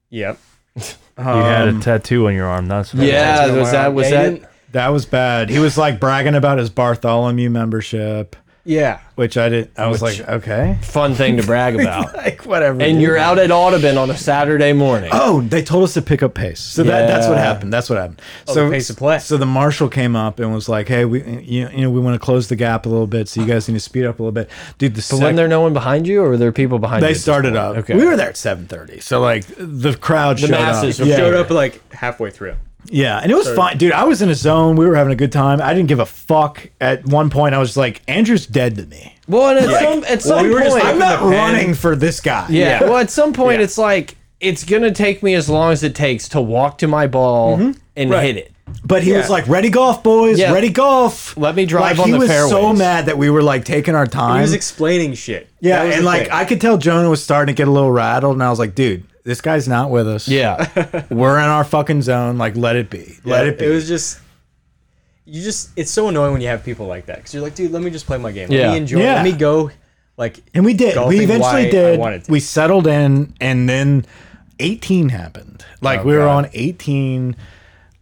Speaker 5: Yep.
Speaker 3: you had
Speaker 2: Um,
Speaker 3: a tattoo on your arm. That's what it was.
Speaker 1: Yeah, was that was
Speaker 5: Yeah, you
Speaker 1: that?
Speaker 5: didn't-
Speaker 2: Uh, That was bad. He was like bragging about his Bartholomew membership,
Speaker 5: Yeah.
Speaker 2: which I didn't. I was like, okay,
Speaker 1: fun thing to brag about.
Speaker 2: like whatever.
Speaker 1: and
Speaker 2: dude.
Speaker 1: you're out at Audubon on a Saturday morning.
Speaker 2: Oh, they told us to pick up pace. So that, that's what
Speaker 1: Yeah.
Speaker 2: happened. That's what happened. so
Speaker 5: Oh, the pace of play.
Speaker 2: So the marshal came up and was like, "Hey, we you, you know we want to close the gap a little bit. So you guys need to speed up a little bit, dude." The
Speaker 1: Wasn't
Speaker 2: sec-
Speaker 1: there no one behind you, or were there people behind you? at
Speaker 2: they
Speaker 1: this
Speaker 2: started
Speaker 1: point?
Speaker 2: up.
Speaker 1: Okay.
Speaker 2: We were there at seven thirty. So like the crowd
Speaker 1: The
Speaker 2: showed
Speaker 1: masses
Speaker 2: up.
Speaker 1: were-
Speaker 5: Showed up like halfway through.
Speaker 2: Yeah, and it was fine, dude. I was in a zone. We were having a good time. I didn't give a fuck. At one point, I was like, "Andrew's dead to me.
Speaker 1: Well, and at some at some
Speaker 5: we were just
Speaker 1: point,
Speaker 5: like-
Speaker 2: I'm not
Speaker 5: the pen.
Speaker 2: running for this guy."
Speaker 1: yeah. Well, at some point,
Speaker 2: Yeah.
Speaker 1: it's like it's gonna take me as long as it takes to walk to my ball and
Speaker 2: Mm-hmm. Right.
Speaker 1: hit it.
Speaker 2: but he was like, "Ready golf, boys.
Speaker 1: Yeah.
Speaker 2: Ready golf."
Speaker 1: Let me drive on
Speaker 2: like, he
Speaker 1: the
Speaker 2: was so
Speaker 1: fairways.
Speaker 2: mad that we were like taking our
Speaker 5: He
Speaker 2: time.
Speaker 5: was explaining shit.
Speaker 2: yeah,
Speaker 5: That was
Speaker 2: and
Speaker 5: the
Speaker 2: like
Speaker 5: thing.
Speaker 2: I could tell Jonah was starting to get a little rattled, and I was like, "Dude, this guy's not with us.
Speaker 1: Yeah.
Speaker 2: we're in our fucking zone. Like, let it be.
Speaker 5: Yeah,
Speaker 2: Let it be."
Speaker 5: was just you just it's so annoying when you have people like that because you're like, dude, let me just play my game. Let
Speaker 1: Yeah.
Speaker 5: me enjoy.
Speaker 2: Yeah.
Speaker 5: Let me go. Like
Speaker 2: and we did.
Speaker 5: golfing
Speaker 2: We
Speaker 5: why
Speaker 2: eventually
Speaker 5: I wanted
Speaker 2: did.
Speaker 5: to.
Speaker 2: We settled in, and then 18 happened. Like
Speaker 5: Oh,
Speaker 2: we were
Speaker 5: God.
Speaker 2: on 18.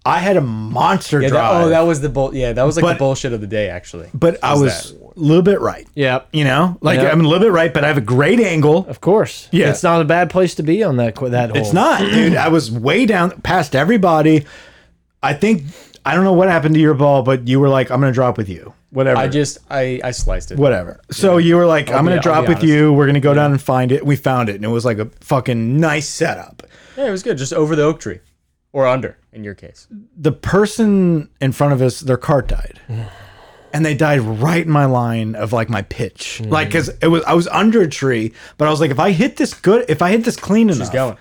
Speaker 2: I had a monster
Speaker 5: yeah, that,
Speaker 2: drive.
Speaker 5: oh, that was the bull. Yeah, that was like
Speaker 2: But-
Speaker 5: the bullshit of the day actually.
Speaker 2: but I
Speaker 5: was
Speaker 2: was a little bit right.
Speaker 1: yeah.
Speaker 2: You know, like
Speaker 1: Yeah.
Speaker 2: I'm a little bit right, but I have a great angle.
Speaker 1: Of course.
Speaker 2: Yeah.
Speaker 1: It's not a bad place to be on that qu- that hole.
Speaker 2: It's not, dude. I was way down past everybody. I think I don't know what happened to your ball, but you were like, "I'm gonna drop with you." Whatever.
Speaker 5: I just I I sliced it.
Speaker 2: whatever. So you were like, "I'm gonna
Speaker 1: I'll
Speaker 2: drop
Speaker 1: be
Speaker 2: with you. We're gonna go down and find it." We found it, and it was like a fucking nice setup.
Speaker 5: Yeah, it was good. Just over the oak tree, or under in your case.
Speaker 2: The person in front of us, their cart died. And they died right in my line of like my pitch,
Speaker 1: Mm.
Speaker 2: like because it was I was under a tree, but I was like, if I hit this good, if I hit this clean enough,
Speaker 5: Just going.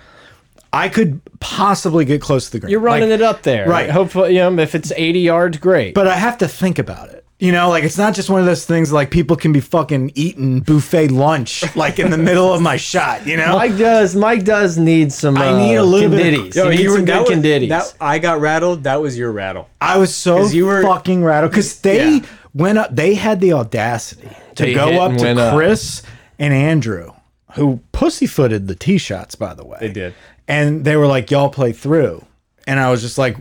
Speaker 2: I could possibly get close to the green.
Speaker 1: You're running
Speaker 2: Like,
Speaker 1: it up there.
Speaker 2: right.
Speaker 1: Hopefully, you know, if it's 80 yards, great.
Speaker 2: but I have to think about it. You know, like it's not just one of those things like people can be fucking eating buffet lunch like in the middle of my shot, you know?
Speaker 1: Mike does. Mike does need some.
Speaker 2: uh, I
Speaker 1: uh,
Speaker 2: need a little bit of-
Speaker 1: conditties. He needs some good
Speaker 5: was,
Speaker 1: conditties.
Speaker 5: that I got rattled. That was your rattle.
Speaker 2: I was so
Speaker 5: 'Cause you were-
Speaker 2: fucking rattled because they
Speaker 5: Yeah.
Speaker 2: went up, they had the audacity to
Speaker 1: They hit
Speaker 2: go up
Speaker 1: and went
Speaker 2: to
Speaker 1: up.
Speaker 2: Chris and Andrew, who pussyfooted the tee shots, by the way.
Speaker 5: They did.
Speaker 2: And they were like, y'all play through. And I was just like,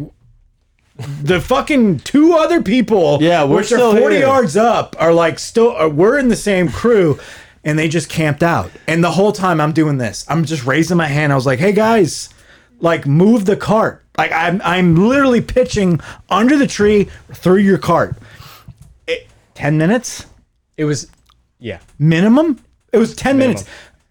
Speaker 2: the fucking two other people,
Speaker 1: Yeah, we're
Speaker 2: which are
Speaker 1: still
Speaker 2: 40
Speaker 1: here.
Speaker 2: yards up, are like still, are, we're in the same crew. And they just camped out. And the whole time I'm doing this, I'm just raising my hand. I was like, hey guys, like move the cart. Like I'm, I'm literally pitching under the tree through your cart. It- 10 minutes
Speaker 5: It was. Yeah,
Speaker 2: minimum. It was 10 minutes.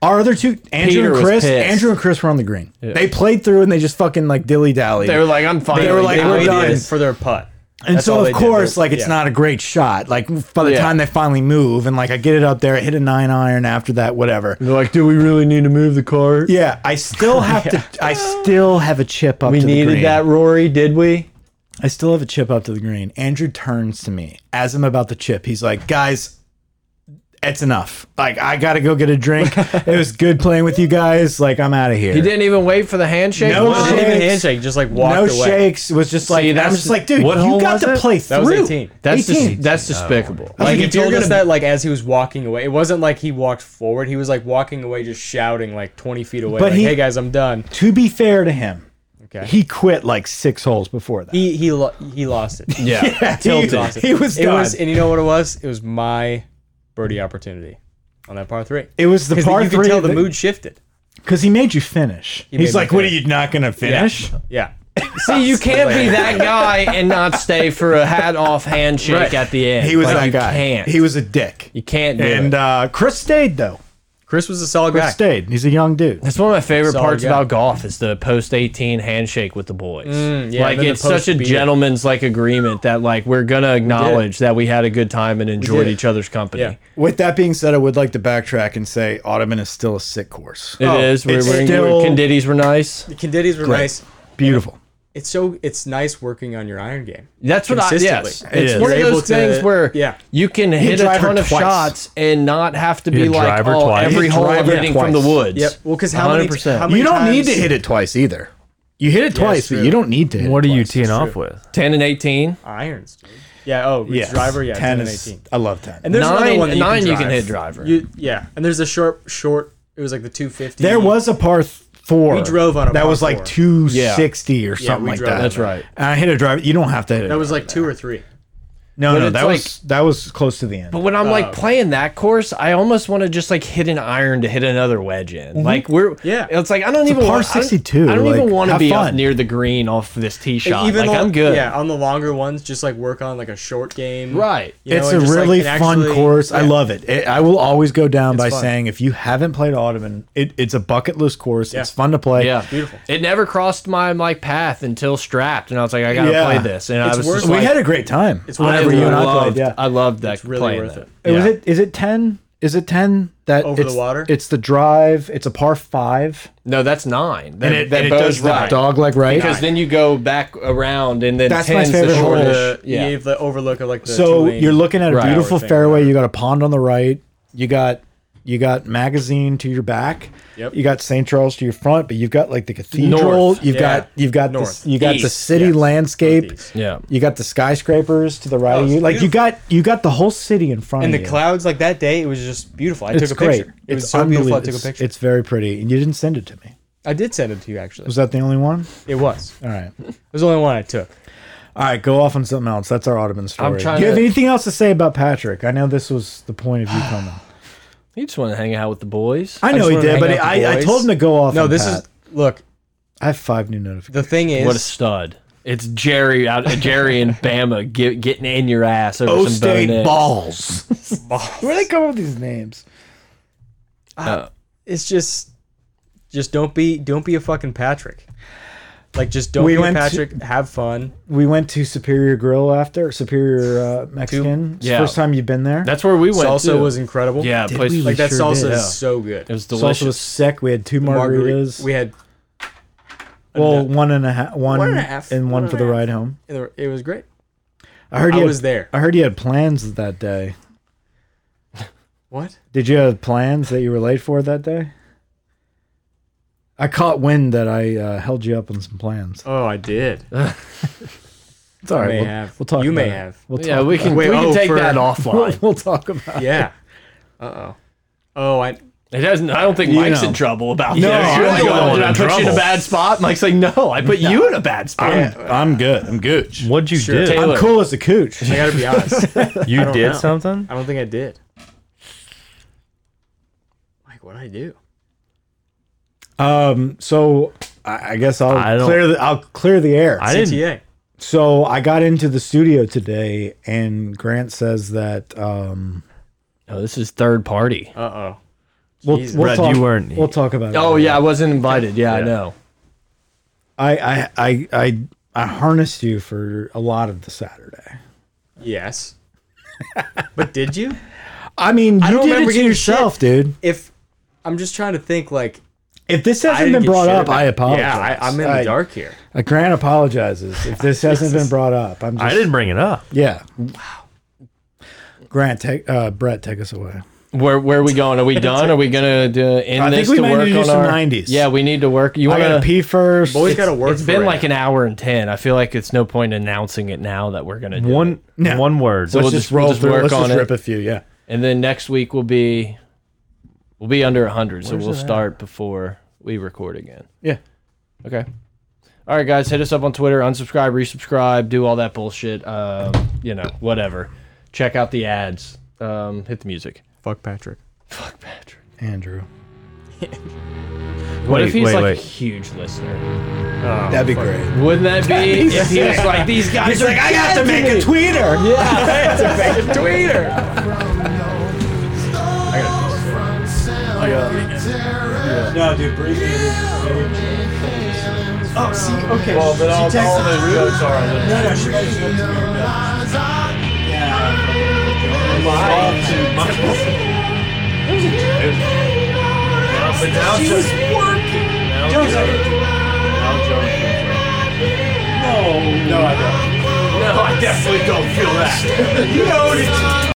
Speaker 2: Our other two, Andrew
Speaker 1: Peter
Speaker 2: and
Speaker 1: was
Speaker 2: Chris,
Speaker 1: pissed.
Speaker 2: Andrew and Chris were on the green. They played through and they just fucking like dilly dally.
Speaker 1: they were like, "I'm fine."
Speaker 2: They were like, "Oh."
Speaker 5: they
Speaker 2: we're
Speaker 5: waited
Speaker 2: done.
Speaker 5: for their putt.
Speaker 2: And
Speaker 5: That's
Speaker 2: so
Speaker 5: all
Speaker 2: of
Speaker 5: they did.
Speaker 2: course,
Speaker 5: They-
Speaker 2: like it's
Speaker 5: yeah.
Speaker 2: not a great shot. Like by the
Speaker 1: Yeah.
Speaker 2: time they finally move, and like I get it up there, I hit a nine iron after that, whatever.
Speaker 1: They're like, "Do we really need to move the cart?"
Speaker 2: Yeah, I still have to. I still have a chip up.
Speaker 1: We
Speaker 2: to the green.
Speaker 1: needed that, Rory. Did we?
Speaker 2: I still have a chip up to the green. Andrew turns to me as I'm about to chip. He's like, guys, it's enough. Like, I got to go get a drink. it was good playing with you guys. Like, I'm out of here.
Speaker 1: He didn't even wait for the handshake.
Speaker 2: No
Speaker 1: Wow.
Speaker 5: Didn't even
Speaker 2: shakes.
Speaker 5: handshake. Just like walked
Speaker 2: No
Speaker 5: away.
Speaker 2: shakes. It was just like, I'm
Speaker 1: that's-
Speaker 2: just like, dude,
Speaker 3: what
Speaker 2: you
Speaker 3: hole
Speaker 2: got
Speaker 3: was
Speaker 2: to
Speaker 3: it?
Speaker 2: play
Speaker 5: That
Speaker 2: through.
Speaker 5: was 18.
Speaker 1: That's just,
Speaker 2: 18.
Speaker 1: that's despicable.
Speaker 2: Like,
Speaker 5: Like
Speaker 2: he
Speaker 5: he told
Speaker 2: told
Speaker 5: us
Speaker 2: him-
Speaker 5: that like as he was walking away. It wasn't like he walked forward. He was like walking away, just shouting like twenty feet away.
Speaker 2: But
Speaker 5: like,
Speaker 2: he-
Speaker 5: hey guys, I'm done.
Speaker 2: to be fair to him,
Speaker 5: Okay.
Speaker 2: he quit like six holes before that.
Speaker 5: He he lo- he lost it. Yeah,
Speaker 2: yeah,
Speaker 5: he
Speaker 2: tilted.
Speaker 5: lost it.
Speaker 2: He, was
Speaker 5: It
Speaker 2: done.
Speaker 5: was, and you know what it was? It was my birdie opportunity on that par three.
Speaker 2: It was the
Speaker 5: Because
Speaker 2: par
Speaker 5: you
Speaker 2: three.
Speaker 5: could tell the mood shifted.
Speaker 2: Because he made you finish.
Speaker 5: made
Speaker 2: He's
Speaker 5: me
Speaker 2: like, what are
Speaker 5: finish.
Speaker 2: you not going to finish?
Speaker 5: Yeah.
Speaker 1: See, you can't be that guy and not stay for a hat off handshake
Speaker 5: Right.
Speaker 1: at the end.
Speaker 2: He was
Speaker 1: Like,
Speaker 2: that
Speaker 1: you
Speaker 2: guy.
Speaker 1: Can't.
Speaker 2: He was a dick.
Speaker 1: you can't do
Speaker 2: And
Speaker 1: it.
Speaker 2: uh, Chris stayed, though.
Speaker 5: Chris was a solid
Speaker 2: Chris
Speaker 5: guy.
Speaker 2: stayed. He's a young dude.
Speaker 1: That's one of my favorite
Speaker 5: Solid
Speaker 1: parts
Speaker 5: guy.
Speaker 1: about golf is the post eighteen handshake with the boys.
Speaker 5: Mm, yeah,
Speaker 1: like
Speaker 5: and then the
Speaker 1: it's such a
Speaker 5: post-beer.
Speaker 1: gentleman's like agreement that like we're gonna acknowledge that we had a good time and enjoyed
Speaker 5: did.
Speaker 1: each other's company.
Speaker 5: Yeah.
Speaker 2: With that being said, I would like to backtrack and say Ottoman is still a sick course.
Speaker 1: It
Speaker 5: Oh,
Speaker 1: is. We're,
Speaker 2: it's
Speaker 1: we're,
Speaker 2: still-
Speaker 1: we're Conditties were nice.
Speaker 5: The Conditties were
Speaker 2: Great.
Speaker 5: nice.
Speaker 2: Beautiful.
Speaker 5: It's so it's nice working on your iron game.
Speaker 1: That's what I
Speaker 5: Consistently.
Speaker 1: yes.
Speaker 5: It
Speaker 1: it's
Speaker 2: is.
Speaker 1: one of
Speaker 5: You're able
Speaker 1: those things
Speaker 5: to-
Speaker 1: where
Speaker 5: yeah.
Speaker 1: you can hit a
Speaker 2: drive her
Speaker 1: ton of
Speaker 2: twice.
Speaker 1: shots and not have to be
Speaker 3: hit
Speaker 1: like
Speaker 3: driver
Speaker 1: oh
Speaker 3: twice.
Speaker 1: every
Speaker 2: You
Speaker 1: hole
Speaker 2: drive
Speaker 1: I'm
Speaker 2: her
Speaker 1: hitting from the
Speaker 2: twice.
Speaker 1: woods.
Speaker 5: Yep. Well, because how many?
Speaker 1: 100%.
Speaker 5: How many
Speaker 2: You don't need to
Speaker 5: times-
Speaker 2: hit it twice either. You hit it twice, but
Speaker 5: true.
Speaker 2: you don't need to. Hit
Speaker 3: What
Speaker 2: it
Speaker 3: are you
Speaker 2: twice.
Speaker 3: teeing off with?
Speaker 1: Ten and eighteen.
Speaker 5: irons, dude. Yeah. Oh, it's
Speaker 2: Yes.
Speaker 5: driver. Yeah.
Speaker 2: 10
Speaker 5: 10 and
Speaker 2: is-
Speaker 5: 18.
Speaker 2: I love ten.
Speaker 5: And there's another
Speaker 1: Nine-
Speaker 5: one that you
Speaker 1: nine
Speaker 5: can
Speaker 1: you can
Speaker 5: drive.
Speaker 1: hit driver.
Speaker 5: You, yeah, and there's a short, short. It was like the 250.
Speaker 2: there
Speaker 1: Mm-hmm.
Speaker 2: was a par th- four.
Speaker 5: We drove on a
Speaker 2: that
Speaker 5: par
Speaker 2: was like
Speaker 5: four.
Speaker 2: two sixty or something
Speaker 5: we
Speaker 2: like
Speaker 5: drove
Speaker 2: that.
Speaker 5: on
Speaker 1: That's right.
Speaker 2: And I hit a drive. You don't have to. Hit
Speaker 5: That was like two or three.
Speaker 2: No,
Speaker 1: But
Speaker 2: no,
Speaker 1: it's
Speaker 2: that
Speaker 1: like-
Speaker 2: was that was close to the end.
Speaker 1: But when I'm
Speaker 2: Oh.
Speaker 1: like playing that course, I almost want to just like hit an iron to hit another wedge in. Like we're
Speaker 5: Yeah.
Speaker 1: It's like I don't
Speaker 2: Mm-hmm. It's a
Speaker 1: even
Speaker 2: par
Speaker 1: want- I don't-
Speaker 2: 62,
Speaker 1: I don't even
Speaker 2: like,
Speaker 1: want to
Speaker 2: have
Speaker 1: be up
Speaker 2: fun. E-
Speaker 1: near the green off this tee shot.
Speaker 5: Even
Speaker 1: like
Speaker 5: on-
Speaker 1: I'm good.
Speaker 5: Yeah, on the longer ones, just like work on like a short game.
Speaker 1: Right.
Speaker 5: you know,
Speaker 2: it's
Speaker 5: and
Speaker 2: a
Speaker 5: just, like,
Speaker 2: really
Speaker 5: and
Speaker 2: fun
Speaker 5: actually-
Speaker 2: course. I
Speaker 5: yeah.
Speaker 2: love it. It- I will always go down by
Speaker 5: fun.
Speaker 2: saying if you haven't played Ottoman, it, it's a bucket list course. It's fun to play.
Speaker 1: Yeah,
Speaker 5: beautiful.
Speaker 1: It never crossed my like path until strapped, and I was like, I gotta
Speaker 2: Yeah.
Speaker 1: play this, and I
Speaker 5: It's
Speaker 1: was
Speaker 5: worth
Speaker 1: just
Speaker 2: we
Speaker 1: like,
Speaker 2: had a great time. It's
Speaker 5: worth
Speaker 1: I
Speaker 5: whenever
Speaker 2: whenever
Speaker 5: it.
Speaker 2: you and I
Speaker 1: loved,
Speaker 2: played. Yeah,
Speaker 1: I loved that.
Speaker 5: really
Speaker 1: playing
Speaker 5: worth
Speaker 1: that.
Speaker 5: it.
Speaker 2: It Was
Speaker 1: Yeah.
Speaker 2: it? Is it ten? Is it ten? That
Speaker 5: Over the
Speaker 2: it's-
Speaker 5: water?
Speaker 2: It's the drive. It's a par five,
Speaker 1: No, that's nine. That, that
Speaker 2: and
Speaker 1: bow's right.
Speaker 2: dog leg right.
Speaker 1: because then you go back around, and then
Speaker 2: That's my
Speaker 1: 10's the
Speaker 2: favorite hole.
Speaker 5: Or
Speaker 1: shortest.
Speaker 5: the,
Speaker 1: Yeah.
Speaker 5: you have the overlook of like the
Speaker 2: so
Speaker 5: Tulane.
Speaker 2: you're looking at a
Speaker 1: Right.
Speaker 2: beautiful
Speaker 5: Tower thing,
Speaker 2: fairway. You got a pond on the right. You got you got magazine to your back.
Speaker 5: Yep.
Speaker 2: You got St. Charles to your front, but you've got like the cathedral.
Speaker 1: North.
Speaker 2: You've
Speaker 5: Yeah.
Speaker 2: got you've got the-
Speaker 5: North.
Speaker 2: you got the
Speaker 1: East.
Speaker 2: city
Speaker 5: Yes.
Speaker 2: landscape.
Speaker 5: Northeast.
Speaker 1: Yeah.
Speaker 2: You got the skyscrapers to the right.
Speaker 5: Oh,
Speaker 2: of
Speaker 5: it's
Speaker 2: you like you
Speaker 5: beautiful.
Speaker 2: got you got the whole city in front
Speaker 5: and
Speaker 2: of
Speaker 5: the
Speaker 2: you.
Speaker 5: clouds like that day, it was just beautiful. I
Speaker 2: It's
Speaker 5: took a
Speaker 2: great.
Speaker 5: picture. It was
Speaker 2: It's
Speaker 5: so beautiful. I took
Speaker 2: unbelievable.
Speaker 5: a
Speaker 2: It's-
Speaker 5: picture.
Speaker 2: It's very pretty, and you didn't send it to me.
Speaker 5: I did send it to you actually.
Speaker 2: Was that the only one?
Speaker 5: It was.
Speaker 2: All right.
Speaker 5: It was the only one I took.
Speaker 2: All right, go off on something else. That's our Ottoman story.
Speaker 1: I'm trying
Speaker 2: Do you have
Speaker 1: to-
Speaker 2: anything else to say about Patrick? I know this was the point of you coming.
Speaker 1: You just want to hang out with the boys.
Speaker 2: I
Speaker 5: I
Speaker 2: know
Speaker 5: just
Speaker 2: he
Speaker 5: wanted to
Speaker 2: did,
Speaker 5: hang
Speaker 2: but
Speaker 5: out with the
Speaker 2: I, I
Speaker 5: boys.
Speaker 2: told him to go off.
Speaker 5: No,
Speaker 2: on
Speaker 5: this
Speaker 2: Pat.
Speaker 5: is look.
Speaker 2: I have five new notifications.
Speaker 5: The thing is,
Speaker 1: What a stud! It's Jerry out, Jerry and Bama get, getting in your ass over some bonus.
Speaker 2: balls. Where they come up with these names?
Speaker 5: it's just just don't be don't be a fucking Patrick. Like just don't
Speaker 2: We
Speaker 5: be a
Speaker 2: went to-
Speaker 5: Patrick. have fun.
Speaker 2: We went to Superior Grill after Superior uh, Mexican. It's the
Speaker 1: Yeah.
Speaker 2: First time you've been there.
Speaker 1: That's where we went.
Speaker 5: salsa
Speaker 1: too.
Speaker 5: was incredible.
Speaker 1: yeah,
Speaker 2: Did
Speaker 1: place,
Speaker 2: we-
Speaker 5: like that
Speaker 2: sure
Speaker 5: salsa
Speaker 2: did.
Speaker 5: is
Speaker 2: Yeah.
Speaker 5: so good.
Speaker 1: it was
Speaker 2: Salsa was
Speaker 1: delicious.
Speaker 2: sick. We had two margaritas.
Speaker 5: We had
Speaker 2: well, one and a half, one
Speaker 5: One and a half.
Speaker 2: and one,
Speaker 5: One
Speaker 2: for
Speaker 5: and a
Speaker 2: the
Speaker 5: half.
Speaker 2: ride home.
Speaker 5: it was great.
Speaker 2: I heard
Speaker 5: I
Speaker 2: you had-
Speaker 5: was there.
Speaker 2: I heard you had plans that day.
Speaker 5: What?
Speaker 2: Did you have plans that you were late for that day? I caught wind that I uh, held you up on some plans.
Speaker 5: Oh, I did.
Speaker 2: It's all right.
Speaker 5: may
Speaker 2: we'll,
Speaker 5: have.
Speaker 2: we'll talk.
Speaker 5: You
Speaker 2: about
Speaker 5: may
Speaker 2: it.
Speaker 5: have.
Speaker 2: We'll talk
Speaker 1: Yeah, we
Speaker 2: about
Speaker 1: can
Speaker 2: it.
Speaker 5: Wait,
Speaker 1: we can
Speaker 5: oh,
Speaker 1: take
Speaker 5: for-
Speaker 1: that
Speaker 2: We'll,
Speaker 1: offline.
Speaker 2: we'll talk about. it.
Speaker 5: Yeah. Uh oh. Oh, I
Speaker 1: It doesn't. I don't think
Speaker 2: You
Speaker 1: Mike's
Speaker 2: know.
Speaker 1: in trouble about
Speaker 2: No,
Speaker 1: this. You're
Speaker 2: I'm
Speaker 1: the
Speaker 2: the
Speaker 1: one.
Speaker 2: one
Speaker 1: Did I
Speaker 3: in
Speaker 1: put you in a
Speaker 3: trouble.
Speaker 1: bad spot? Mike's like, no, I put you in a bad spot.
Speaker 2: I'm good. I'm good.
Speaker 3: What'd you
Speaker 5: Sure.
Speaker 3: do?
Speaker 1: Taylor.
Speaker 2: I'm cool as a cooch.
Speaker 5: I gotta be honest. I
Speaker 3: You did
Speaker 5: know.
Speaker 3: something?
Speaker 5: don't think I did. Like what I do?
Speaker 2: Um, so I, I guess I'll
Speaker 3: I don't-
Speaker 2: clear the I'll clear the air.
Speaker 3: I didn't.
Speaker 5: CTA.
Speaker 2: so I got into the studio today, and Grant says that um,
Speaker 1: No, this is third party.
Speaker 5: Uh oh.
Speaker 2: we'll,
Speaker 5: Jesus.
Speaker 2: we'll
Speaker 3: Brad,
Speaker 2: talk,
Speaker 3: you weren't-
Speaker 2: We'll talk about it.
Speaker 1: Oh
Speaker 2: later.
Speaker 1: yeah, I wasn't invited. Yeah, I
Speaker 3: Yeah.
Speaker 1: know.
Speaker 2: I I I I, I harnessed you for a lot of the Saturday.
Speaker 5: Yes. but did you?
Speaker 2: I mean, you
Speaker 5: don't
Speaker 2: did
Speaker 5: remember
Speaker 2: it to
Speaker 5: getting
Speaker 2: yourself, dude.
Speaker 5: If I'm just trying to think, like
Speaker 2: If this
Speaker 5: I
Speaker 2: hasn't
Speaker 5: didn't
Speaker 2: been
Speaker 5: get
Speaker 2: brought
Speaker 5: shit
Speaker 2: up,
Speaker 5: about-
Speaker 2: I apologize.
Speaker 5: Yeah, I, I'm in
Speaker 2: I-
Speaker 5: the dark here.
Speaker 2: uh, Grant apologizes if this hasn't been brought up. I'm just,
Speaker 3: I didn't bring it up.
Speaker 2: Yeah. Wow. Grant, take uh, Brett, take us away.
Speaker 1: Where where are we going? Are we done? Are we gonna do, end
Speaker 2: I think
Speaker 1: this
Speaker 2: we
Speaker 1: to
Speaker 2: might
Speaker 1: work
Speaker 2: need to do
Speaker 1: on
Speaker 2: some
Speaker 1: our
Speaker 2: 90s.
Speaker 1: Yeah, we need to work. You
Speaker 2: I
Speaker 1: want
Speaker 2: gotta pee first.
Speaker 5: Boys got to work.
Speaker 1: It's
Speaker 5: for
Speaker 1: been
Speaker 5: it.
Speaker 1: like an hour and ten. I feel like it's no point announcing it now that we're gonna do it.
Speaker 3: One
Speaker 2: No.
Speaker 3: one word.
Speaker 1: So
Speaker 2: Let's
Speaker 1: we'll
Speaker 2: just
Speaker 1: just- we'll
Speaker 2: roll
Speaker 1: just
Speaker 2: through.
Speaker 1: work
Speaker 2: Let's
Speaker 1: on
Speaker 2: just
Speaker 1: it.
Speaker 2: rip a few. Yeah.
Speaker 1: and then next week will be we'll be under hundred, so we'll start before we record again.
Speaker 2: Yeah.
Speaker 1: Okay. All right, guys, hit us up on Twitter, unsubscribe, resubscribe, do all that bullshit. Um, you know, whatever. Check out the ads. Um, hit the music.
Speaker 5: fuck Patrick.
Speaker 1: Fuck Patrick.
Speaker 2: Andrew.
Speaker 1: What
Speaker 3: Wait,
Speaker 1: if he's
Speaker 3: wait,
Speaker 1: like
Speaker 3: wait.
Speaker 1: a huge listener?
Speaker 2: That'd be great.
Speaker 1: Wouldn't that be if he was like, these guys are
Speaker 2: I got to make a tweeter.
Speaker 5: Tweeter.
Speaker 4: No, dude, breathe in.
Speaker 2: Oh, see, okay.
Speaker 4: Well, but all, all those jokes are a little.
Speaker 2: no, she texts
Speaker 4: Yeah. It's all too much. Now- But now she was working. Now Joey. Now Joey. No. No, I don't. No, I definitely don't feel that. you know it.